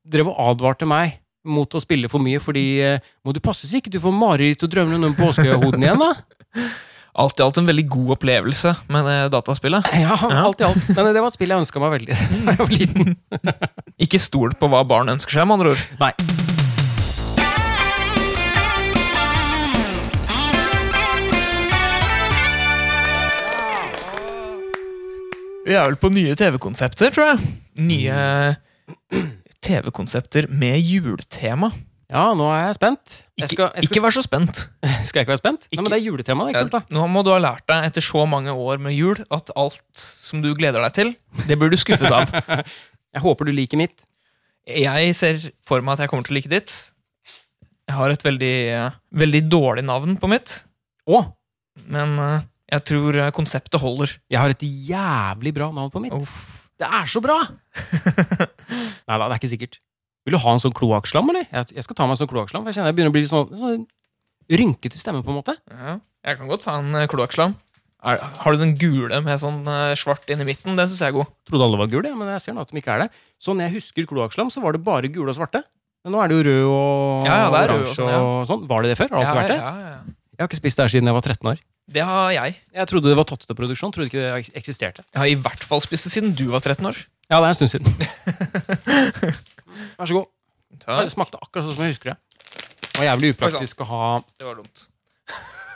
Speaker 1: drev og advarte meg mot å spille for mye, fordi eh, må du passe så ikke du får mareritt og drømmer om påskehoden igjen, da.
Speaker 2: Alt i alt en veldig god opplevelse med det dataspillet.
Speaker 1: Ja, alt i alt. Men eh, det var et spill jeg ønska meg veldig da jeg var liten.
Speaker 2: Ikke stol på hva barn ønsker seg, med andre ord.
Speaker 1: Nei.
Speaker 2: Vi er vel på nye TV-konsepter, tror jeg. Nye TV-konsepter med juletema.
Speaker 1: Ja, nå er jeg spent. Jeg
Speaker 2: Ikke,
Speaker 1: skal, jeg
Speaker 2: ikke
Speaker 1: skal,
Speaker 2: vær så spent.
Speaker 1: skal jeg ikke være spent? Nei, men Det er juletema. det er kult da.
Speaker 2: Nå må du ha lært deg etter så mange år med jul at alt som du gleder deg til, det blir du skuffet av.
Speaker 1: Jeg håper du liker mitt.
Speaker 2: Jeg ser for meg at jeg kommer til å like ditt. Jeg har et veldig, eh, veldig dårlig navn på mitt,
Speaker 1: Å,
Speaker 2: men eh, jeg tror eh, konseptet holder.
Speaker 1: jeg har et jævlig bra navn på mitt.
Speaker 2: Uff.
Speaker 1: Det er så bra! Nei da, det er ikke sikkert. Vil du ha en sånn kloakkslam, eller? Jeg, jeg skal ta meg en sånn kloakkslam, for jeg kjenner jeg begynner å bli litt sånn, sånn rynkete i stemmen, på en måte.
Speaker 2: Ja, jeg kan godt ta en eh, kloakkslam. Er- Har du den gule med sånn eh, svart inni midten? Den syns jeg er god.
Speaker 1: Trodde alle var gule, ja, men jeg ser nå at de ikke er det. Så når jeg husker kloakkslam, så var det bare gule og svarte. Men nå er det jo rød og
Speaker 2: Ja, ja, det er rød og
Speaker 1: oransje
Speaker 2: sånn, ja.
Speaker 1: og sånn. Var det det før? Har det alltid
Speaker 2: Ja,
Speaker 1: vært det?
Speaker 2: ja, ja.
Speaker 1: Jeg har ikke spist det her siden jeg var 13 år.
Speaker 2: Det har jeg.
Speaker 1: Jeg trodde det var tatt ut av produksjon. Trodde ikke det eks- eksisterte.
Speaker 2: Jeg har i hvert fall spist det siden du var 13 år.
Speaker 1: Ja, det er en stund siden. Vær så god.
Speaker 2: Ta-
Speaker 1: Det smakte akkurat sånn som jeg husker det. Det var jævlig upraktisk å ha
Speaker 2: Det var dumt.
Speaker 1: sånn.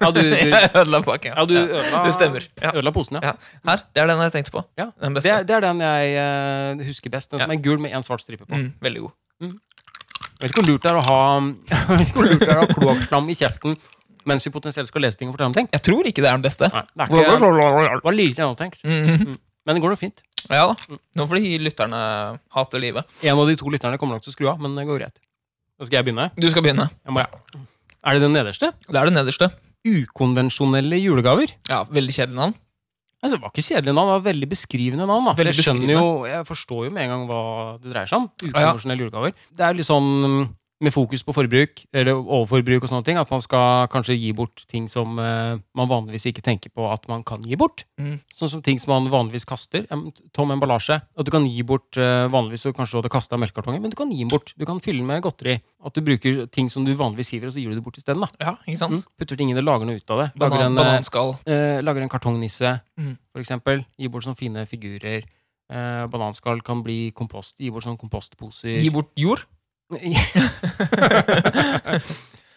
Speaker 1: Ja, du, du,
Speaker 2: Jeg ødela pakken.
Speaker 1: ja, du
Speaker 2: Ja.
Speaker 1: ødela,
Speaker 2: Det stemmer. Ja.
Speaker 1: ødela posen, ja.
Speaker 2: Ja. Her. Det er den jeg tenkte på.
Speaker 1: ja.
Speaker 2: Den
Speaker 1: Det,
Speaker 2: beste.
Speaker 1: er, det er den jeg eh, husker best. Den som er gul med én svart stripe på.
Speaker 2: Mm, veldig god.
Speaker 1: Jeg vet ikke hvor lurt det er å ha Jeg vet ikke hvor lurt det er å ha kloakkslam i kjeften mens vi potensielt skal lese ting og fortelle om ting.
Speaker 2: Jeg tror ikke det er den beste.
Speaker 1: Nei, det er ikke det var lite gjennomtenkt.
Speaker 2: Mhm.
Speaker 1: Men det går nok fint.
Speaker 2: Ja da. Nå får de lytterne hate livet.
Speaker 1: En av de to lytterne kommer nok til å skru av, men det går greit. Da skal jeg begynne.
Speaker 2: Du skal begynne.
Speaker 1: Jeg må, ja. Er det den nederste?
Speaker 2: Det er det nederste.
Speaker 1: Ukonvensjonelle julegaver.
Speaker 2: Ja, Veldig kjedelig navn.
Speaker 1: Altså, det var ikke kjedelig navn, det var veldig beskrivende navn. Da. For
Speaker 2: Veldig
Speaker 1: Jeg, skjønner jo,
Speaker 2: beskrivende.
Speaker 1: jeg forstår jo med en gang hva det dreier seg om.
Speaker 2: ja.
Speaker 1: Ukonvensjonelle julegaver. Det er litt sånn mm, med fokus på forbruk, eller overforbruk og sånne ting, at man skal kanskje gi bort ting som eh, man vanligvis ikke tenker på at man kan gi bort.
Speaker 2: Mm.
Speaker 1: Sånn som ting som man vanligvis kaster. Em, Tom emballasje. At du kan gi bort eh, vanligvis så kanskje du hadde kasta melkekartongen, men du kan gi den bort. Du kan fylle den med godteri. At du bruker ting som du vanligvis hiver, og så gir du det bort isteden. da.
Speaker 2: Ja, ikke sant?
Speaker 1: Mm. Putter ting inn og lager noe ut av det. Lager
Speaker 2: Banan,
Speaker 1: en, eh,
Speaker 2: bananskall.
Speaker 1: Eh, lager en kartongnisse,
Speaker 2: Mm.
Speaker 1: for eksempel. Gir bort sånne fine figurer. Eh, bananskall kan bli kompost. Gi bort sånne kompostposer.
Speaker 2: Gi bort jord.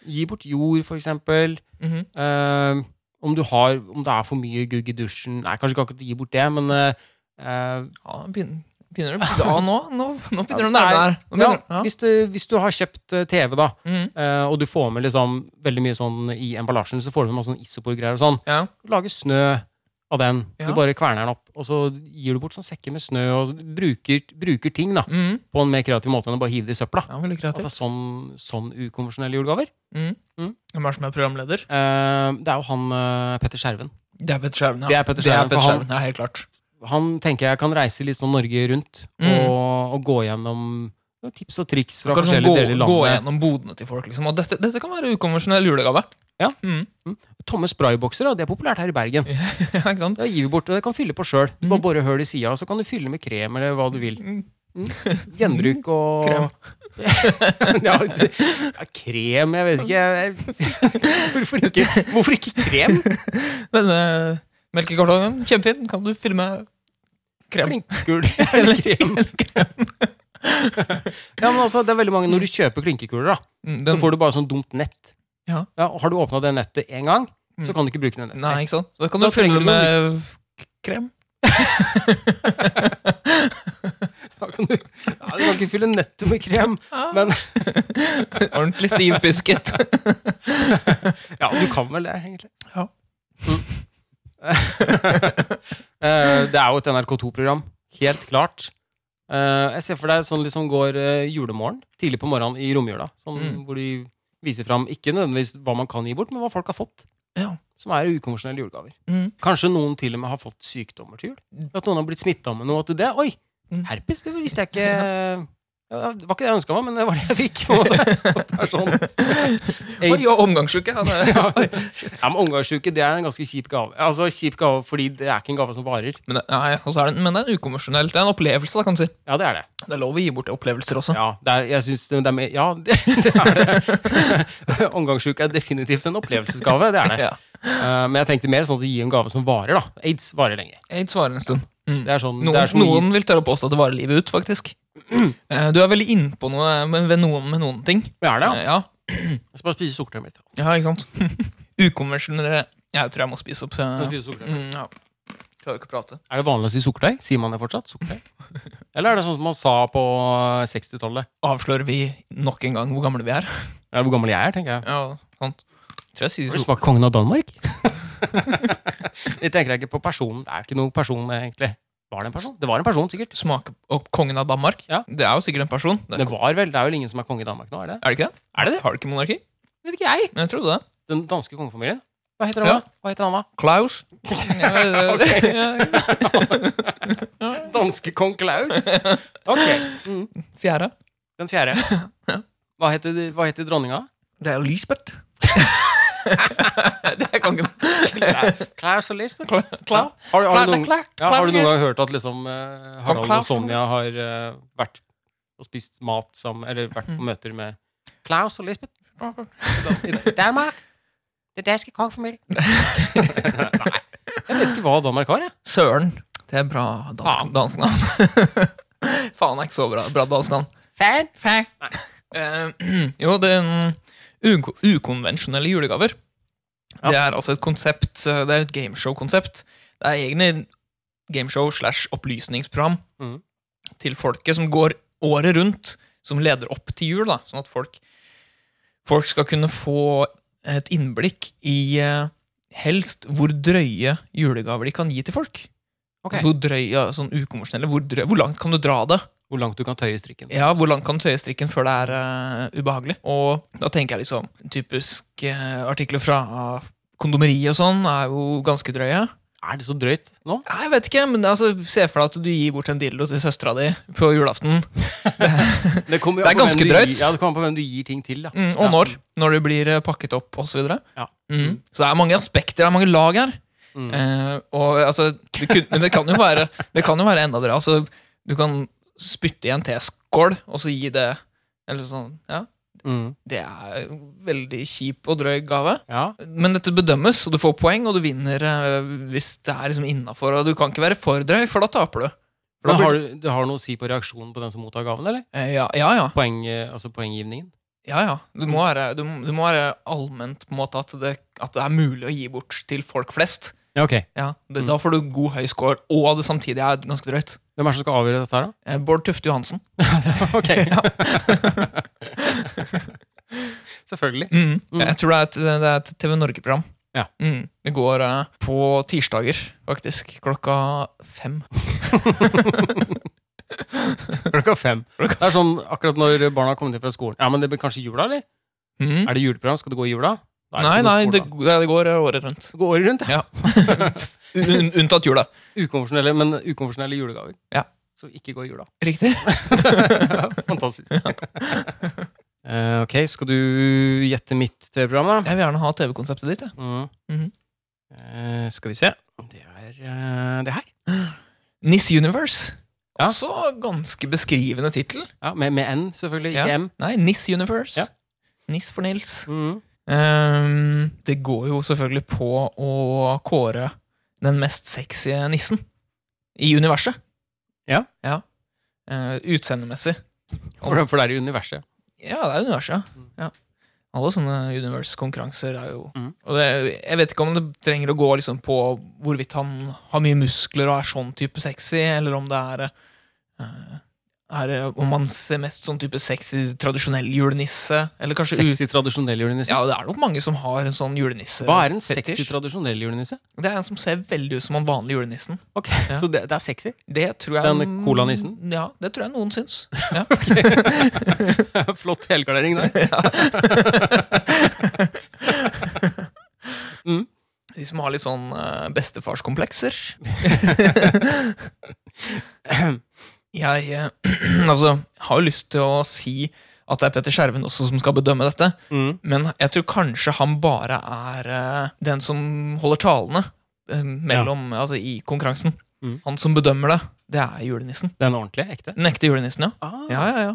Speaker 1: Gi bort jord, for eksempel.
Speaker 2: Mhm.
Speaker 1: Eh, om, du har, om det er for mye gugg i dusjen Nei, kanskje ikke akkurat gi bort det, men eh, eh,
Speaker 2: Ja, begynner, begynner du da nå? Nå, nå begynner du å
Speaker 1: det
Speaker 2: nærme
Speaker 1: er-
Speaker 2: deg. Nå begynner du-
Speaker 1: ja,
Speaker 2: Ja.
Speaker 1: hvis, du, hvis du har kjøpt eh, TV, da,
Speaker 2: Mhm.
Speaker 1: eh, og du får med liksom veldig mye sånn i emballasjen, så får du med masse sånn isoporgreier og sånn.
Speaker 2: ja.
Speaker 1: lage snø av den.
Speaker 2: Ja.
Speaker 1: Du bare kverner den opp, og så gir du bort sånn sekker med snø, og så bruker, bruker ting da,
Speaker 2: Mhm.
Speaker 1: på en mer kreativ måte enn å bare hive det i søpla.
Speaker 2: ja veldig
Speaker 1: At det
Speaker 2: kreativt. Mm.
Speaker 1: er sånn, sånn ukonvensjonelle julegaver. Mm.
Speaker 2: Hvem er det som er programleder?
Speaker 1: Eh, det er jo han eh, Petter Skjerven.
Speaker 2: Det er Petter Skjerven. Ja.
Speaker 1: Det er Petter Skjerven, for han-
Speaker 2: Skjerven, ja, helt klart.
Speaker 1: Han tenker jeg kan reise litt sånn Norge rundt
Speaker 2: Mm.
Speaker 1: og, og gå gjennom ja, tips og triks fra
Speaker 2: Du kan sånn
Speaker 1: forskjellige
Speaker 2: gå,
Speaker 1: deler i
Speaker 2: gå
Speaker 1: landet.
Speaker 2: gjennom bodene til folk. Liksom. Og dette, dette kan være ukonvensjonell julegave.
Speaker 1: Ja.
Speaker 2: Mhm.
Speaker 1: Tomme spraybokser, da, det er populært her i Bergen.
Speaker 2: ja ikke sant?
Speaker 1: Da gir vi bort, og det kan fylle på sjøl. Du Bare
Speaker 2: Mm.
Speaker 1: borer hull i sida, så kan du fylle med krem eller hva du vil.
Speaker 2: Mm.
Speaker 1: Gjenbruk og
Speaker 2: Krem.
Speaker 1: ja, det- ja, krem Jeg vet ikke. Jeg, hvorfor, ikke hvorfor ikke krem?
Speaker 2: Denne melkekartongen, kjempefin. Kan du fylle med krem?
Speaker 1: Klinkekuler eller krem. ja, men altså, det er veldig mange Når du kjøper klinkekuler, da,
Speaker 2: Mm,
Speaker 1: så
Speaker 2: Den,
Speaker 1: får du bare sånn dumt nett.
Speaker 2: Ja.
Speaker 1: og har du åpna det nettet én gang, så kan du ikke bruke det nettet.
Speaker 2: nei, ikke sant? Da kan
Speaker 1: Så
Speaker 2: du
Speaker 1: da
Speaker 2: fylle
Speaker 1: trenger
Speaker 2: det
Speaker 1: du
Speaker 2: med krem.
Speaker 1: Da kan du, ja, du kan ikke fylle nettet med krem. Men
Speaker 2: Ordentlig stivpisket.
Speaker 1: ja, du kan vel det, egentlig.
Speaker 2: Ja.
Speaker 1: Mm. Eh, det er jo et NRK2-program. Helt klart. Eh, jeg ser for deg sånn liksom går eh, julemorgen, tidlig på morgenen i romjula. Sånn,
Speaker 2: Mm.
Speaker 1: Hvor de viser fram ikke nødvendigvis hva man kan gi bort, men hva folk har fått.
Speaker 2: Ja.
Speaker 1: Som er ukonvensjonelle julegaver.
Speaker 2: Mm.
Speaker 1: Kanskje noen til og med har fått sykdommer til jul. At noen har blitt smitta med noe til det. Oi!
Speaker 2: Mm.
Speaker 1: Herpes, det visste jeg ikke. Ja, det var ikke det jeg ønska meg, men det var det jeg fikk. på en måte. At det er sånn.
Speaker 2: Oi, og omgangsuke. Ja,
Speaker 1: Ja,
Speaker 2: det-
Speaker 1: ja, men Omgangsuke det er en ganske kjip gave. Altså kjip gave fordi det er ikke en gave som varer.
Speaker 2: Men, det- nei, og så er det, men det er en ukonvensjonell. Det er en opplevelse, da, kan du si.
Speaker 1: Ja, det er det.
Speaker 2: Det er lov å gi bort opplevelser også.
Speaker 1: Ja, det er, jeg synes det, det er mer- ja, det, det er det. Omgangsuke er definitivt en opplevelsesgave. Det er det.
Speaker 2: Ja.
Speaker 1: Eh, men jeg tenkte mer sånn at gi en gave som varer. da. Aids varer lenge.
Speaker 2: Aids varer en stund. Mm.
Speaker 1: Det er sånn,
Speaker 2: Noen,
Speaker 1: det er som å gi-
Speaker 2: noen vil tørre å påstå at det varer livet ut, faktisk. Eh, Du er veldig innpå noe med, ved noen med noen ting.
Speaker 1: Ja, er det, ja.
Speaker 2: Eh, Ja,
Speaker 1: Jeg skal bare spise sukkertøyet mitt. Jeg
Speaker 2: ja ikke sant? Ukonvensjonelle Jeg tror jeg må spise opp.
Speaker 1: skal
Speaker 2: eh,
Speaker 1: spise sukkertøy.
Speaker 2: Mm, ja. Klarer ikke å prate.
Speaker 1: Er det vanlig å si sukkertøy? Sier man det fortsatt? Sukkertøy? Eller er det sånn som man sa på eh, 60-tallet?
Speaker 2: Avslører vi nok en gang hvor gamle vi er?
Speaker 1: Eller hvor gammel jeg er, tenker jeg.
Speaker 2: Ja, sant. Tror
Speaker 1: Har
Speaker 2: jeg
Speaker 1: du
Speaker 2: sier
Speaker 1: smakt kongen av Danmark? det tenker jeg ikke på personen. Det er ikke noen person, eh, egentlig. Var det en person? Det var en person, sikkert.
Speaker 2: smake opp kongen av Danmark.
Speaker 1: Ja.
Speaker 2: Det er jo sikkert en person. Det
Speaker 1: Det
Speaker 2: er,
Speaker 1: var vel, det er vel ingen som er konge i Danmark nå, er det?
Speaker 2: er det ikke det?
Speaker 1: Er det det?
Speaker 2: Har det ikke monarki?
Speaker 1: Vet ikke jeg.
Speaker 2: Men jeg trodde det.
Speaker 1: Den danske kongefamilien? Hva heter han
Speaker 2: Ja.
Speaker 1: da? Hva heter han da?
Speaker 2: Klaus. Ja, det- ja,
Speaker 1: Danske kong Klaus? Ok. Mm.
Speaker 2: Fjerde.
Speaker 1: Den fjerde. Hva heter, de- hva heter dronninga?
Speaker 2: Det er jo Lisbeth. det er kongen.
Speaker 1: Klaus og Lisbeth?
Speaker 2: Kla- Kla-
Speaker 1: Har, du- har, du
Speaker 2: Kla-
Speaker 1: noen,
Speaker 2: Kla-
Speaker 1: ja, har du noen
Speaker 2: Klaus-
Speaker 1: gang hørt at liksom eh, Harald og
Speaker 2: Klaus.
Speaker 1: Sonja har eh, vært og spist mat sammen Eller vært på møter med Klaus Mm. og Lisbeth i Dan- i Danmark? Det danske kongefamilien. Nei. Jeg vet ikke hva Danmark har, jeg.
Speaker 2: Søren. Det er bra dansk,
Speaker 1: Faen.
Speaker 2: dansk navn. Faen er ikke så bra, bra dansk navn.
Speaker 1: Fan.
Speaker 2: Faen. Eh, jo, det er en uko- ukonvensjonelle julegaver.
Speaker 1: Ja.
Speaker 2: Det er altså et konsept, eh, det er et gameshow-konsept. Det er egne gameshow slash opplysningsprogram
Speaker 1: Mhm.
Speaker 2: til folket som går året rundt, som leder opp til jul, da, sånn at folk, folk skal kunne få et innblikk i eh, helst hvor drøye julegaver de kan gi til folk.
Speaker 1: Ok.
Speaker 2: Hvor drøye, sånn ukonvensjonelle, hvor, drø- hvor langt kan du dra det?
Speaker 1: Hvor langt du kan tøye strikken.
Speaker 2: Ja, hvor langt kan du tøye strikken før det er eh, ubehagelig? Og da tenker jeg liksom Typisk eh, artikler fra kondomeriet og sånn er jo ganske drøye.
Speaker 1: Er det så drøyt nå?
Speaker 2: Nei, Jeg vet ikke, men altså, se for deg at du gir bort en dildo til søstera di på julaften.
Speaker 1: Det, kommer jo an på
Speaker 2: Det er
Speaker 1: hvem
Speaker 2: ganske
Speaker 1: du
Speaker 2: drøyt.
Speaker 1: gir- Ja, det kommer an på hvem du gir ting til. Da.
Speaker 2: Mm, og
Speaker 1: Ja.
Speaker 2: når. Når det blir eh, pakket opp, osv. Så, videre.
Speaker 1: Ja.
Speaker 2: mm. så det er mange aspekter, det er mange lag her.
Speaker 1: Mm.
Speaker 2: Eh, og altså det kun, Men det kan jo være Det kan jo være enda drøyere. Altså, du kan spytte i en teskål, og så gi det Eller sånn, ja
Speaker 1: Mm.
Speaker 2: Det er jo veldig kjip og drøy gave.
Speaker 1: Ja.
Speaker 2: Men dette bedømmes, og du får poeng, og du vinner eh, hvis det er liksom innafor. Og du kan ikke være for drøy, for da taper du. For
Speaker 1: Men
Speaker 2: da
Speaker 1: har
Speaker 2: blir,
Speaker 1: du, det har noe å si på reaksjonen på den som mottar gaven, eller?
Speaker 2: Eh, ja, ja, ja.
Speaker 1: Poeng, eh, altså poenggivningen?
Speaker 2: ja, ja. Du, må være, du, du må være allment på en måte at det, at det er mulig å gi bort til folk flest.
Speaker 1: Ja, ok.
Speaker 2: Ja, det,
Speaker 1: Mm.
Speaker 2: Da får du god høy score, og det samtidig er ganske drøyt.
Speaker 1: Hvem er det som skal avgjøre dette her, da?
Speaker 2: Eh, Bård Tufte Johansen.
Speaker 1: Ok. Selvfølgelig.
Speaker 2: Mm.
Speaker 1: Mm.
Speaker 2: Jeg tror det er et, det er et TV Norge-program.
Speaker 1: Ja.
Speaker 2: Mm. Det går eh, på tirsdager, faktisk. Klokka fem.
Speaker 1: Klokka fem. Det er sånn akkurat når barna har kommet inn fra skolen. Ja, men det blir kanskje jula, eller?
Speaker 2: Mm.
Speaker 1: Er det juleprogram? Skal det gå i jula? Da er
Speaker 2: Nei,
Speaker 1: ikke noe
Speaker 2: nei,
Speaker 1: skole,
Speaker 2: det,
Speaker 1: da.
Speaker 2: det går eh, året rundt.
Speaker 1: det går året rundt. Ja.
Speaker 2: Un- Unntatt jula.
Speaker 1: Ukonvensjonelle, men ukonvensjonelle julegaver.
Speaker 2: Ja.
Speaker 1: Som ikke går i jula.
Speaker 2: Riktig.
Speaker 1: Fantastisk. Eh, ok, skal du gjette mitt TV-program, da?
Speaker 2: Jeg vil gjerne ha TV-konseptet ditt. jeg.
Speaker 1: Mm.
Speaker 2: Mhm.
Speaker 1: Eh, skal vi se. Det er eh, det her.
Speaker 2: Niss Universe.
Speaker 1: Ja.
Speaker 2: Også ganske beskrivende tittel.
Speaker 1: Ja, med, med N, selvfølgelig. Ikke
Speaker 2: Ja.
Speaker 1: M.
Speaker 2: Nei, Niss Universe.
Speaker 1: Ja.
Speaker 2: Niss for Nils.
Speaker 1: Mm.
Speaker 2: Ehm, det går jo selvfølgelig på å kåre den mest sexy nissen i universet.
Speaker 1: Ja.
Speaker 2: ja. Eh, utseendemessig.
Speaker 1: For, for det er i universet.
Speaker 2: Ja, det er universet. ja. Ja. Alle sånne universe-konkurranser er jo
Speaker 1: Mm.
Speaker 2: og det, Jeg vet ikke om det trenger å gå liksom på hvorvidt han har mye muskler og er sånn type sexy, eller om det er, eh, er eh, Om han ser mest sånn type sexy tradisjonell julenisse, eller kanskje u-
Speaker 1: Sexy, tradisjonell julenisse.
Speaker 2: Ja, det er nok mange som har en sånn julenisse.
Speaker 1: Hva er en
Speaker 2: fetisj.
Speaker 1: sexy, tradisjonell julenisse?
Speaker 2: Det er en som ser veldig ut som han vanlige julenissen.
Speaker 1: Ok,
Speaker 2: Ja.
Speaker 1: Så det, det er sexy?
Speaker 2: Det tror jeg
Speaker 1: Den colanissen?
Speaker 2: Ja, det tror jeg noen syns. Ja.
Speaker 1: Flott helgardering der.
Speaker 2: De som har litt sånn eh, bestefarskomplekser. jeg eh, altså, har jo lyst til å si at det er Petter Skjerven også som skal bedømme dette,
Speaker 1: Mm.
Speaker 2: men jeg tror kanskje han bare er eh, den som holder talene eh, mellom, altså, i konkurransen.
Speaker 1: Mm.
Speaker 2: Han som bedømmer det, det er julenissen.
Speaker 1: Den ordentlige? Ekte?
Speaker 2: Den ekte julenissen, ja.
Speaker 1: Ah.
Speaker 2: Ja, ja, ja.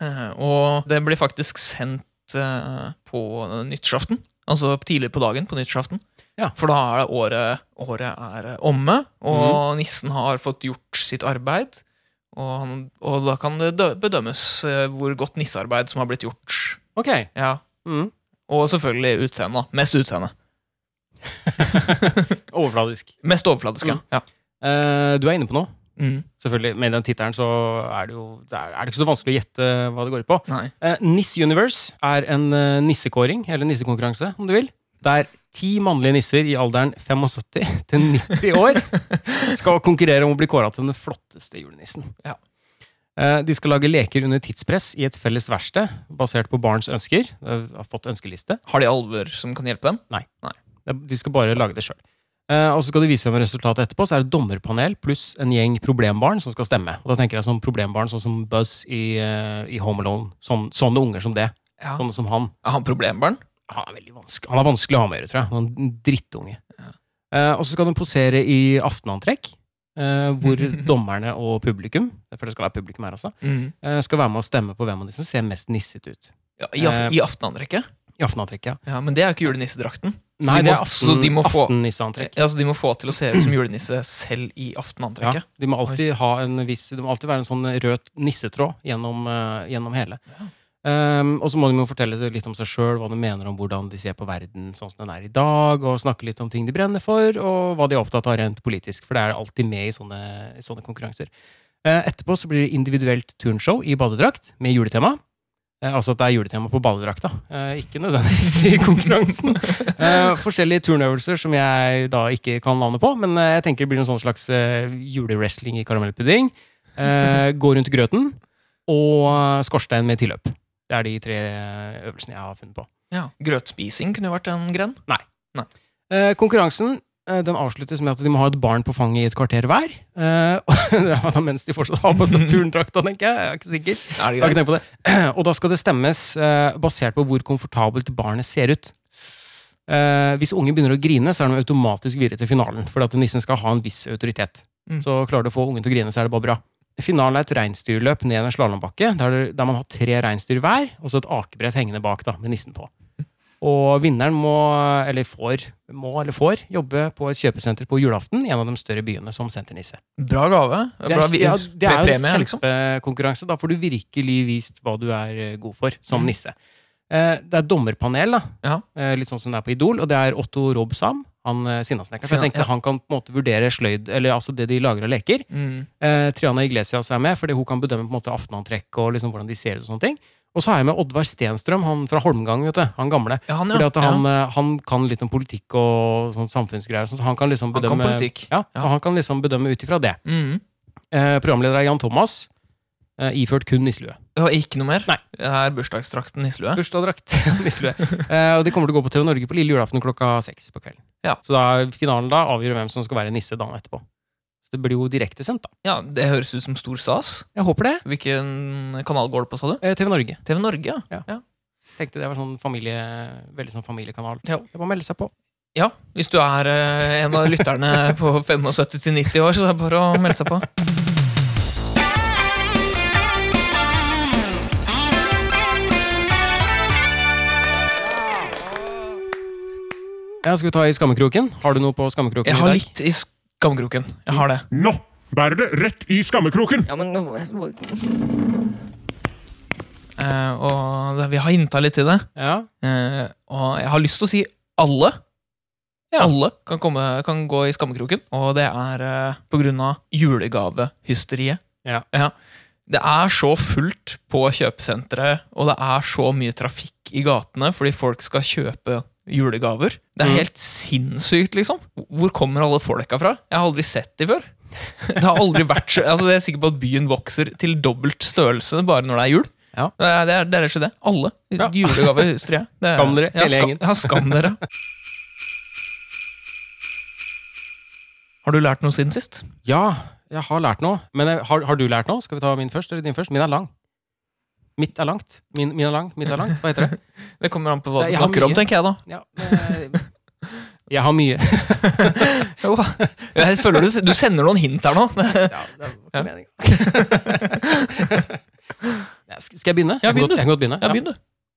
Speaker 2: Eh, og det blir faktisk sendt eh, på nyttårsaften. Altså tidlig på dagen på nyttårsaften.
Speaker 1: Ja.
Speaker 2: For da er det året, året er omme, og nissen har fått gjort sitt arbeid. Og, han, og da kan det dø- bedømmes eh, hvor godt nissearbeid som har blitt gjort.
Speaker 1: Ok.
Speaker 2: Ja.
Speaker 1: Mm.
Speaker 2: Og selvfølgelig utseendet. Mest utseende.
Speaker 1: Overfladisk.
Speaker 2: Mest overfladisk, ja.
Speaker 1: Mm. Eh, du er inne på noe.
Speaker 2: Mm.
Speaker 1: Selvfølgelig, Med den tittelen så er det jo det er, er det ikke så vanskelig å gjette hva det går ut på.
Speaker 2: Nei.
Speaker 1: Eh, Niss Universe er en eh, nissekåring, eller nissekonkurranse, om du vil. Der ti mannlige nisser i alderen 75 til 90 år skal konkurrere om å bli kåra til den flotteste julenissen.
Speaker 2: Ja.
Speaker 1: Eh, De skal lage leker under tidspress i et felles verksted basert på barns ønsker. Eh, Har fått ønskeliste.
Speaker 2: Har de alver som kan hjelpe dem?
Speaker 1: De skal bare lage det sjøl. Og så skal de vise hvem resultatet etterpå. Så er det et dommerpanel pluss en gjeng problembarn som skal stemme. Og da tenker jeg sånn problembarn sånn som Buzz i, eh, i Home Alone. Sånn, sånne unger som det.
Speaker 2: Ja.
Speaker 1: Sånne som han.
Speaker 2: Er han problembarn?
Speaker 1: Han er veldig vanskelig Han er vanskelig å ha med å gjøre, tror jeg. Han er en drittunge. Eh, og så skal de posere i aftenantrekk, eh, hvor dommerne og publikum For det skal være publikum her også eh, skal være med å stemme på hvem av de som ser mest nissete ut.
Speaker 2: Ja, i, af
Speaker 1: Eh,
Speaker 2: I aftenantrekket?
Speaker 1: I aftenantrekk, ja.
Speaker 2: Ja, men det er jo ikke julenissedrakten. Så
Speaker 1: Nei,
Speaker 2: de
Speaker 1: det
Speaker 2: må-
Speaker 1: er aften,
Speaker 2: så de må få-
Speaker 1: aftennisseantrekk.
Speaker 2: Ja, så de må få til å se ut som julenisse selv i
Speaker 1: Ja,
Speaker 2: aftenantrekket?
Speaker 1: de må alltid ha en viss Det må alltid være en sånn rød nissetråd gjennom, eh, gjennom hele. Ehm, og så må de jo fortelle litt om seg sjøl, hva de mener om hvordan de ser på verden sånn som den er i dag, og snakke litt om ting de brenner for, og hva de er opptatt av rent politisk. For det er alltid med i sånne, i sånne konkurranser. Eh, etterpå så blir det individuelt turnshow i badedrakt med juletema. Eh, altså at det er juletema på badedrakta, eh, ikke nødvendigvis i konkurransen. Eh, forskjellige turnøvelser som jeg da ikke kan navnet på, men eh, jeg tenker det blir noen sånn slags eh, julewrestling i karamellpudding. Eh, gå rundt grøten og eh, skorstein med tilløp. Det er de tre eh, øvelsene jeg har funnet på.
Speaker 2: Ja. Grøtspising kunne jo vært en gren.
Speaker 1: Eh, konkurransen eh, den avsluttes med at de må ha et barn på fanget i et kvarter hver. Eh, og- da mens de fortsatt har på seg turndrakta, tenker jeg. Jeg er ikke sikker.
Speaker 2: Er det
Speaker 1: Jeg har ikke tenkt på
Speaker 2: greit?
Speaker 1: det. Og da skal det stemmes eh, basert på hvor komfortabelt barnet ser ut. Eh, hvis ungen begynner å grine, så er de automatisk videre til finalen. Fordi at nissen skal ha en viss autoritet.
Speaker 2: Mm.
Speaker 1: Så klarer du å få ungen til å grine, så er det bare bra. Finalen er et reinsdyrløp ned en slalåmbakke, der, det- der man har tre reinsdyr hver, og så et akebrett hengende bak da, med nissen på. Og vinneren må, eller får, må eller får jobbe på et kjøpesenter på julaften i en av de større byene som senternisse.
Speaker 2: Bra gave.
Speaker 1: Det
Speaker 2: Bra
Speaker 1: er,
Speaker 2: vi-
Speaker 1: ja, det er jo en
Speaker 2: premie, liksom.
Speaker 1: kjempekonkurranse. Da får du virkelig vist hva du er eh, god for som nisse. Eh, Det er dommerpanel, da.
Speaker 2: Mm. Ja.
Speaker 1: Eh, Litt sånn som det er på Idol. Og det er Otto Rob Sam, han eh, sinnasnekkeren. Så
Speaker 2: Sinna-
Speaker 1: jeg tenkte
Speaker 2: ja.
Speaker 1: han kan på en måte vurdere sløyd, eller altså det de lager av leker.
Speaker 2: Mm.
Speaker 1: Eh, Triana Iglesias er med, fordi hun kan bedømme på en måte aftenantrekk og liksom hvordan de ser ut. Og sånne ting. Og så har jeg med Oddvar Stenstrøm, han fra Holmgang, vet du. Han gamle.
Speaker 2: Ja, han, ja.
Speaker 1: Fordi at
Speaker 2: ja.
Speaker 1: han, eh, han kan litt om politikk og sånn samfunnsgreier. og sånn, Så han kan liksom
Speaker 2: Han kan
Speaker 1: bedømme
Speaker 2: politikk.
Speaker 1: Ja,
Speaker 2: Ja.
Speaker 1: så han kan liksom bedømme ut ifra det.
Speaker 2: Mm.
Speaker 1: Eh, programleder er Jan Thomas. Eh, iført kun nisselue.
Speaker 2: Det var ikke noe mer?
Speaker 1: Nei.
Speaker 2: Det er bursdagsdrakten nisselue.
Speaker 1: Bursdagsdrakt. nisselue. Eh, og de kommer til å gå på TV Norge på lille julaften klokka seks på kvelden.
Speaker 2: Ja.
Speaker 1: Så da finalen da avgjør hvem som skal være nisse dagen etterpå. Så det blir jo direktesendt, da.
Speaker 2: Ja, det høres ut som stor stas.
Speaker 1: Jeg håper det.
Speaker 2: Hvilken kanal går det på, sa du?
Speaker 1: Eh, TV Norge.
Speaker 2: TV Norge, ja.
Speaker 1: Tenkte det var sånn familie, veldig sånn familiekanal.
Speaker 2: Ja.
Speaker 1: Det er bare å melde seg på.
Speaker 2: Ja, hvis du er eh, en av lytterne på 75 til 90 år, så er det bare å melde seg på.
Speaker 1: Ja, skal vi ta i skammekroken? Har du noe på skammekroken
Speaker 2: Jeg har
Speaker 1: i dag?
Speaker 2: litt i skamkroken. Jeg har det.
Speaker 5: Nå bærer det rett i skammekroken!
Speaker 6: Ja, men nå-
Speaker 2: Eh, og det, vi har hinta litt til det.
Speaker 1: Ja.
Speaker 2: Eh, og jeg har lyst til å si alle. Alle kan, komme, kan gå i skammekroken, og det er eh, på grunn av julegavehysteriet.
Speaker 1: Ja.
Speaker 2: Det er så fullt på kjøpesenteret, og det er så mye trafikk i gatene fordi folk skal kjøpe julegaver. Det er
Speaker 1: Mm.
Speaker 2: helt sinnssykt, liksom. Hvor kommer alle folka fra? Jeg har aldri sett de før. Det har aldri vært så altså, Jeg er sikker på at byen vokser til dobbelt størrelse bare når det er jul.
Speaker 1: Ja.
Speaker 2: Det er det er- det er rett og slett det. Alle.
Speaker 1: Ja.
Speaker 2: Julegavehysteriet. Det er-
Speaker 1: Skam dere,
Speaker 2: ja,
Speaker 1: hele
Speaker 2: skam-
Speaker 1: gjengen.
Speaker 2: Ja, skam dere. Har du lært noe siden sist?
Speaker 1: ja, jeg har lært noe. Men jeg, har, har du lært noe? Skal vi ta min først, eller din først? Min er lang. Mitt er langt. Min, min er lang, mitt er langt. Hva heter det?
Speaker 2: Det kommer an på hva
Speaker 1: Nei,
Speaker 2: du
Speaker 1: jeg har
Speaker 2: snakker om,
Speaker 1: mye.
Speaker 2: tenker jeg da.
Speaker 1: Ja, men- jeg har mye.
Speaker 2: Jeg føler du, du sender noen hint her nå.
Speaker 1: Ja, det var ikke meningen. Ja, sk- Skal jeg begynne?
Speaker 2: Ja,
Speaker 1: jeg, kan
Speaker 2: begynn
Speaker 1: godt,
Speaker 2: du.
Speaker 1: jeg kan godt begynne.
Speaker 2: Ja,
Speaker 1: Ja.
Speaker 2: begynn du.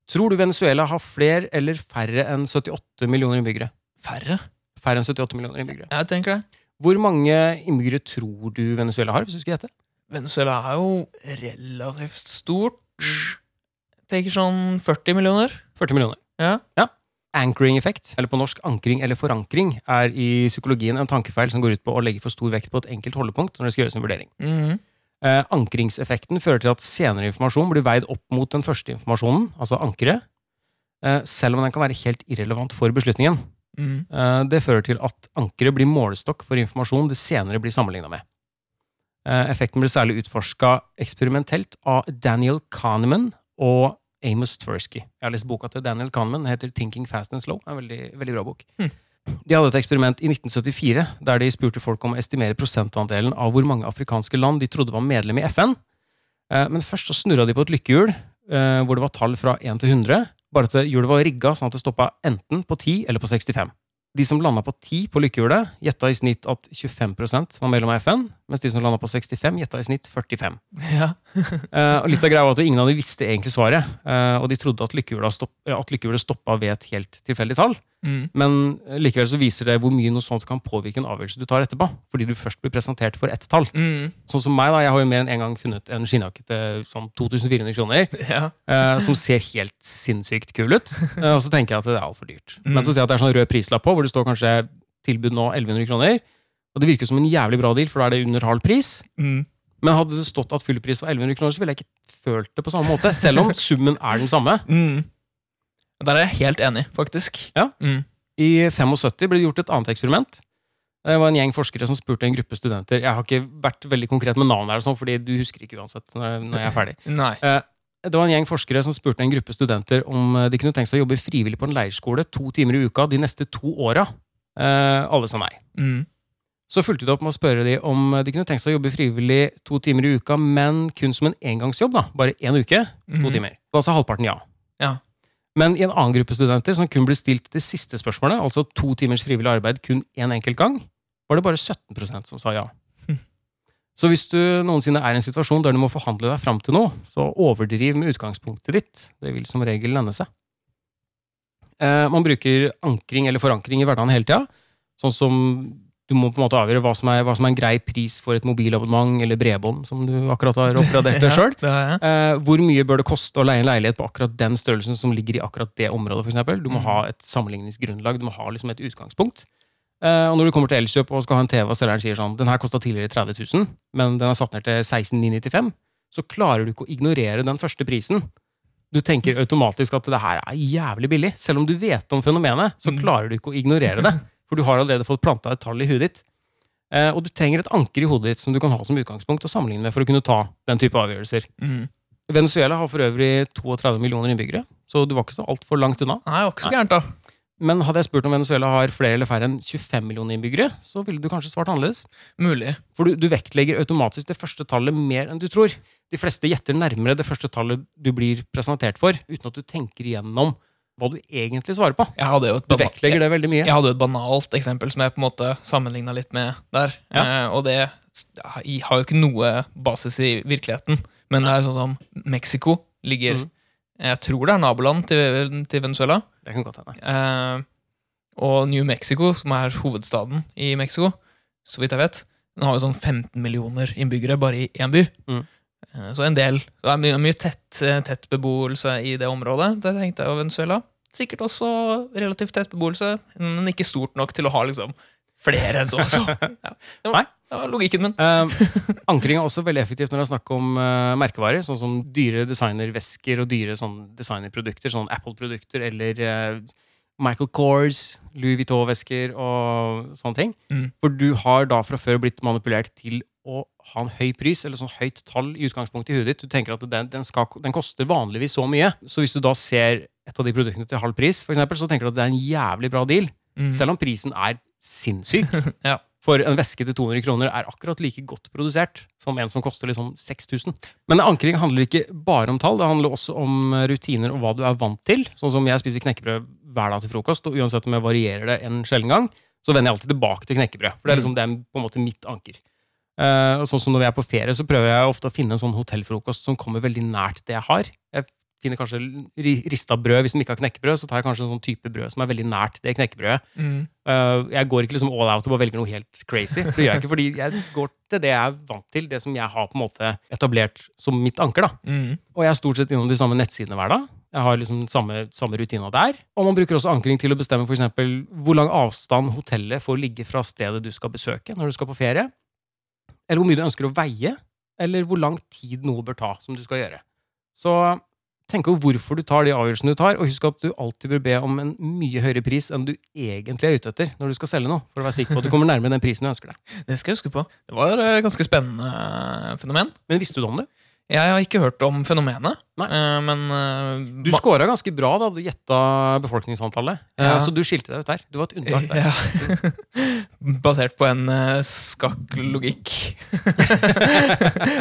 Speaker 1: Tror du Venezuela har flere eller færre enn 78 millioner innbyggere?
Speaker 2: Færre.
Speaker 1: Færre enn 78 millioner innbyggere.
Speaker 2: Jeg tenker det.
Speaker 1: Hvor mange innbyggere tror du Venezuela har, hvis du skulle gjette?
Speaker 2: Venezuela er jo relativt stort. Jeg tenker sånn 40 millioner.
Speaker 1: 40 millioner.
Speaker 2: Ja.
Speaker 1: Ja. Anchoring effekt, eller på norsk ankring eller forankring, er i psykologien en tankefeil som går ut på å legge for stor vekt på et enkelt holdepunkt når det skal gjøres en vurdering.
Speaker 2: Mhm.
Speaker 1: Eh, ankringseffekten fører til at senere informasjon blir veid opp mot den første informasjonen, altså ankeret, eh, selv om den kan være helt irrelevant for beslutningen.
Speaker 2: Mhm.
Speaker 1: Eh, Det fører til at ankeret blir målestokk for informasjon det senere blir sammenligna med. Eh, Effekten ble særlig utforska eksperimentelt av Daniel Kahneman og Amos Tversky. Jeg har lest boka til Daniel Kahneman. Den heter 'Thinking Fast and Slow'. En veldig, veldig bra bok.
Speaker 2: Hmm.
Speaker 1: De hadde et eksperiment i 1974 der de spurte folk om å estimere prosentandelen av hvor mange afrikanske land de trodde var medlem i FN. Eh, Men først så snurra de på et lykkehjul eh, hvor det var tall fra 1 til 100. Bare at hjulet var rigga sånn at det stoppa enten på 10 eller på 65. De som landa på 10 på lykkehjulet, gjetta i snitt at 25 var medlem av FN, mens de som landa på 65, gjetta i snitt 45.
Speaker 2: Ja.
Speaker 1: Eh, og litt av greia var at Ingen av de visste egentlig svaret, eh, og de trodde at lykkehjulet, stopp, eh, at lykkehjulet stoppa ved et helt tilfeldig tall.
Speaker 2: Mhm.
Speaker 1: Men eh, likevel så viser det hvor mye noe sånt kan påvirke en avgjørelse du tar etterpå. Fordi du først blir presentert for ett tall.
Speaker 2: Mhm.
Speaker 1: Sånn som meg, da. Jeg har jo mer enn én en gang funnet en skinnjakke til sånn 2400 kroner.
Speaker 2: Ja.
Speaker 1: Eh, som ser helt sinnssykt kul ut. Eh, og så tenker jeg at det er altfor dyrt.
Speaker 2: Mm.
Speaker 1: Men så ser jeg at det er sånn rød prislapp på, hvor det står kanskje tilbud nå 1100 kroner. Og det virker som en jævlig bra deal, for da er det under halv pris.
Speaker 2: Mhm.
Speaker 1: Men hadde det stått at fullpris var 1100 kroner, så ville jeg ikke følt det på samme måte. Selv om summen er den samme.
Speaker 2: Mm. Der er jeg helt enig, faktisk.
Speaker 1: Ja.
Speaker 2: Mm.
Speaker 1: I 75 ble det gjort et annet eksperiment. Det var en gjeng forskere som spurte en gruppe studenter. Jeg har ikke vært veldig konkret med navnet, her, og sånn, fordi du husker ikke uansett når når jeg er ferdig.
Speaker 2: Nei.
Speaker 1: Det var en gjeng forskere som spurte en gruppe studenter om eh, de kunne tenke seg å jobbe frivillig på en leirskole to timer i uka de neste to åra. Eh, alle sa nei.
Speaker 2: Mm.
Speaker 1: Så fulgte de opp med å spørre de om eh, de kunne tenke seg å jobbe frivillig to timer i uka, men kun som en engangsjobb. da, Bare én uke, to
Speaker 2: Mhm.
Speaker 1: timer. Da sa halvparten ja.
Speaker 2: Ja.
Speaker 1: Men i en annen gruppe studenter som kun ble stilt det siste spørsmålet, altså to timers frivillig arbeid kun én enkelt gang, var det bare 17 som sa ja. Så hvis du noensinne er i en situasjon der du må forhandle deg fram til noe, så overdriv med utgangspunktet ditt. Det vil som regel lønne seg. Eh, man bruker ankring eller forankring i hverdagen hele tida. Sånn som du må på en måte avgjøre hva som er, hva som er en grei pris for et mobilabonnement eller bredbånd, som du akkurat har oppgradert deg sjøl.
Speaker 2: Ja, det har jeg.
Speaker 1: Eh, hvor mye bør det koste å leie en leilighet på akkurat den størrelsen som ligger i akkurat det området, for eksempel? Du må ha et sammenligningsgrunnlag, du må ha liksom et utgangspunkt. Eh, og når du kommer til Elkjøp og skal ha en TV, og selgeren sier sånn Den her kosta tidligere 30 000, men den er satt ned til 16995, så klarer du ikke å ignorere den første prisen. Du tenker automatisk at det her er jævlig billig. Selv om du vet om fenomenet, så
Speaker 2: Mm.
Speaker 1: klarer du ikke å ignorere det. For du har allerede fått planta et tall i huet ditt. Eh, og du trenger et anker i hodet ditt som du kan ha som utgangspunkt og sammenligne med for å kunne ta den type avgjørelser.
Speaker 2: Mm.
Speaker 1: Venezuela har for øvrig 32 millioner innbyggere, så du var ikke så altfor langt unna.
Speaker 2: Nei, det var ikke så gærent, da.
Speaker 1: Men hadde jeg spurt om Venezuela har flere eller færre enn 25 millioner innbyggere, så ville du kanskje svart annerledes.
Speaker 2: Mulig.
Speaker 1: For du, du vektlegger automatisk det første tallet mer enn du tror. De fleste gjetter nærmere det første tallet du blir presentert for, uten at du tenker igjennom hva du egentlig svarer på.
Speaker 2: Jeg hadde jo et
Speaker 1: Du
Speaker 2: banal-
Speaker 1: vektlegger det veldig mye.
Speaker 2: Jeg hadde jo et banalt eksempel som jeg på en måte sammenligna litt med der.
Speaker 1: Ja.
Speaker 2: Eh, og det s- har jo ikke noe basis i virkeligheten. Men det er jo sånn som Mexico ligger
Speaker 1: Mhm.
Speaker 2: Jeg tror det er naboland til, til Venezuela.
Speaker 1: Det kan godt hende.
Speaker 2: Eh, og New Mexico, som er hovedstaden i Mexico, så vidt jeg vet, den har jo sånn 15 millioner innbyggere bare i én by.
Speaker 1: Mm.
Speaker 2: Eh, Så en del. Så det er mye, mye tett, eh, tett beboelse i det området. Det tenkte jeg og Venezuela. Sikkert også relativt tett beboelse, men ikke stort nok til å ha liksom flere enn så også. Ja. Det var-
Speaker 1: Nei.
Speaker 2: Det var logikken min.
Speaker 1: Eh, ankring er også veldig effektivt når det er snakk om eh, merkevarer, sånn som dyre designervesker og dyre sånn designerprodukter, sånn Apple-produkter eller eh, Michael Kors, Louis Vuitton-vesker og sånne ting.
Speaker 2: Mm.
Speaker 1: For du har da fra før blitt manipulert til å ha en høy pris, eller sånn høyt tall i utgangspunktet i hodet ditt. Du tenker at den, den, skal, den koster vanligvis så mye. Så hvis du da ser et av de produktene til halv pris, for eksempel, så tenker du at det er en jævlig bra deal.
Speaker 2: Mm.
Speaker 1: Selv om prisen er sinnssyk.
Speaker 2: Ja.
Speaker 1: For en veske til 200 kroner er akkurat like godt produsert som en som koster liksom 6000. Men ankring handler ikke bare om tall, det handler også om eh, rutiner og hva du er vant til. Sånn som jeg spiser knekkebrød hver dag til frokost, og uansett om jeg varierer det en sjelden gang, så vender jeg alltid tilbake til knekkebrød.
Speaker 2: Mm.
Speaker 1: For det er liksom det er på en måte mitt anker. Eh, og sånn som når vi er på ferie, så prøver jeg ofte å finne en sånn hotellfrokost som kommer veldig nært det jeg har. Jeg finner kanskje ri- rista brød hvis de ikke har knekkebrød, så tar jeg kanskje en sånn type brød som er veldig nært det knekkebrødet.
Speaker 2: Mm.
Speaker 1: Uh, jeg går ikke liksom all out og bare velger noe helt crazy. For det gjør jeg ikke, fordi jeg går til det jeg er vant til, det som jeg har på en måte etablert som mitt anker. da.
Speaker 2: Mm.
Speaker 1: Og jeg er stort sett innom de samme nettsidene hver dag. Jeg har liksom den samme, samme rutina der. Og man bruker også ankring til å bestemme for eksempel hvor lang avstand hotellet får ligge fra stedet du skal besøke når du skal på ferie. Eller hvor mye du ønsker å veie, eller hvor lang tid noe bør ta som du skal gjøre. Så tenk over hvorfor du tar de avgjørelsene du tar, og husk at du alltid bør be om en mye høyere pris enn du egentlig er ute etter når du skal selge noe, for å være sikker på at du kommer nærmere den prisen du ønsker deg.
Speaker 2: Det skal jeg huske på. Det var et ganske spennende eh, fenomen.
Speaker 1: Men visste du om det?
Speaker 2: Jeg har ikke hørt om fenomenet,
Speaker 1: Nei.
Speaker 2: eh, men eh,
Speaker 1: Du
Speaker 2: ma-
Speaker 1: scora ganske bra da du gjetta befolkningsantallet, Eh,
Speaker 2: Ja.
Speaker 1: så du skilte deg ut der. Du var et unntak der.
Speaker 2: ja. Basert på en eh, skakklogikk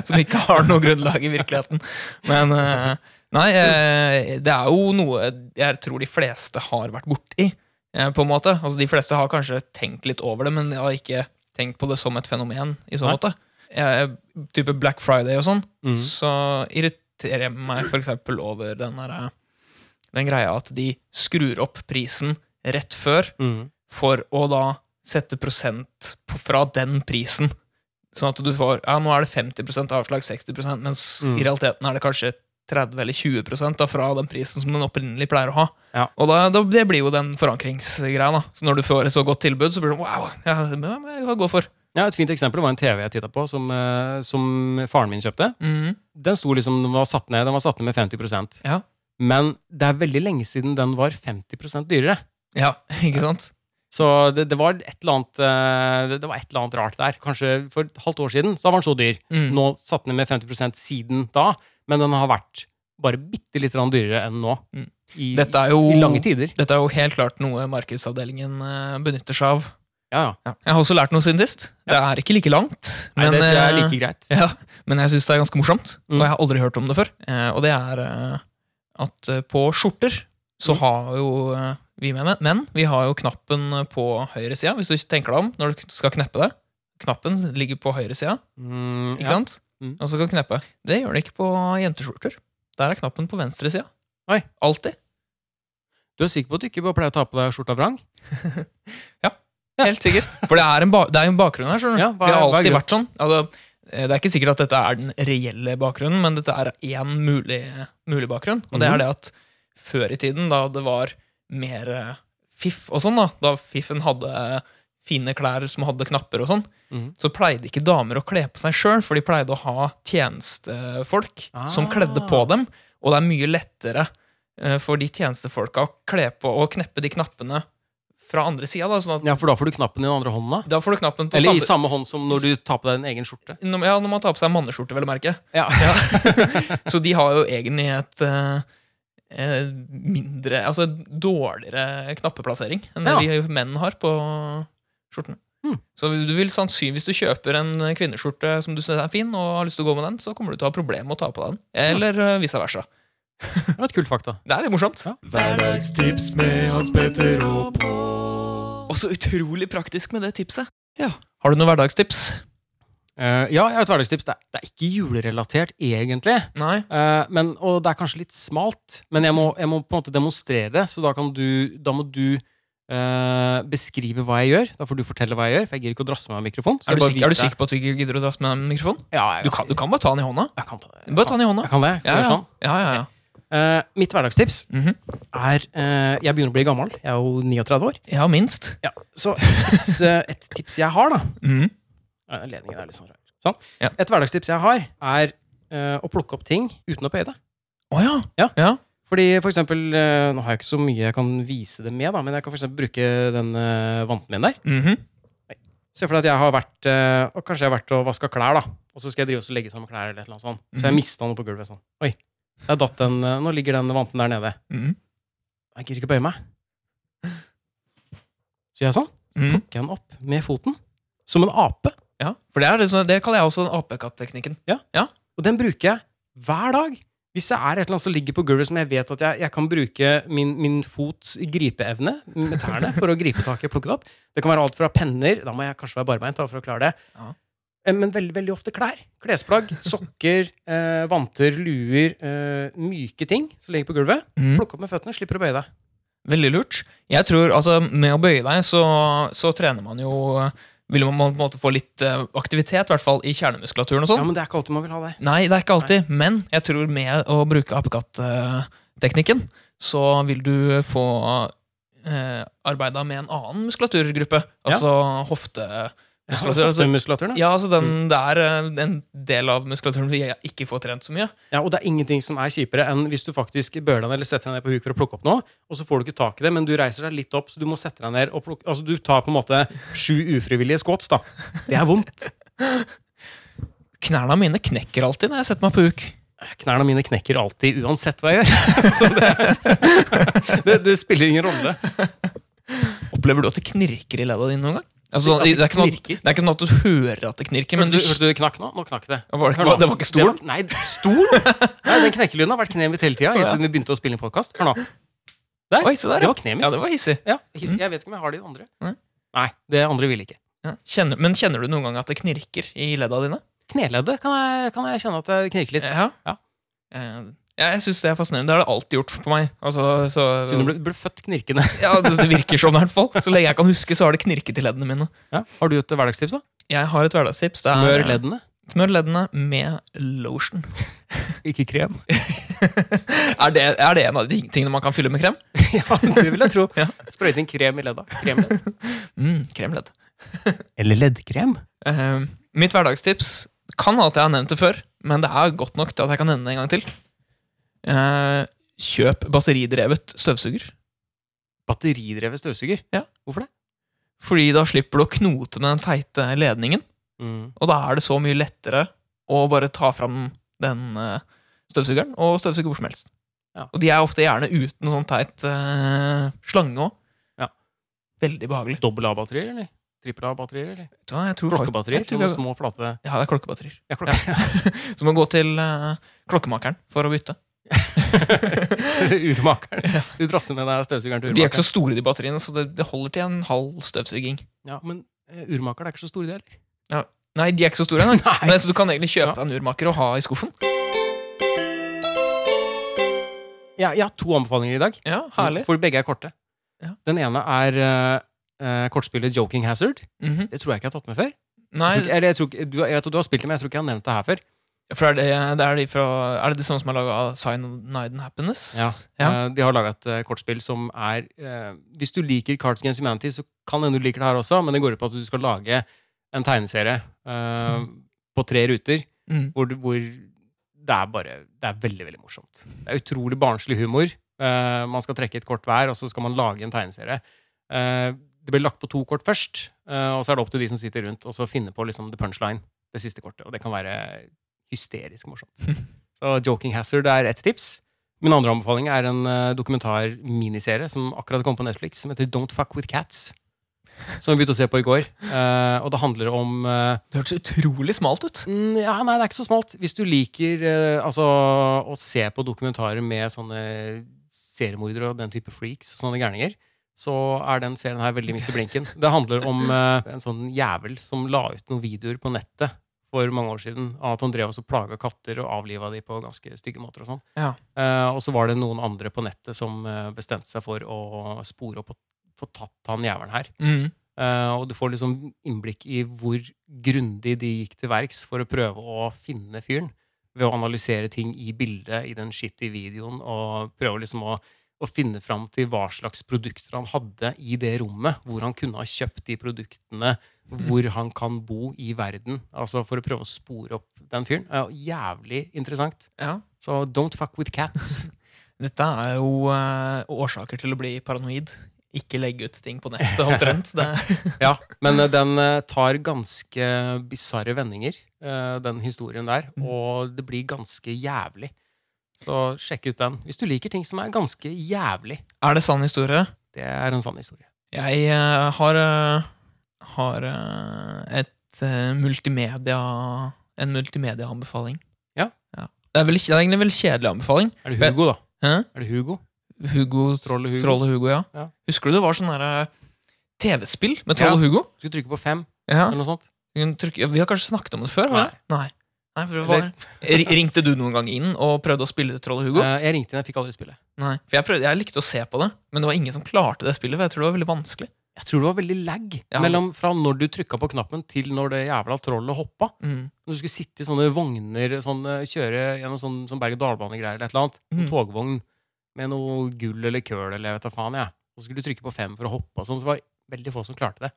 Speaker 2: som ikke har noe grunnlag i virkeligheten. Men eh, nei, eh, det er jo noe jeg tror de fleste har vært borti, eh, på en måte. Altså, de fleste har kanskje tenkt litt over det, men de har ikke tenkt på det som et fenomen i så
Speaker 1: Nei.
Speaker 2: måte. Jeg, type Black Friday og sånn,
Speaker 1: Mhm.
Speaker 2: så irriterer jeg meg for eksempel over den, der, eh, den greia at de skrur opp prisen rett før
Speaker 1: Mm.
Speaker 2: for å da sette prosent på, fra den prisen. Sånn at du får ja, nå er det 50 avslag, 60 mens
Speaker 1: Mm.
Speaker 2: i realiteten er det kanskje 30 eller 20 da, fra den prisen som den opprinnelig pleier å ha.
Speaker 1: Ja.
Speaker 2: Og da, da, det blir jo den forankringsgreia. da. Så når du får et så godt tilbud, så blir det wow, ja, det må jeg må jeg gå for.
Speaker 1: Ja, Et fint eksempel var en TV jeg titta på, som, eh, som faren min kjøpte.
Speaker 2: Mhm.
Speaker 1: Den sto liksom, den var satt ned, den var satt ned med 50
Speaker 2: Ja.
Speaker 1: Men det er veldig lenge siden den var 50 dyrere.
Speaker 2: Ja, ikke sant?
Speaker 1: Så det, det, var et eller annet, eh, det, det var et eller annet rart der. Kanskje for et halvt år siden så var den så dyr.
Speaker 2: Mm.
Speaker 1: Nå satt den ned med 50 siden da, men den har vært bare bitte litt grann dyrere enn nå.
Speaker 2: Mm.
Speaker 1: I,
Speaker 2: Dette er jo,
Speaker 1: i lange tider.
Speaker 2: dette er jo helt klart noe markedsavdelingen eh, benytter seg av.
Speaker 1: Ja, ja.
Speaker 2: Jeg har også lært noe siden sist. Det er ikke like langt.
Speaker 1: Nei, det tror jeg er
Speaker 2: eh,
Speaker 1: like greit.
Speaker 2: Ja, men jeg syns det er ganske morsomt,
Speaker 1: Mm.
Speaker 2: og jeg har aldri hørt om det før. Eh, og det er eh, at eh, på skjorter så
Speaker 1: Mm.
Speaker 2: har jo eh, vi menn, menn vi har jo knappen på høyresida, hvis du ikke tenker deg om når du skal kneppe det. Knappen ligger på høyresida,
Speaker 1: Mm, ja.
Speaker 2: ikke sant?
Speaker 1: Mm.
Speaker 2: Og så kan du kneppe. Det gjør det ikke på jenteskjorter. Der er knappen på venstresida.
Speaker 1: Oi.
Speaker 2: Alltid.
Speaker 1: Du er sikker på at du ikke bare pleier å ta på deg skjorta vrang?
Speaker 2: Helt sikker. For det er, en ba det er jo en bakgrunn her, skjønner du.
Speaker 1: Ja, hva er- hva
Speaker 2: det har
Speaker 1: er
Speaker 2: alltid
Speaker 1: grunnen?
Speaker 2: vært sånn. Altså, eh, det er ikke sikkert at dette er den reelle bakgrunnen, men dette er én mulig, mulig bakgrunn. Og det
Speaker 1: Mhm.
Speaker 2: er det at før i tiden, da det var mer eh, fiff og sånn, da, da fiffen hadde eh, fine klær som hadde knapper og sånn,
Speaker 1: Mhm.
Speaker 2: så pleide ikke damer å kle på seg sjøl, for de pleide å ha tjenestefolk som
Speaker 1: Ah.
Speaker 2: kledde på dem. Og det er mye lettere eh, for de tjenestefolka å kle på og kneppe de knappene fra andre sida, da, sånn at
Speaker 1: Ja, for da får du knappen i den andre hånda.
Speaker 2: da får du knappen på
Speaker 1: Eller i
Speaker 2: samme-
Speaker 1: samme hånd som når du tar på deg din egen skjorte.
Speaker 2: Når- Ja, når man tar på seg manneskjorte, vel å merke.
Speaker 1: Ja.
Speaker 2: Så de har jo egentlig et eh, eh, mindre Altså dårligere knappeplassering enn det
Speaker 1: Ja.
Speaker 2: vi menn har på skjortene.
Speaker 1: Hmm.
Speaker 2: Så du vil sannsynligvis hvis du kjøper en kvinneskjorte som du syns er fin, og har lyst til å gå med den, så kommer du til å ha problemer med å ta på deg den. Eller eh, vice versa.
Speaker 1: Det var et kult fakta.
Speaker 2: Det er litt morsomt.
Speaker 1: Ja.
Speaker 6: Hverdagstips med Hans Petter og Pål.
Speaker 2: Og så utrolig praktisk med det tipset. Ja. Har du noen hverdagstips?
Speaker 1: Eh, ja, jeg har et hverdagstips. Det er, det er ikke julerelatert, egentlig.
Speaker 2: Nei.
Speaker 1: Eh, men, og det er kanskje litt smalt, men jeg må, jeg må på en måte demonstrere, så da, kan du, da må du eh, beskrive hva jeg gjør. Da får du fortelle hva jeg gjør, for jeg gidder ikke å drasse meg av mikrofonen.
Speaker 2: Er du, sikker, er du sikker på at du ikke gidder å dra med en mikrofon?
Speaker 1: Ja,
Speaker 2: Du kan, du kan bare ta den i hånda.
Speaker 1: Jeg kan ta det.
Speaker 2: Bare ta den i hånda.
Speaker 1: Jeg kan det. Jeg kan
Speaker 2: Ja,
Speaker 1: gjøre
Speaker 2: ja.
Speaker 1: altså, sånn.
Speaker 2: ja, ja, ja.
Speaker 1: Eh, mitt hverdagstips
Speaker 2: Mhm.
Speaker 1: er eh, Jeg begynner å bli gammel. Jeg er jo 39 år.
Speaker 2: ja minst.
Speaker 1: Ja, så et tips, eh, et tips jeg har, da,
Speaker 2: Mhm.
Speaker 1: Ja, den Ledningen er litt sånn rar. Sånn.
Speaker 2: Ja.
Speaker 1: Et hverdagstips jeg har, er eh, å plukke opp ting uten å pøye det.
Speaker 2: Å ja.
Speaker 1: Ja.
Speaker 2: ja.
Speaker 1: Fordi for eksempel, eh, Nå har jeg ikke så mye jeg kan vise det med, da, men jeg kan for eksempel bruke den eh, vanten min der.
Speaker 2: Mhm.
Speaker 1: Se for deg at jeg har vært eh, og kanskje jeg har vært og vaska klær, da. Og så skal jeg drive og så legge sammen klær, eller et eller annet sånt. Så jeg
Speaker 2: Mhm.
Speaker 1: mista noe på gulvet. sånn. Oi, jeg datt den, eh, nå ligger den vanten der nede.
Speaker 2: Mhm.
Speaker 1: Jeg gidder ikke bøye meg. Så gjør jeg sånn.
Speaker 2: Mhm.
Speaker 1: Plukker jeg den opp med foten. Som en ape.
Speaker 2: Ja, for det, er det, som- det kaller jeg også den apekatt-teknikken.
Speaker 1: Og den bruker jeg hver dag. Hvis jeg er et eller annet som ligger på gulvet som jeg vet at jeg, jeg kan bruke min, min fots gripeevne med tærne for å gripe tak i og plukke det opp. Det kan være alt fra penner Da må jeg kanskje være barbeint da, for å klare det.
Speaker 2: Ja.
Speaker 1: Eh, Men veldig veldig ofte klær. Klesplagg, sokker, eh, vanter, luer. Eh, myke ting som ligger på gulvet.
Speaker 2: Mhm. Sånn.
Speaker 1: Plukke opp med føttene, slipper å bøye deg.
Speaker 2: Veldig lurt. Jeg tror, altså, Med å bøye deg, så, så trener man jo Vil man på en måte få litt eh, aktivitet, i hvert fall i kjernemuskulaturen og sånn.
Speaker 1: Ja, Men det er ikke alltid man vil ha det.
Speaker 2: Nei, det er ikke alltid, men jeg tror med å bruke apekatt teknikken, så vil du få eh, arbeida med en annen muskulaturgruppe. Altså hoftemuskulatur.
Speaker 1: Ja, Mm.
Speaker 2: altså,
Speaker 1: hoftemuskulaturen, ja.
Speaker 2: ja, altså den, det er eh, en del av muskulaturen vi ikke får trent så mye.
Speaker 1: Ja, og det er ingenting som er kjipere enn hvis du faktisk bøler deg ned eller setter deg ned på huk for å plukke opp noe, og så får du ikke tak i det, men du reiser deg litt opp, så du må sette deg ned og plukke Altså, du tar på en måte sju ufrivillige squats, da. Det er vondt.
Speaker 2: Knærne mine knekker alltid når jeg setter meg på huk.
Speaker 1: Knærne mine knekker alltid, uansett hva jeg gjør. Så det, det, det spiller ingen rolle.
Speaker 2: Opplever du at det knirker i ledda dine noen gang? Altså,
Speaker 1: At
Speaker 2: det,
Speaker 1: det
Speaker 2: er ikke sånn at,
Speaker 1: knirker?
Speaker 2: det er ikke sånn at du hører at det knirker, men du,
Speaker 1: Hørte du det knakk nå? Nå knakk det.
Speaker 2: var det,
Speaker 1: Hør nå.
Speaker 2: ikke, det var ikke
Speaker 1: Det
Speaker 2: stolen?
Speaker 1: var- Nei, stol? Nei, den knekkelyden har vært kneet mitt hele tida helt siden vi begynte å spille inn podkast. Hør nå. Der.
Speaker 2: Oi, se der,
Speaker 1: Det
Speaker 2: ja.
Speaker 1: var kneet mitt.
Speaker 2: ja. Det var hissig.
Speaker 1: Ja, his- Jeg vet ikke om jeg har de andre.
Speaker 2: Nei.
Speaker 1: Nei, det andre vil ikke.
Speaker 2: Ja. Kjenner, men kjenner du noen gang at det knirker i ledda dine?
Speaker 1: Kneleddet kan jeg, kan jeg kjenne at det knirker litt.
Speaker 2: Ja.
Speaker 1: Ja.
Speaker 2: Eh, ja jeg syns det er fascinerende. Det har det alltid gjort på meg. Altså, så,
Speaker 1: Siden du ble, ble født knirkende.
Speaker 2: ja, det, det virker sånn, i hvert fall. Så lenge jeg kan huske, så har det knirket i leddene mine.
Speaker 1: Ja. Har du et hverdagstips? da?
Speaker 2: Jeg har et hverdagstips. Det er-
Speaker 1: Smør leddene.
Speaker 2: Smør leddene med lotion.
Speaker 1: Ikke krem.
Speaker 2: Er det, er det en av de tingene man kan fylle med krem?
Speaker 1: ja, Det vil jeg tro.
Speaker 2: Ja.
Speaker 1: Sprøyte inn krem i ledda. Kremledd.
Speaker 2: Mm, kremledd.
Speaker 1: Eller leddkrem.
Speaker 2: Eh, mitt hverdagstips kan hende at jeg har nevnt det før, men det er godt nok til at jeg kan nevne det en gang til. Eh, kjøp batteridrevet støvsuger.
Speaker 1: Batteridrevet støvsuger.
Speaker 2: Fordi da slipper du å knote med den teite ledningen,
Speaker 1: Mm.
Speaker 2: og da er det så mye lettere å bare ta fram den eh, støvsugeren og støvsuge hvor som helst.
Speaker 1: Ja.
Speaker 2: Og de er ofte gjerne uten sånn teit eh, slange òg.
Speaker 1: Ja.
Speaker 2: Veldig behagelig.
Speaker 1: Dobbel A-batterier, eller? Trippel A-batterier, eller?
Speaker 2: Vet du hva, jeg tror fakt-
Speaker 1: Klokkebatterier?
Speaker 2: jeg tror jeg-
Speaker 1: Sånne små, flate
Speaker 2: Ja, det er klokkebatterier.
Speaker 1: ja, klokke.
Speaker 2: Så må du gå til eh, klokkemakeren for å bytte.
Speaker 1: Urmakeren. Du drasser med deg støvsugeren til
Speaker 2: De er ikke
Speaker 1: urmakeren.
Speaker 2: så store, de batteriene, så det, det holder til en halv støvsuging.
Speaker 1: Ja, men eh, urmakeren er ikke så store, de heller.
Speaker 2: Nei, de er ikke så store, nei.
Speaker 1: Nei.
Speaker 2: Nei, så du kan egentlig
Speaker 1: Ja.
Speaker 2: kjøpe deg en urmaker og ha i skuffen.
Speaker 1: Jeg, jeg har to anbefalinger i dag,
Speaker 2: Ja, herlig.
Speaker 1: for begge er korte.
Speaker 2: Ja.
Speaker 1: Den ene er eh, eh, kortspillet Joking Hazard.
Speaker 2: Mhm.
Speaker 1: Det tror jeg ikke jeg har tatt med før.
Speaker 2: Nei,
Speaker 1: Jeg tror ikke- eller jeg, tror ikke, du, jeg vet at du har spilt det, men jeg tror ikke jeg har nevnt det her før.
Speaker 2: for er det, det er de fra Er det de samme som er laga av Cyanide and Happiness? ja.
Speaker 1: Eh, De har laga et eh, kortspill som er eh, Hvis du liker Cards Against Humanity, så kan hende du liker det her også, men det går ut på at du skal lage en tegneserie eh, på tre ruter
Speaker 2: Mm.
Speaker 1: hvor, du- hvor det er bare Det er veldig, veldig morsomt. Det er utrolig barnslig humor. Eh, man skal trekke et kort hver, og så skal man lage en tegneserie. Eh, det blir lagt på to kort først, eh, og så er det opp til de som sitter rundt, og så finne på liksom the punchline, det siste kortet. Og det kan være hysterisk morsomt. Så Joking Hazard er ett tips. Min andre anbefaling er en eh, dokumentar-miniserie som akkurat kom på Netflix, som heter Don't Fuck With Cats. Som vi begynte å se på i går. Eh, og det handler om eh,
Speaker 2: Det hørtes utrolig smalt ut.
Speaker 1: Mm, Ja, nei, det er ikke så smalt. Hvis du liker eh, altså, å se på dokumentarer med sånne seriemordere og den type freaks, sånne gærninger, så er den serien her veldig midt i blinken. Det handler om eh, en sånn jævel som la ut noen videoer på nettet for mange år siden av at han drev og plaga katter og avliva de på ganske stygge måter og sånn.
Speaker 2: Ja.
Speaker 1: Eh, og så var det noen andre på nettet som eh, bestemte seg for å spore opp og få tatt han jævelen her.
Speaker 2: Mm.
Speaker 1: Eh, og du får liksom innblikk i hvor grundig de gikk til verks for å prøve å finne fyren. Ved å analysere ting i bildet, i den shitty videoen, og prøve liksom å, å finne fram til hva slags produkter han hadde i det rommet. Hvor han kunne ha kjøpt de produktene, hvor han kan bo i verden. Altså For å prøve å spore opp den fyren. Eh, jævlig interessant.
Speaker 2: Ja.
Speaker 1: Så don't fuck with cats.
Speaker 2: Dette er jo eh, årsaker til å bli paranoid. Ikke legge ut ting på nettet, omtrent. Det,
Speaker 1: Ja, men eh, den eh, tar ganske bisarre vendinger, eh, den historien der. Og det blir ganske jævlig. Så sjekk ut den. Hvis du liker ting som er ganske jævlig.
Speaker 2: er det sann historie?
Speaker 1: Det er en sann historie.
Speaker 2: Jeg eh, har, eh, har eh, et eh, multimedia En multimediaanbefaling.
Speaker 1: Ja.
Speaker 2: Det, er vel, det er egentlig en veldig kjedelig anbefaling.
Speaker 1: Er det Hugo, da?
Speaker 2: Hæ?
Speaker 1: Er det Hugo?
Speaker 2: Hugo,
Speaker 1: Trollet Hugo?
Speaker 2: Troll og Hugo, ja.
Speaker 1: Ja.
Speaker 2: Husker du det var sånn der, eh, TV-spill med Troll
Speaker 1: Ja.
Speaker 2: og Hugo?
Speaker 1: Skal vi trykke på fem,
Speaker 2: Ja.
Speaker 1: eller noe sånt?
Speaker 2: Du kunne trykke- ja, Vi har kanskje snakket om det før? har vi? Nei. Nei, for det var,
Speaker 1: Eller-
Speaker 2: Ri- ringte du noen gang inn og prøvde å spille Troll og Hugo?
Speaker 1: Eh, jeg ringte inn, jeg fikk aldri spille.
Speaker 2: Nei, for jeg, prøvde, jeg likte å se på det, men det var ingen som klarte det spillet. For jeg tror det var veldig vanskelig
Speaker 1: Jeg tror det var veldig lag
Speaker 2: Ja.
Speaker 1: mellom fra når du trykka på knappen, til når det jævla trollet hoppa.
Speaker 2: Mm.
Speaker 1: Når du skulle sitte i sånne vogner, sånn, eh, kjøre gjennom sånn, sånn berg-og-dal-bane-greier eller et eller annet. En
Speaker 2: Mm.
Speaker 1: togvogn med noe gull eller køl eller jeg vet da faen, jeg. Så skulle du trykke på fem for å hoppe og sånn, så var det veldig få som klarte det.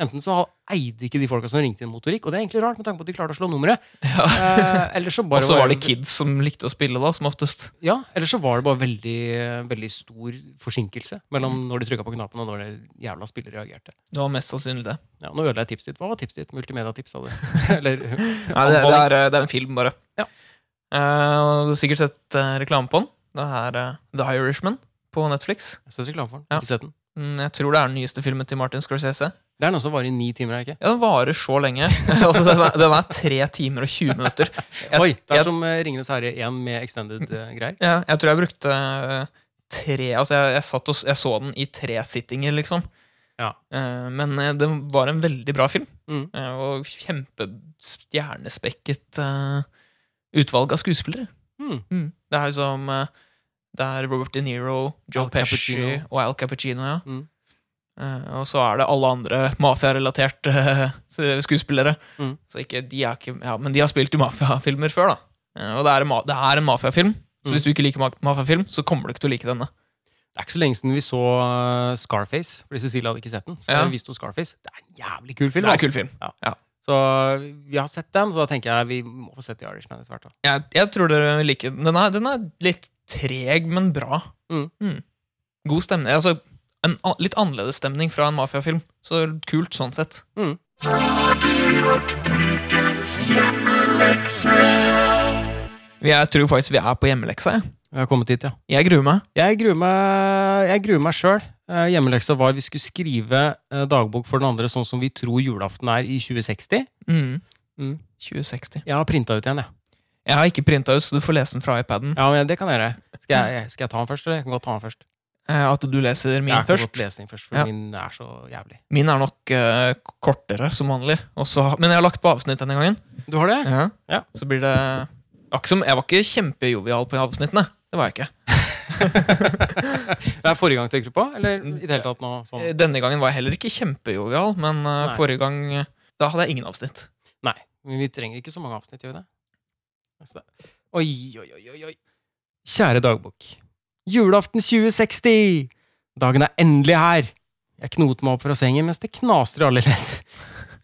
Speaker 1: Enten så eide ikke de folka som ringte inn motorikk, og det er egentlig rart med tanke på at de klarte å slå nummeret.
Speaker 2: Ja.
Speaker 1: Eh, eller så
Speaker 2: Og
Speaker 1: bare
Speaker 2: så var det kids som likte å spille, da, som oftest.
Speaker 1: Ja, eller så var det bare veldig, veldig stor forsinkelse
Speaker 2: Mhm.
Speaker 1: mellom når de trykka på knappen, og når det jævla spillet reagerte.
Speaker 2: Det var mest sannsynlig det.
Speaker 1: Ja, nå ødela jeg tipset ditt. Hva var tipset ditt? Multimediatips, sa du. eller
Speaker 2: Nei, det, det, er, eh, det er en film, bare.
Speaker 1: Ja.
Speaker 2: Eh, og du har sikkert sett eh, reklame på den. Det er eh, The Irishman på Netflix.
Speaker 1: Jeg synes reklame for den.
Speaker 2: Ja.
Speaker 1: Ikke sett den.
Speaker 2: Mm, Jeg tror det er den nyeste filmen til Martin Scorsese.
Speaker 1: Det er den som varer i ni timer, er det ikke?
Speaker 2: Ja, Den varer så lenge. altså, den, er, den er 3 timer og 20 minutter. Jeg-
Speaker 1: Oi, det er
Speaker 2: jeg-
Speaker 1: som uh, Ringenes herre 1 med extended eh, greier.
Speaker 2: Ja, jeg tror jeg brukte eh, tre Altså, jeg, jeg, satt og, s- jeg så den i tre sittinger, liksom.
Speaker 1: Ja.
Speaker 2: Eh, Men eh, det var en veldig bra film,
Speaker 1: Mm.
Speaker 2: eh, og kjempestjernespekket eh, utvalg av skuespillere.
Speaker 1: Mm.
Speaker 2: Det er liksom eh, Det er Robert De Niro, Joe
Speaker 1: Al
Speaker 2: Pesci
Speaker 1: Cappuccino.
Speaker 2: og Al Cappuccino, ja.
Speaker 1: Mm.
Speaker 2: Eh, og så er det alle andre mafiarelaterte eh, skuespillere.
Speaker 1: Mm.
Speaker 2: Så ikke, de er ikke, ja, men de har spilt i mafiafilmer før, da. Eh, og det er en, ma- det er en mafiafilm, så
Speaker 1: Mm.
Speaker 2: hvis du ikke liker ma mafiafilm, så kommer du ikke til å like denne.
Speaker 1: Det er ikke så lenge siden vi så eh, Scarface, fordi Cecilie hadde ikke sett den. Så
Speaker 2: Ja.
Speaker 1: vi sto Scarface. Det er en jævlig kul
Speaker 2: Det
Speaker 1: film.
Speaker 2: er en
Speaker 1: altså.
Speaker 2: kul film.
Speaker 1: Så eh, vi har sett den, så da tenker jeg vi må få sett The Irishman etter hvert. da.
Speaker 2: Jeg, jeg tror dere vil like den. Den er, den er litt treg, men bra.
Speaker 1: Mm.
Speaker 2: God stemning. Altså, en a- litt annerledes stemning fra en mafiafilm. Så kult sånn sett.
Speaker 1: Mm.
Speaker 2: Jeg tror faktisk vi er på hjemmeleksa. Jeg,
Speaker 1: Vi har kommet hit, ja.
Speaker 2: jeg gruer meg.
Speaker 1: Jeg gruer meg, jeg gruer meg sjøl. Eh, Hjemmeleksa var at vi skulle skrive eh, dagbok for den andre sånn som vi tror julaften er i 2060.
Speaker 2: Mm.
Speaker 1: Mm.
Speaker 2: 2060.
Speaker 1: Jeg har printa ut igjen, jeg.
Speaker 2: Jeg har ikke printa ut, så du får lese den fra iPaden.
Speaker 1: Ja, men det kan jeg gjøre. Skal jeg, skal jeg ta den først, eller? Jeg kan godt ta den først.
Speaker 2: Eh, At du leser min
Speaker 1: jeg kan
Speaker 2: først.
Speaker 1: godt lese den først, for
Speaker 2: Ja.
Speaker 1: min er så jævlig.
Speaker 2: Min er nok eh, kortere, som vanlig. Og så- men jeg har lagt på avsnitt denne gangen.
Speaker 1: Du har det?
Speaker 2: Ja.
Speaker 1: Ja.
Speaker 2: Så blir det Akkurat som- Jeg var ikke kjempejovial på avsnittene. Det var jeg ikke.
Speaker 1: Det er forrige gang tenker du på? Eller i det hele tatt nå? Sånn.
Speaker 2: Eh, Denne gangen var jeg heller ikke kjempejovial, men eh,
Speaker 1: Nei.
Speaker 2: forrige gang eh, Da hadde jeg ingen avsnitt.
Speaker 1: Nei. Men vi trenger ikke så mange avsnitt, gjør vi det? Altså, det- Oi, oi, oi, oi, oi. Kjære dagbok. Julaften 2060! Dagen er endelig her! Jeg knoter meg opp fra sengen mens det knaser i alle ledd.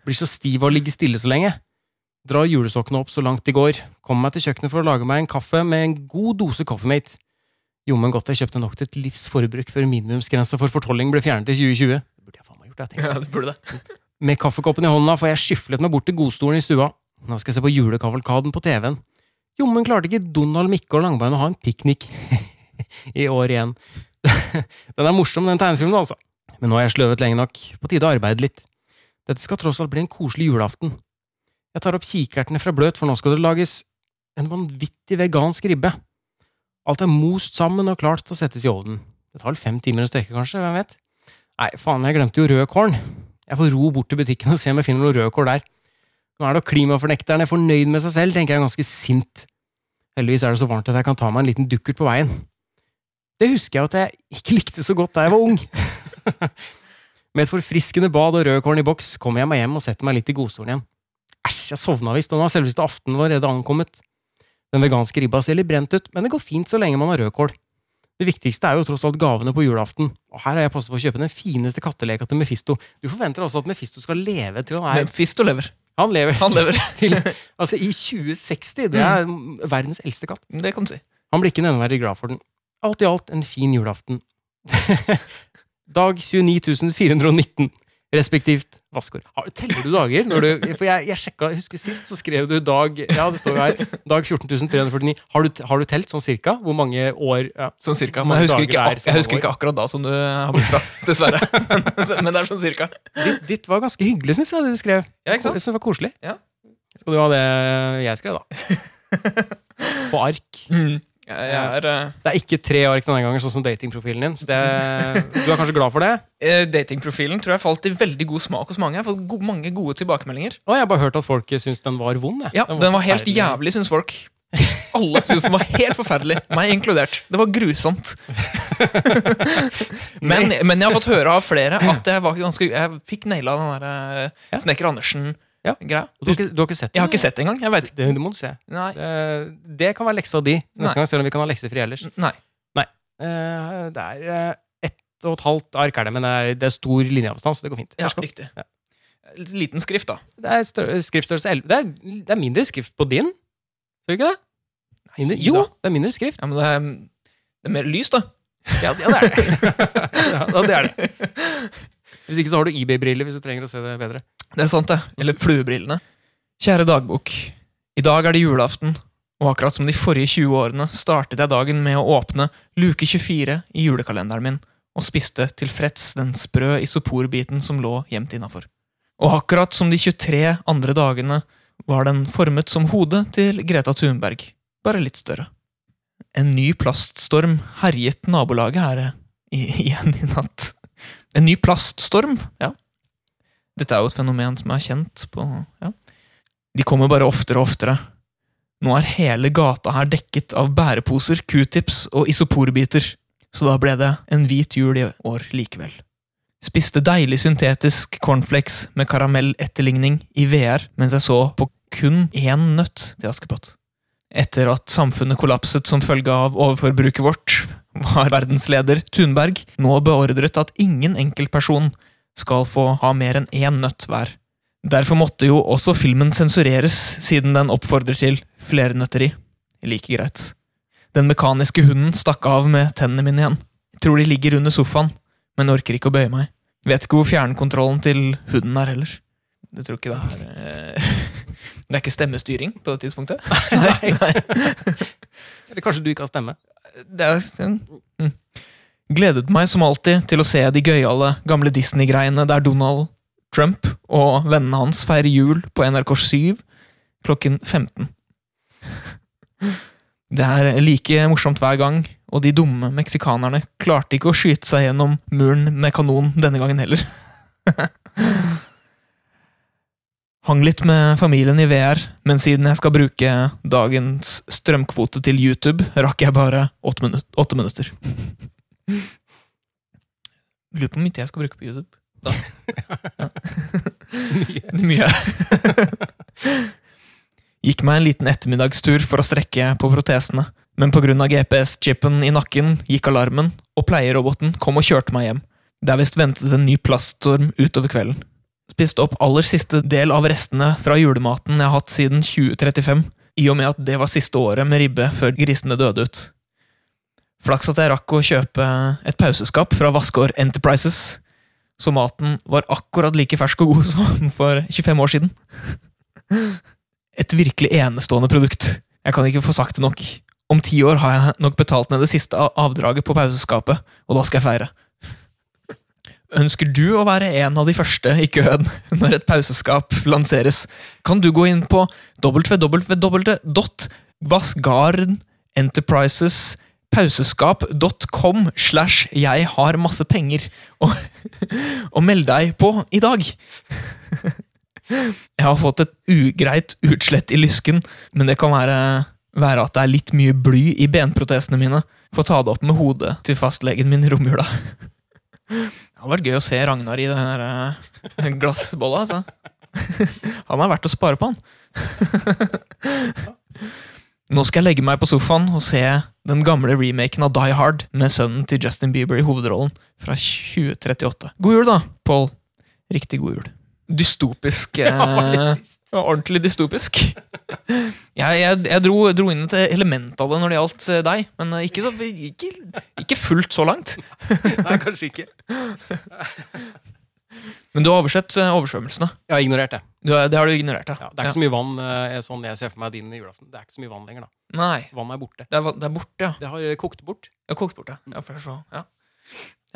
Speaker 1: Blir så stiv av å ligge stille så lenge. Drar julesokkene opp så langt de går. Kommer meg til kjøkkenet for å lage meg en kaffe med en god dose Coffeemate. Jommen godt jeg kjøpte nok til et livs forbruk før minimumsgrensa for fortolling ble fjernet i 2020. Det burde jeg faen meg gjort, jeg tenker.
Speaker 2: Ja, det burde det.
Speaker 1: Med kaffekoppen i hånda får jeg skyflet meg bort til godstolen i stua. Nå skal jeg se på julekavalkaden på TV-en. Jommen klarte ikke Donald Mikke og Langbein å ha en piknik i år igjen. den er morsom, den tegnefilmen, altså. Men nå har jeg sløvet lenge nok. På tide å arbeide litt. Dette skal tross alt bli en koselig julaften. Jeg tar opp kikertene fra bløt, for nå skal det lages en vanvittig vegansk ribbe. Alt er most sammen og klart til å settes i ovnen. Det tar vel fem timer å steke, kanskje? Hvem vet? Nei, faen, jeg glemte jo rødkålen. Jeg får ro bort til butikken og se om jeg finner noe rødkål der. Nå er da klimafornekteren er fornøyd med seg selv, tenker jeg ganske sint. Heldigvis er det så varmt at jeg kan ta meg en liten dukkert på veien. Det husker jeg at jeg ikke likte så godt da jeg var ung. med et forfriskende bad og rødkålen i boks kommer jeg meg hjem og setter meg litt i godstolen igjen. Æsj, jeg sovna visst, og nå har selveste aftenen allerede ankommet. Den veganske ribba ser litt brent ut, men det går fint så lenge man har rødkål. Det viktigste er jo tross alt gavene på julaften, og her har jeg passet på å kjøpe den fineste katteleka til Mefisto. Du forventer altså at Mefisto skal leve til han er
Speaker 2: Mephisto lever.
Speaker 1: Han lever.
Speaker 2: Han lever.
Speaker 1: til Altså, i 2060.
Speaker 2: Mm.
Speaker 1: Det er verdens eldste katt.
Speaker 2: Det kan du si.
Speaker 1: Han blir ikke nevneverdig glad for den. Alt i alt en fin julaften. Dag 29419, respektivt vaskår. Har- Teller du dager? Når du, for jeg, jeg sjekka, jeg husker sist så skrev du dag ja det står jo her, dag 14349. Har, du- har du telt sånn cirka? Hvor mange år ja.
Speaker 2: Sånn cirka.
Speaker 1: Mange
Speaker 2: Men jeg husker,
Speaker 1: dager det
Speaker 2: ikke,
Speaker 1: er
Speaker 2: ak
Speaker 1: som
Speaker 2: jeg husker
Speaker 1: det går.
Speaker 2: ikke akkurat da som du eh, har bursdag, dessverre. Men, men det er sånn cirka.
Speaker 1: Ditt, ditt var ganske hyggelig, syns jeg, det du skrev.
Speaker 2: Ja, ikke sant?
Speaker 1: Jeg synes det var koselig.
Speaker 2: Ja.
Speaker 1: Skal du ha det jeg skrev, da? På ark.
Speaker 2: Jeg, jeg er eh,
Speaker 1: Det er ikke tre ark denne gangen, sånn som datingprofilen din. Så det, du er kanskje glad for det?
Speaker 2: eh, Datingprofilen tror jeg falt i veldig god smak hos mange. Jeg har fått go mange gode tilbakemeldinger.
Speaker 1: Å, jeg har bare hørt at folk syns den var vond. Jeg.
Speaker 2: Ja, Den var helt
Speaker 1: forferdelig.
Speaker 2: jævlig, syns folk. Alle syntes den var helt forferdelig, meg inkludert. Det var grusomt. men, men jeg har fått høre av flere at jeg, var ganske, jeg fikk naila den der eh,
Speaker 1: Ja.
Speaker 2: Snekker Andersen-greia.
Speaker 1: Du har, ikke, du har ikke sett den?
Speaker 2: Jeg har ikke sett det engang. Jeg vet ikke.
Speaker 1: Det, det må du se.
Speaker 2: Nei.
Speaker 1: Det, det kan være leksa di neste
Speaker 2: Nei.
Speaker 1: gang, selv om vi kan ha lekser fri ellers.
Speaker 2: Nei.
Speaker 1: Nei. Eh, det er eh, ett og et halvt ark, er det, men det er, det er stor linjeavstand, så det går fint.
Speaker 2: Ja,
Speaker 1: Vær så god.
Speaker 2: riktig. Liten skrift, da.
Speaker 1: Det er stør- skriftstørrelse 11. Det er, det er mindre skrift på din, tror du ikke det? Mindre,
Speaker 2: Nei
Speaker 1: jo,
Speaker 2: da.
Speaker 1: det er mindre skrift.
Speaker 2: Ja, men det er, det er mer lys, da.
Speaker 1: Ja, ja, det er det. ja, det er det. Hvis ikke så har du eBay-briller hvis du trenger å se det bedre.
Speaker 2: Det er sant, det. Eller fluebrillene. Kjære dagbok. I dag er det julaften, og akkurat som de forrige 20 årene startet jeg dagen med å åpne luke 24 i julekalenderen min, og spiste tilfreds den sprø isoporbiten som lå gjemt innafor. Og akkurat som de 23 andre dagene var den formet som hodet til Greta Thunberg, bare litt større. En ny plaststorm herjet nabolaget her i, igjen i natt. En ny plaststorm, ja. Dette er jo et fenomen som er kjent på ja. De kommer bare oftere og oftere. Nå er hele gata her dekket av bæreposer, q-tips og isoporbiter, så da ble det en hvit jul i år likevel. Spiste deilig syntetisk cornflakes med karamelletterligning i VR mens jeg så på kun én nøtt til Askepott. Etter at samfunnet kollapset som følge av overforbruket vårt, var verdensleder Thunberg nå beordret at ingen enkeltperson skal få ha mer enn én nøtt hver. Derfor måtte jo også filmen sensureres, siden den oppfordrer til flernøtteri. Like greit. Den mekaniske hunden stakk av med tennene mine igjen. Jeg tror de ligger under sofaen, men orker ikke å bøye meg. Vet ikke hvor fjernkontrollen til hunden er heller. Du tror ikke det er eh, Det er ikke stemmestyring på det tidspunktet? Nei, nei.
Speaker 1: Eller kanskje du ikke har stemme.
Speaker 2: Det er, mm. Gledet meg som alltid til å se de gøyale gamle Disney-greiene der Donald Trump og vennene hans feirer jul på NRK 7 klokken 15. Det er like morsomt hver gang, og de dumme meksikanerne klarte ikke å skyte seg gjennom muren med kanon denne gangen heller. Hang litt med familien i VR, men siden jeg skal bruke dagens strømkvote til YouTube, rakk jeg bare åtte, minu åtte minutter. Jeg Lurer på hvor mye tid jeg skal bruke på YouTube. Da. Ja. Mye. Gikk meg en liten ettermiddagstur for å strekke på protesene, men pga. GPS-chipen i nakken gikk alarmen, og pleieroboten kom og kjørte meg hjem. Det er visst ventet en ny plaststorm utover kvelden spiste opp aller siste del av restene fra julematen jeg har hatt siden 2035, i og med at det var siste året med ribbe før grisene døde ut. Flaks at jeg rakk å kjøpe et pauseskap fra Vassgård Enterprises, så maten var akkurat like fersk og god som for 25 år siden. Et virkelig enestående produkt. Jeg kan ikke få sagt det nok. Om ti år har jeg nok betalt ned det siste av- avdraget på pauseskapet, og da skal jeg feire. Ønsker du å være en av de første i køen når et pauseskap lanseres, kan du gå inn på www.vassgardenenterprisespauseskap.com slash jeg har masse penger og, og meld deg på i dag. Jeg har fått et ugreit utslett i lysken, men det kan være, være at det er litt mye bly i benprotesene mine. Får ta det opp med hodet til fastlegen min i romjula. Det hadde vært gøy å se Ragnar i den her eh, glassbolla, altså. Han er verdt å spare på, han. Nå skal jeg legge meg på sofaen og se den gamle remaken av Die Hard med sønnen til Justin Bieber i hovedrollen fra 2038. God jul, da, Paul. Riktig god jul. Dystopisk. Eh, ordentlig dystopisk. Jeg, jeg, jeg dro, dro inn et element av det når det gjaldt eh, deg, men eh, ikke, så, ikke, ikke fullt så langt.
Speaker 1: Nei, kanskje ikke.
Speaker 2: Men du har oversett eh, oversvømmelsene.
Speaker 1: Jeg har ignorert det.
Speaker 2: Du, er- det har du ignorert, ja.
Speaker 1: Ja, det er ikke så mye vann eh, sånn jeg ser for meg din i julaften. Det er ikke så mye vann lenger, da.
Speaker 2: Nei,
Speaker 1: Vannet er borte.
Speaker 2: det er, va- det er borte, ja.
Speaker 1: Det har eh, kokt bort.
Speaker 2: Jeg har kokt bort, ja. ja, for det er så-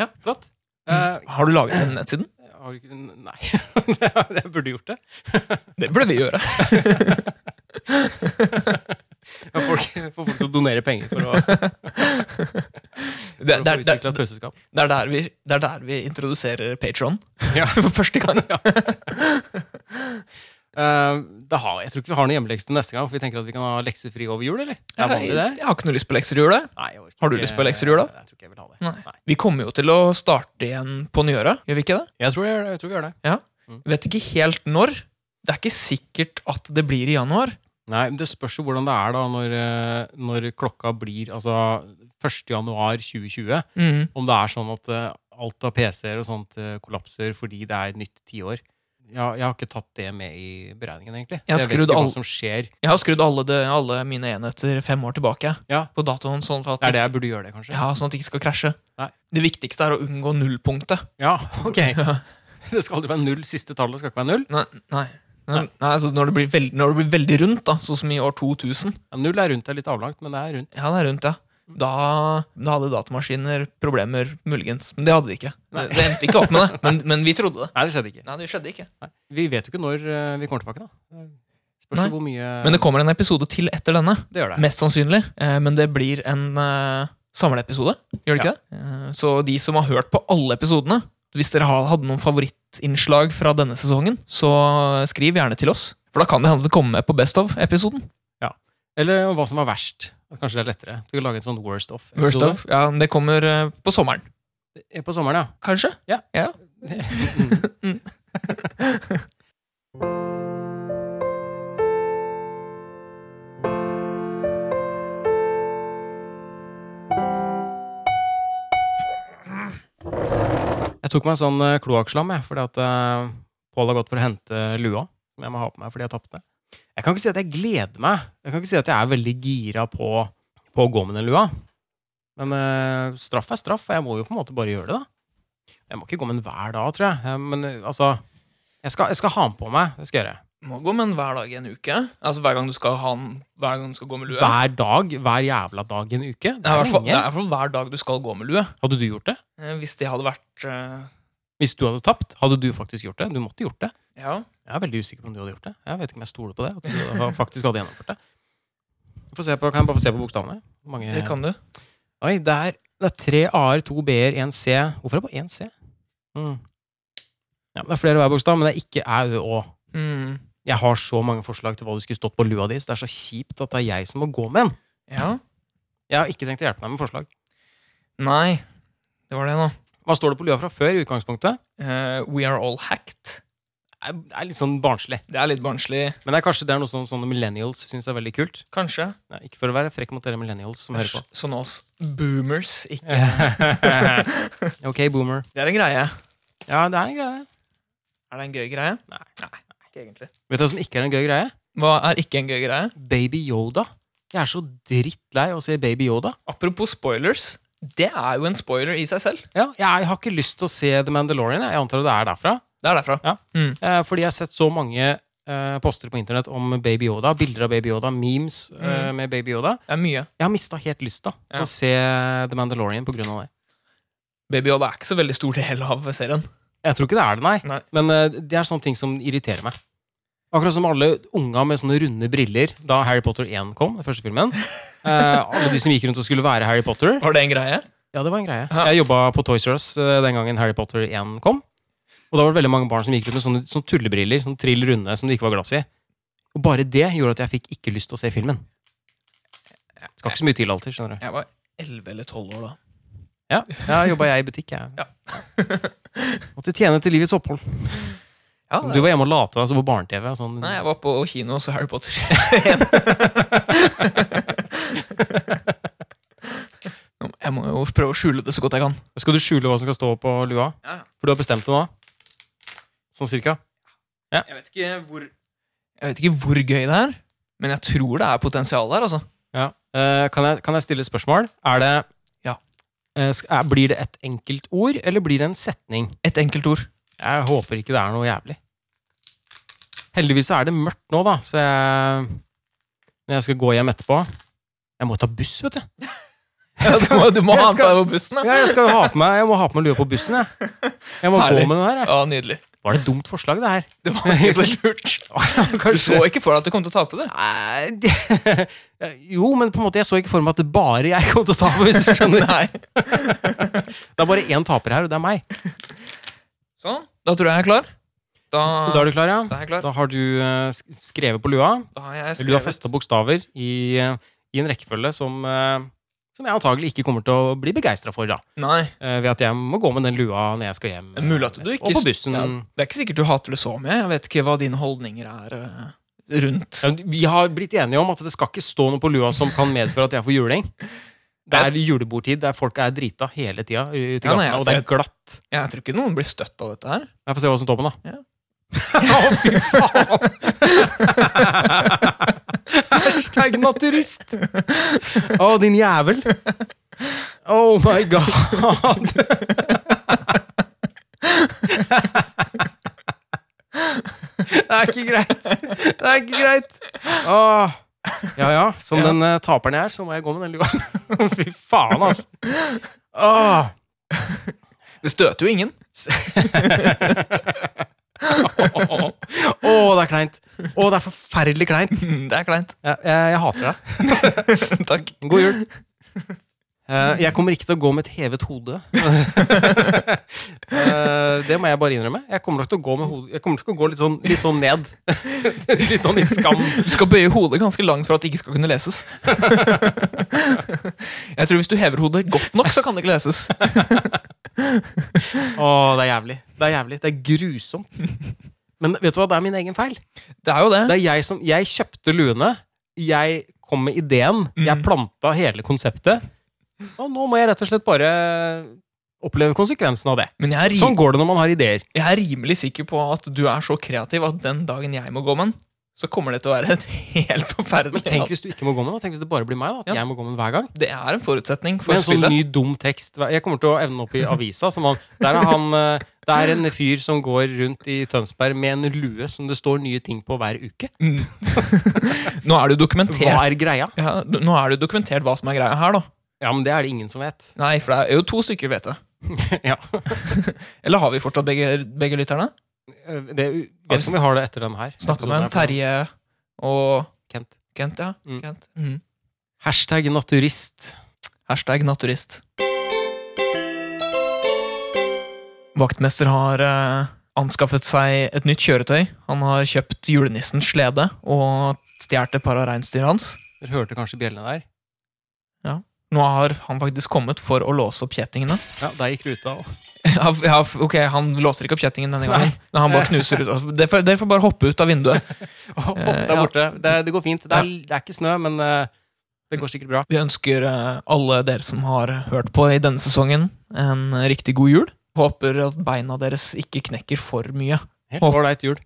Speaker 2: ja.
Speaker 1: Flott. Eh,
Speaker 2: Mm. Har du laget den nettsiden?
Speaker 1: har du ikke Nei. jeg burde gjort det.
Speaker 2: Det burde vi gjøre.
Speaker 1: Ja, folk, Få folk til å donere penger for å, for å få
Speaker 2: Det, det, er, det,
Speaker 1: utvikla
Speaker 2: er,
Speaker 1: et pauseskap.
Speaker 2: det, er der vi, det er der vi introduserer Patron
Speaker 1: Ja.
Speaker 2: for første gang.
Speaker 1: Eh, det har, jeg tror ikke vi har noe hjemmelekse til neste gang, for vi tenker at vi kan ha leksefri over jul, eller? Det
Speaker 2: Jeg,
Speaker 1: er vanlig, det.
Speaker 2: jeg har ikke noe lyst på lekser i jula.
Speaker 1: Nei, jeg orker
Speaker 2: Har du
Speaker 1: ikke-
Speaker 2: lyst på lekser i jula?
Speaker 1: Jeg tror ikke jeg vil ha det.
Speaker 2: Nei. Vi kommer jo til å starte igjen på nyåret, gjør vi ikke det?
Speaker 1: Jeg tror, jeg, jeg tror vi gjør det.
Speaker 2: Vet ikke helt når. Det er ikke sikkert at det blir i januar.
Speaker 1: Nei, men Det spørs jo hvordan det er da når, eh, når klokka blir altså 1.1.2020.
Speaker 2: Mm.
Speaker 1: Om det er sånn at eh, alt av PC-er og sånt eh, kollapser fordi det er et nytt tiår. Ja, jeg har ikke tatt det med i beregningen, egentlig.
Speaker 2: Jeg har
Speaker 1: Så jeg vet
Speaker 2: skrudd
Speaker 1: ikke
Speaker 2: all-
Speaker 1: hva som skjer.
Speaker 2: Jeg har skrudd alle, de, alle mine enheter fem år tilbake
Speaker 1: Ja.
Speaker 2: på datoen. Sånn at,
Speaker 1: Det er det jeg burde gjøre, det, kanskje.
Speaker 2: ja, sånn at det ikke skal krasje.
Speaker 1: Nei.
Speaker 2: Det viktigste er å unngå nullpunktet.
Speaker 1: Ja, ok. Det skal aldri være null. Siste tallet skal ikke være null.
Speaker 2: Nei, nei. Nei, altså når, det blir veld, når det blir veldig rundt, da, sånn som i år 2000
Speaker 1: Ja, null er rundt, det er litt avlangt, men det er rundt.
Speaker 2: Ja, det er rundt, ja. Da, da hadde datamaskiner problemer, muligens. Men det hadde de ikke. Det, det endte ikke opp med det, men, men vi trodde det.
Speaker 1: Nei, det skjedde ikke.
Speaker 2: Nei, det skjedde ikke.
Speaker 1: Nei. Vi vet jo ikke når eh, vi kommer tilbake, da. Spørs
Speaker 2: Nei.
Speaker 1: jo hvor mye
Speaker 2: Men det kommer en episode til etter denne,
Speaker 1: Det gjør det.
Speaker 2: mest sannsynlig. Eh, Men det blir en eh, samleepisode, gjør det ikke det? Eh, Så de som har hørt på alle episodene, hvis dere har- hadde noen favorittinnslag fra denne sesongen, så skriv gjerne til oss. For da kan det hende det kommer med på Best of-episoden.
Speaker 1: Eller om hva som var verst. Kanskje det er lettere. Du kan lage en sånn worst of.
Speaker 2: Worst of. Ja, men det kommer eh, på sommeren.
Speaker 1: På sommeren, ja.
Speaker 2: Kanskje?
Speaker 1: Jeg tok meg en sånn eh, kloakkslam, jeg, fordi at eh, Pål har gått for å hente lua, som jeg må ha på meg fordi jeg tapte. Jeg kan ikke si at jeg gleder meg. Jeg kan ikke si at jeg er veldig gira på, på å gå med den lua. Men eh, straff er straff, og jeg må jo på en måte bare gjøre det, da. Jeg må ikke gå med den hver dag, tror jeg. Eh, Men eh, altså Jeg skal, jeg skal ha den på meg. Det skal jeg gjøre.
Speaker 2: Må gå med den hver dag i en uke. Altså hver gang du skal, ha den, hver gang du skal gå med lue.
Speaker 1: Hver dag, hver jævla dag i en uke.
Speaker 2: det
Speaker 1: Det
Speaker 2: er i
Speaker 1: er
Speaker 2: hvert fall- det
Speaker 1: lenge.
Speaker 2: er i hvert fall hver dag du skal gå med lue.
Speaker 1: Hadde du gjort det?
Speaker 2: Eh, Hvis det hadde vært eh,
Speaker 1: Hvis du hadde tapt, hadde du faktisk gjort det? Du måtte gjort det.
Speaker 2: Ja.
Speaker 1: Jeg er veldig usikker på om du hadde gjort det. Jeg vet ikke om jeg stoler på det. At du hadde- faktisk hadde gjennomført det. Få se på, kan jeg bare få se på bokstavene? Hvor Mange...
Speaker 2: Det kan du.
Speaker 1: Oi, det er, det er tre A-er, to B-er, én C. Hvorfor er det bare én C? Mm. Ja, det er flere hver bokstav, men det er ikke Æ, Ø, Å.
Speaker 2: Mm.
Speaker 1: Jeg har så mange forslag til hva du skulle stått på lua di, så det er så kjipt at det er jeg som må gå med en.
Speaker 2: Ja.
Speaker 1: Jeg har ikke tenkt å hjelpe deg med forslag.
Speaker 2: Nei. Det var det, nå.
Speaker 1: Hva står det på lua fra før i utgangspunktet?
Speaker 2: Eh, we are all hacked.
Speaker 1: Det er- Det er litt sånn barnslig.
Speaker 2: Det er litt barnslig.
Speaker 1: Men det er kanskje det er noe som sånne millennials syns er veldig kult.
Speaker 2: Kanskje.
Speaker 1: Nei, ikke for å være frekk mot dere millennials som hører på.
Speaker 2: Sånn oss boomers. Ikke.
Speaker 1: ok, boomer.
Speaker 2: Det er en greie.
Speaker 1: Ja, det er en greie.
Speaker 2: Er det en gøy greie?
Speaker 1: Nei.
Speaker 2: Ikke egentlig.
Speaker 1: Vet du hva som ikke er en gøy greie?
Speaker 2: Hva er ikke en gøy greie?
Speaker 1: Baby Yoda. Jeg er så drittlei av å se Baby Yoda.
Speaker 2: Apropos spoilers. Det er jo en spoiler i seg selv.
Speaker 1: Ja, jeg, har ikke lyst til å se The Mandalorian. Jeg Jeg antar det er derfra.
Speaker 2: Det er derfra.
Speaker 1: Ja.
Speaker 2: Mm.
Speaker 1: Eh, fordi jeg har sett så mange eh, poster på internett om Baby Yoda. Bilder av Baby Yoda, memes eh, med Baby Yoda.
Speaker 2: Det er mye.
Speaker 1: Jeg har mista helt lysta til
Speaker 2: Ja.
Speaker 1: å se The Mandalorian pga. det.
Speaker 2: Baby Yoda er ikke så veldig stor del av serien.
Speaker 1: Jeg tror ikke det er det, nei.
Speaker 2: Nei.
Speaker 1: Men eh, det er sånne ting som irriterer meg. Akkurat som alle unga med sånne runde briller da Harry Potter 1 kom. den første filmen. Eh, alle de som gikk rundt og skulle være Harry Potter.
Speaker 2: Var det en greie?
Speaker 1: Ja, det var en greie.
Speaker 2: Ja.
Speaker 1: Jeg jobba på Toys R Us eh, den gangen Harry Potter 1 kom. Og da var det veldig mange barn som gikk rundt med sånne, sånne tullebriller. Sånn trill runde som det ikke var glass i. Og bare det gjorde at jeg fikk ikke lyst til å se filmen. Skal ikke så mye til alltid, skjønner du.
Speaker 2: Jeg var 11 eller 12 år da.
Speaker 1: Ja, ja jobba jeg i butikk, jeg.
Speaker 2: Ja.
Speaker 1: Måtte tjene til livets opphold.
Speaker 2: Ja,
Speaker 1: Du var hjemme og lata deg så på barne-TV. og Sånn.
Speaker 2: Nei, jeg var på kino og så Harry Potter. jeg må jo prøve å skjule det så godt jeg kan.
Speaker 1: Skal du skjule hva som skal stå på lua?
Speaker 2: Ja, ja.
Speaker 1: For du har bestemt det nå? Sånn cirka?
Speaker 2: Jeg vet ikke hvor Jeg vet ikke hvor gøy det er, men jeg tror det er potensial der, altså.
Speaker 1: Ja. Eh, kan, jeg, kan jeg stille et spørsmål? Er det
Speaker 2: Ja.
Speaker 1: Eh, sk- er, Blir det et enkelt ord, eller blir det en setning?
Speaker 2: Et enkelt ord.
Speaker 1: Jeg håper ikke det er noe jævlig. Heldigvis så er det mørkt nå, da, så jeg Når jeg skal gå hjem etterpå Jeg må ta buss, vet du.
Speaker 2: du må, du må
Speaker 1: jeg
Speaker 2: ha
Speaker 1: skal-
Speaker 2: deg på bussen, ja.
Speaker 1: Ja, jeg skal jo ha på meg Jeg må ha på meg lue på bussen, jeg. Jeg må
Speaker 2: Herlig.
Speaker 1: gå med den her. Jeg.
Speaker 2: ja, nydelig.
Speaker 1: Var det et dumt forslag, det her?
Speaker 2: Det var ikke så lurt. Du så ikke for deg at du kom til å tape det.
Speaker 1: Nei, det- Eh, Jo, men på en måte jeg så ikke for meg at det bare jeg kom til å tape. Hvis du skjønner
Speaker 2: Nei.
Speaker 1: Det er bare én taper her, og det er meg.
Speaker 2: Sånn. Da tror jeg jeg er klar. Da,
Speaker 1: Da er du klar, ja?
Speaker 2: da er jeg klar.
Speaker 1: Da har du eh, sk- skrevet på lua.
Speaker 2: Da har jeg
Speaker 1: Lua
Speaker 2: skrevet-
Speaker 1: festa bokstaver i, eh, i en rekkefølge som, eh, som jeg antagelig ikke kommer til å bli begeistra for, da.
Speaker 2: Nei.
Speaker 1: Eh, Ved at jeg må gå med den lua når jeg skal hjem. eh,
Speaker 2: Men Mulig at du ikke
Speaker 1: Og på bussen.
Speaker 2: ja, Det er ikke sikkert du hater det så mye. Jeg vet ikke hva dine holdninger er eh, rundt.
Speaker 1: Ja, Vi har blitt enige om at det skal ikke stå noe på lua som kan medføre at jeg får juling. Det er julebordtid, det er folk er drita hele tida ute i
Speaker 2: Ja, nei,
Speaker 1: gatene, og det er
Speaker 2: jeg-
Speaker 1: glatt.
Speaker 2: Jeg tror ikke noen blir støtt av dette her.
Speaker 1: Jeg får se hva som står på den, da.
Speaker 2: Ja.
Speaker 1: Å, fy faen! Hashtag naturist! Å, din jævel! Oh my god! Det er ikke greit. Det er ikke greit. Åh. Ja ja, som
Speaker 2: Ja.
Speaker 1: den eh, taperen jeg er, så må jeg gå med den lua. Fy faen, altså. Åh.
Speaker 2: Det støter jo ingen.
Speaker 1: Å, det er kleint. Å, det er forferdelig kleint.
Speaker 2: Det er kleint.
Speaker 1: Jeg, jeg, jeg hater deg.
Speaker 2: Takk.
Speaker 1: God jul. Eh, jeg kommer ikke til å gå med et hevet hode. Eh, det må jeg bare innrømme. Jeg kommer nok til å gå, med hode. Jeg kommer til å gå litt, sånn, litt sånn ned. litt sånn i skam.
Speaker 2: Du skal bøye hodet ganske langt for at det ikke skal kunne leses. Jeg tror hvis du hever hodet godt nok, så kan det ikke leses.
Speaker 1: Å, det er jævlig. Det er jævlig. Det er grusomt. Men vet du hva, det er min egen feil.
Speaker 2: Det er jo det.
Speaker 1: Det er jeg som Jeg kjøpte luene. Jeg kom med ideen. Jeg planta hele konseptet. Og nå må jeg rett og slett bare oppleve konsekvensen av det.
Speaker 2: Men jeg er,
Speaker 1: Sånn
Speaker 2: ri-
Speaker 1: går det når man har ideer.
Speaker 2: jeg er rimelig sikker på at du er så kreativ at den dagen jeg må gå med den, så kommer det til å være et helt forferdelig
Speaker 1: Men tenk hvis du ikke må gå med den. Tenk hvis det bare blir meg. da At
Speaker 2: Ja.
Speaker 1: jeg må gå med den hver gang.
Speaker 2: Det er en forutsetning for
Speaker 1: Med en sånn
Speaker 2: spillet.
Speaker 1: ny dum tekst. Jeg kommer til å evne opp i avisa. Som han, der er han eh, Det er en fyr som går rundt i Tønsberg med en lue som det står nye ting på hver uke.
Speaker 2: Nå er
Speaker 1: Hva
Speaker 2: det jo dokumentert.
Speaker 1: er greia?
Speaker 2: Ja, d- nå er det jo dokumentert hva som er greia her, da.
Speaker 1: Ja, men det er det ingen som vet.
Speaker 2: Nei, for det er jo to stykker, vet jeg.
Speaker 1: Ja.
Speaker 2: Eller har vi fortsatt begge, begge lytterne? Eh,
Speaker 1: Det, vet ikke om vi har det etter den her.
Speaker 2: Snakka
Speaker 1: Episoden er
Speaker 2: med en
Speaker 1: på-
Speaker 2: Terje og
Speaker 1: Kent.
Speaker 2: Kent, ja.
Speaker 1: Mm.
Speaker 2: Kent. Mm.
Speaker 1: Hashtag naturist.
Speaker 2: Hashtag naturist. Vaktmester har eh, anskaffet seg et nytt kjøretøy. Han har kjøpt julenissens slede og stjålet et par av reinsdyra hans.
Speaker 1: Dere hørte kanskje bjellene der?
Speaker 2: Nå har han faktisk kommet for å låse opp kjettingene.
Speaker 1: Ja, der gikk ruta òg.
Speaker 2: Ja, f- ja, f- ok, Han låser ikke opp kjettingen denne gangen. Nei, han bare knuser ut. Altså, Dere får- dere får bare hoppe ut av vinduet. Eh,
Speaker 1: der
Speaker 2: ja.
Speaker 1: borte. Det, det går fint. Det er, det er ikke snø, men eh, det går sikkert bra.
Speaker 2: Vi ønsker eh, alle dere som har hørt på i denne sesongen, en riktig god jul. Håper at beina deres ikke knekker for mye.
Speaker 1: Helt ålreit jul.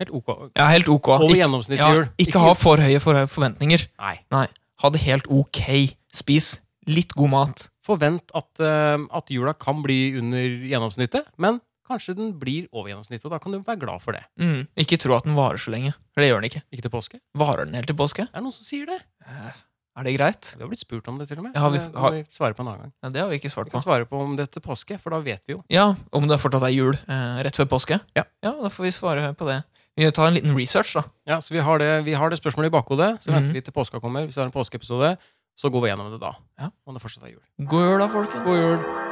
Speaker 1: Helt ok.
Speaker 2: Ja, helt ok.
Speaker 1: Over
Speaker 2: Ikke,
Speaker 1: gjennomsnittet
Speaker 2: ja,
Speaker 1: jul.
Speaker 2: ikke ha for høye, for høye forventninger.
Speaker 1: Nei.
Speaker 2: Nei, ha det helt ok. Spis litt god mat.
Speaker 1: Forvent at, eh, at jula kan bli under gjennomsnittet, men kanskje den blir over gjennomsnittet, og da kan du være glad for det.
Speaker 2: Mm. Ikke tro at den varer så lenge, for det gjør den ikke.
Speaker 1: Ikke til påske?
Speaker 2: Varer den helt til påske?
Speaker 1: Det er noen som sier det.
Speaker 2: Er det greit?
Speaker 1: Vi har blitt spurt om det, til og med.
Speaker 2: Ja, vi-
Speaker 1: Det må
Speaker 2: har-
Speaker 1: vi svare på en annen gang.
Speaker 2: Ja, det har vi ikke svart
Speaker 1: Vi
Speaker 2: på.
Speaker 1: kan svare på om det er til påske, for da vet vi jo.
Speaker 2: Ja, Om det fortsatt er jul eh, rett før påske?
Speaker 1: Ja.
Speaker 2: Da får vi svare på det. Vi tar en liten research, da.
Speaker 1: Ja, så vi har det, vi har det spørsmålet i bakhodet, så
Speaker 2: Mhm.
Speaker 1: venter vi til påska kommer. Hvis det er en påskeepisode, så går vi gjennom det da.
Speaker 2: Ja.
Speaker 1: Om det fortsatt er jul.
Speaker 2: God jul, da, folkens.
Speaker 1: God jul.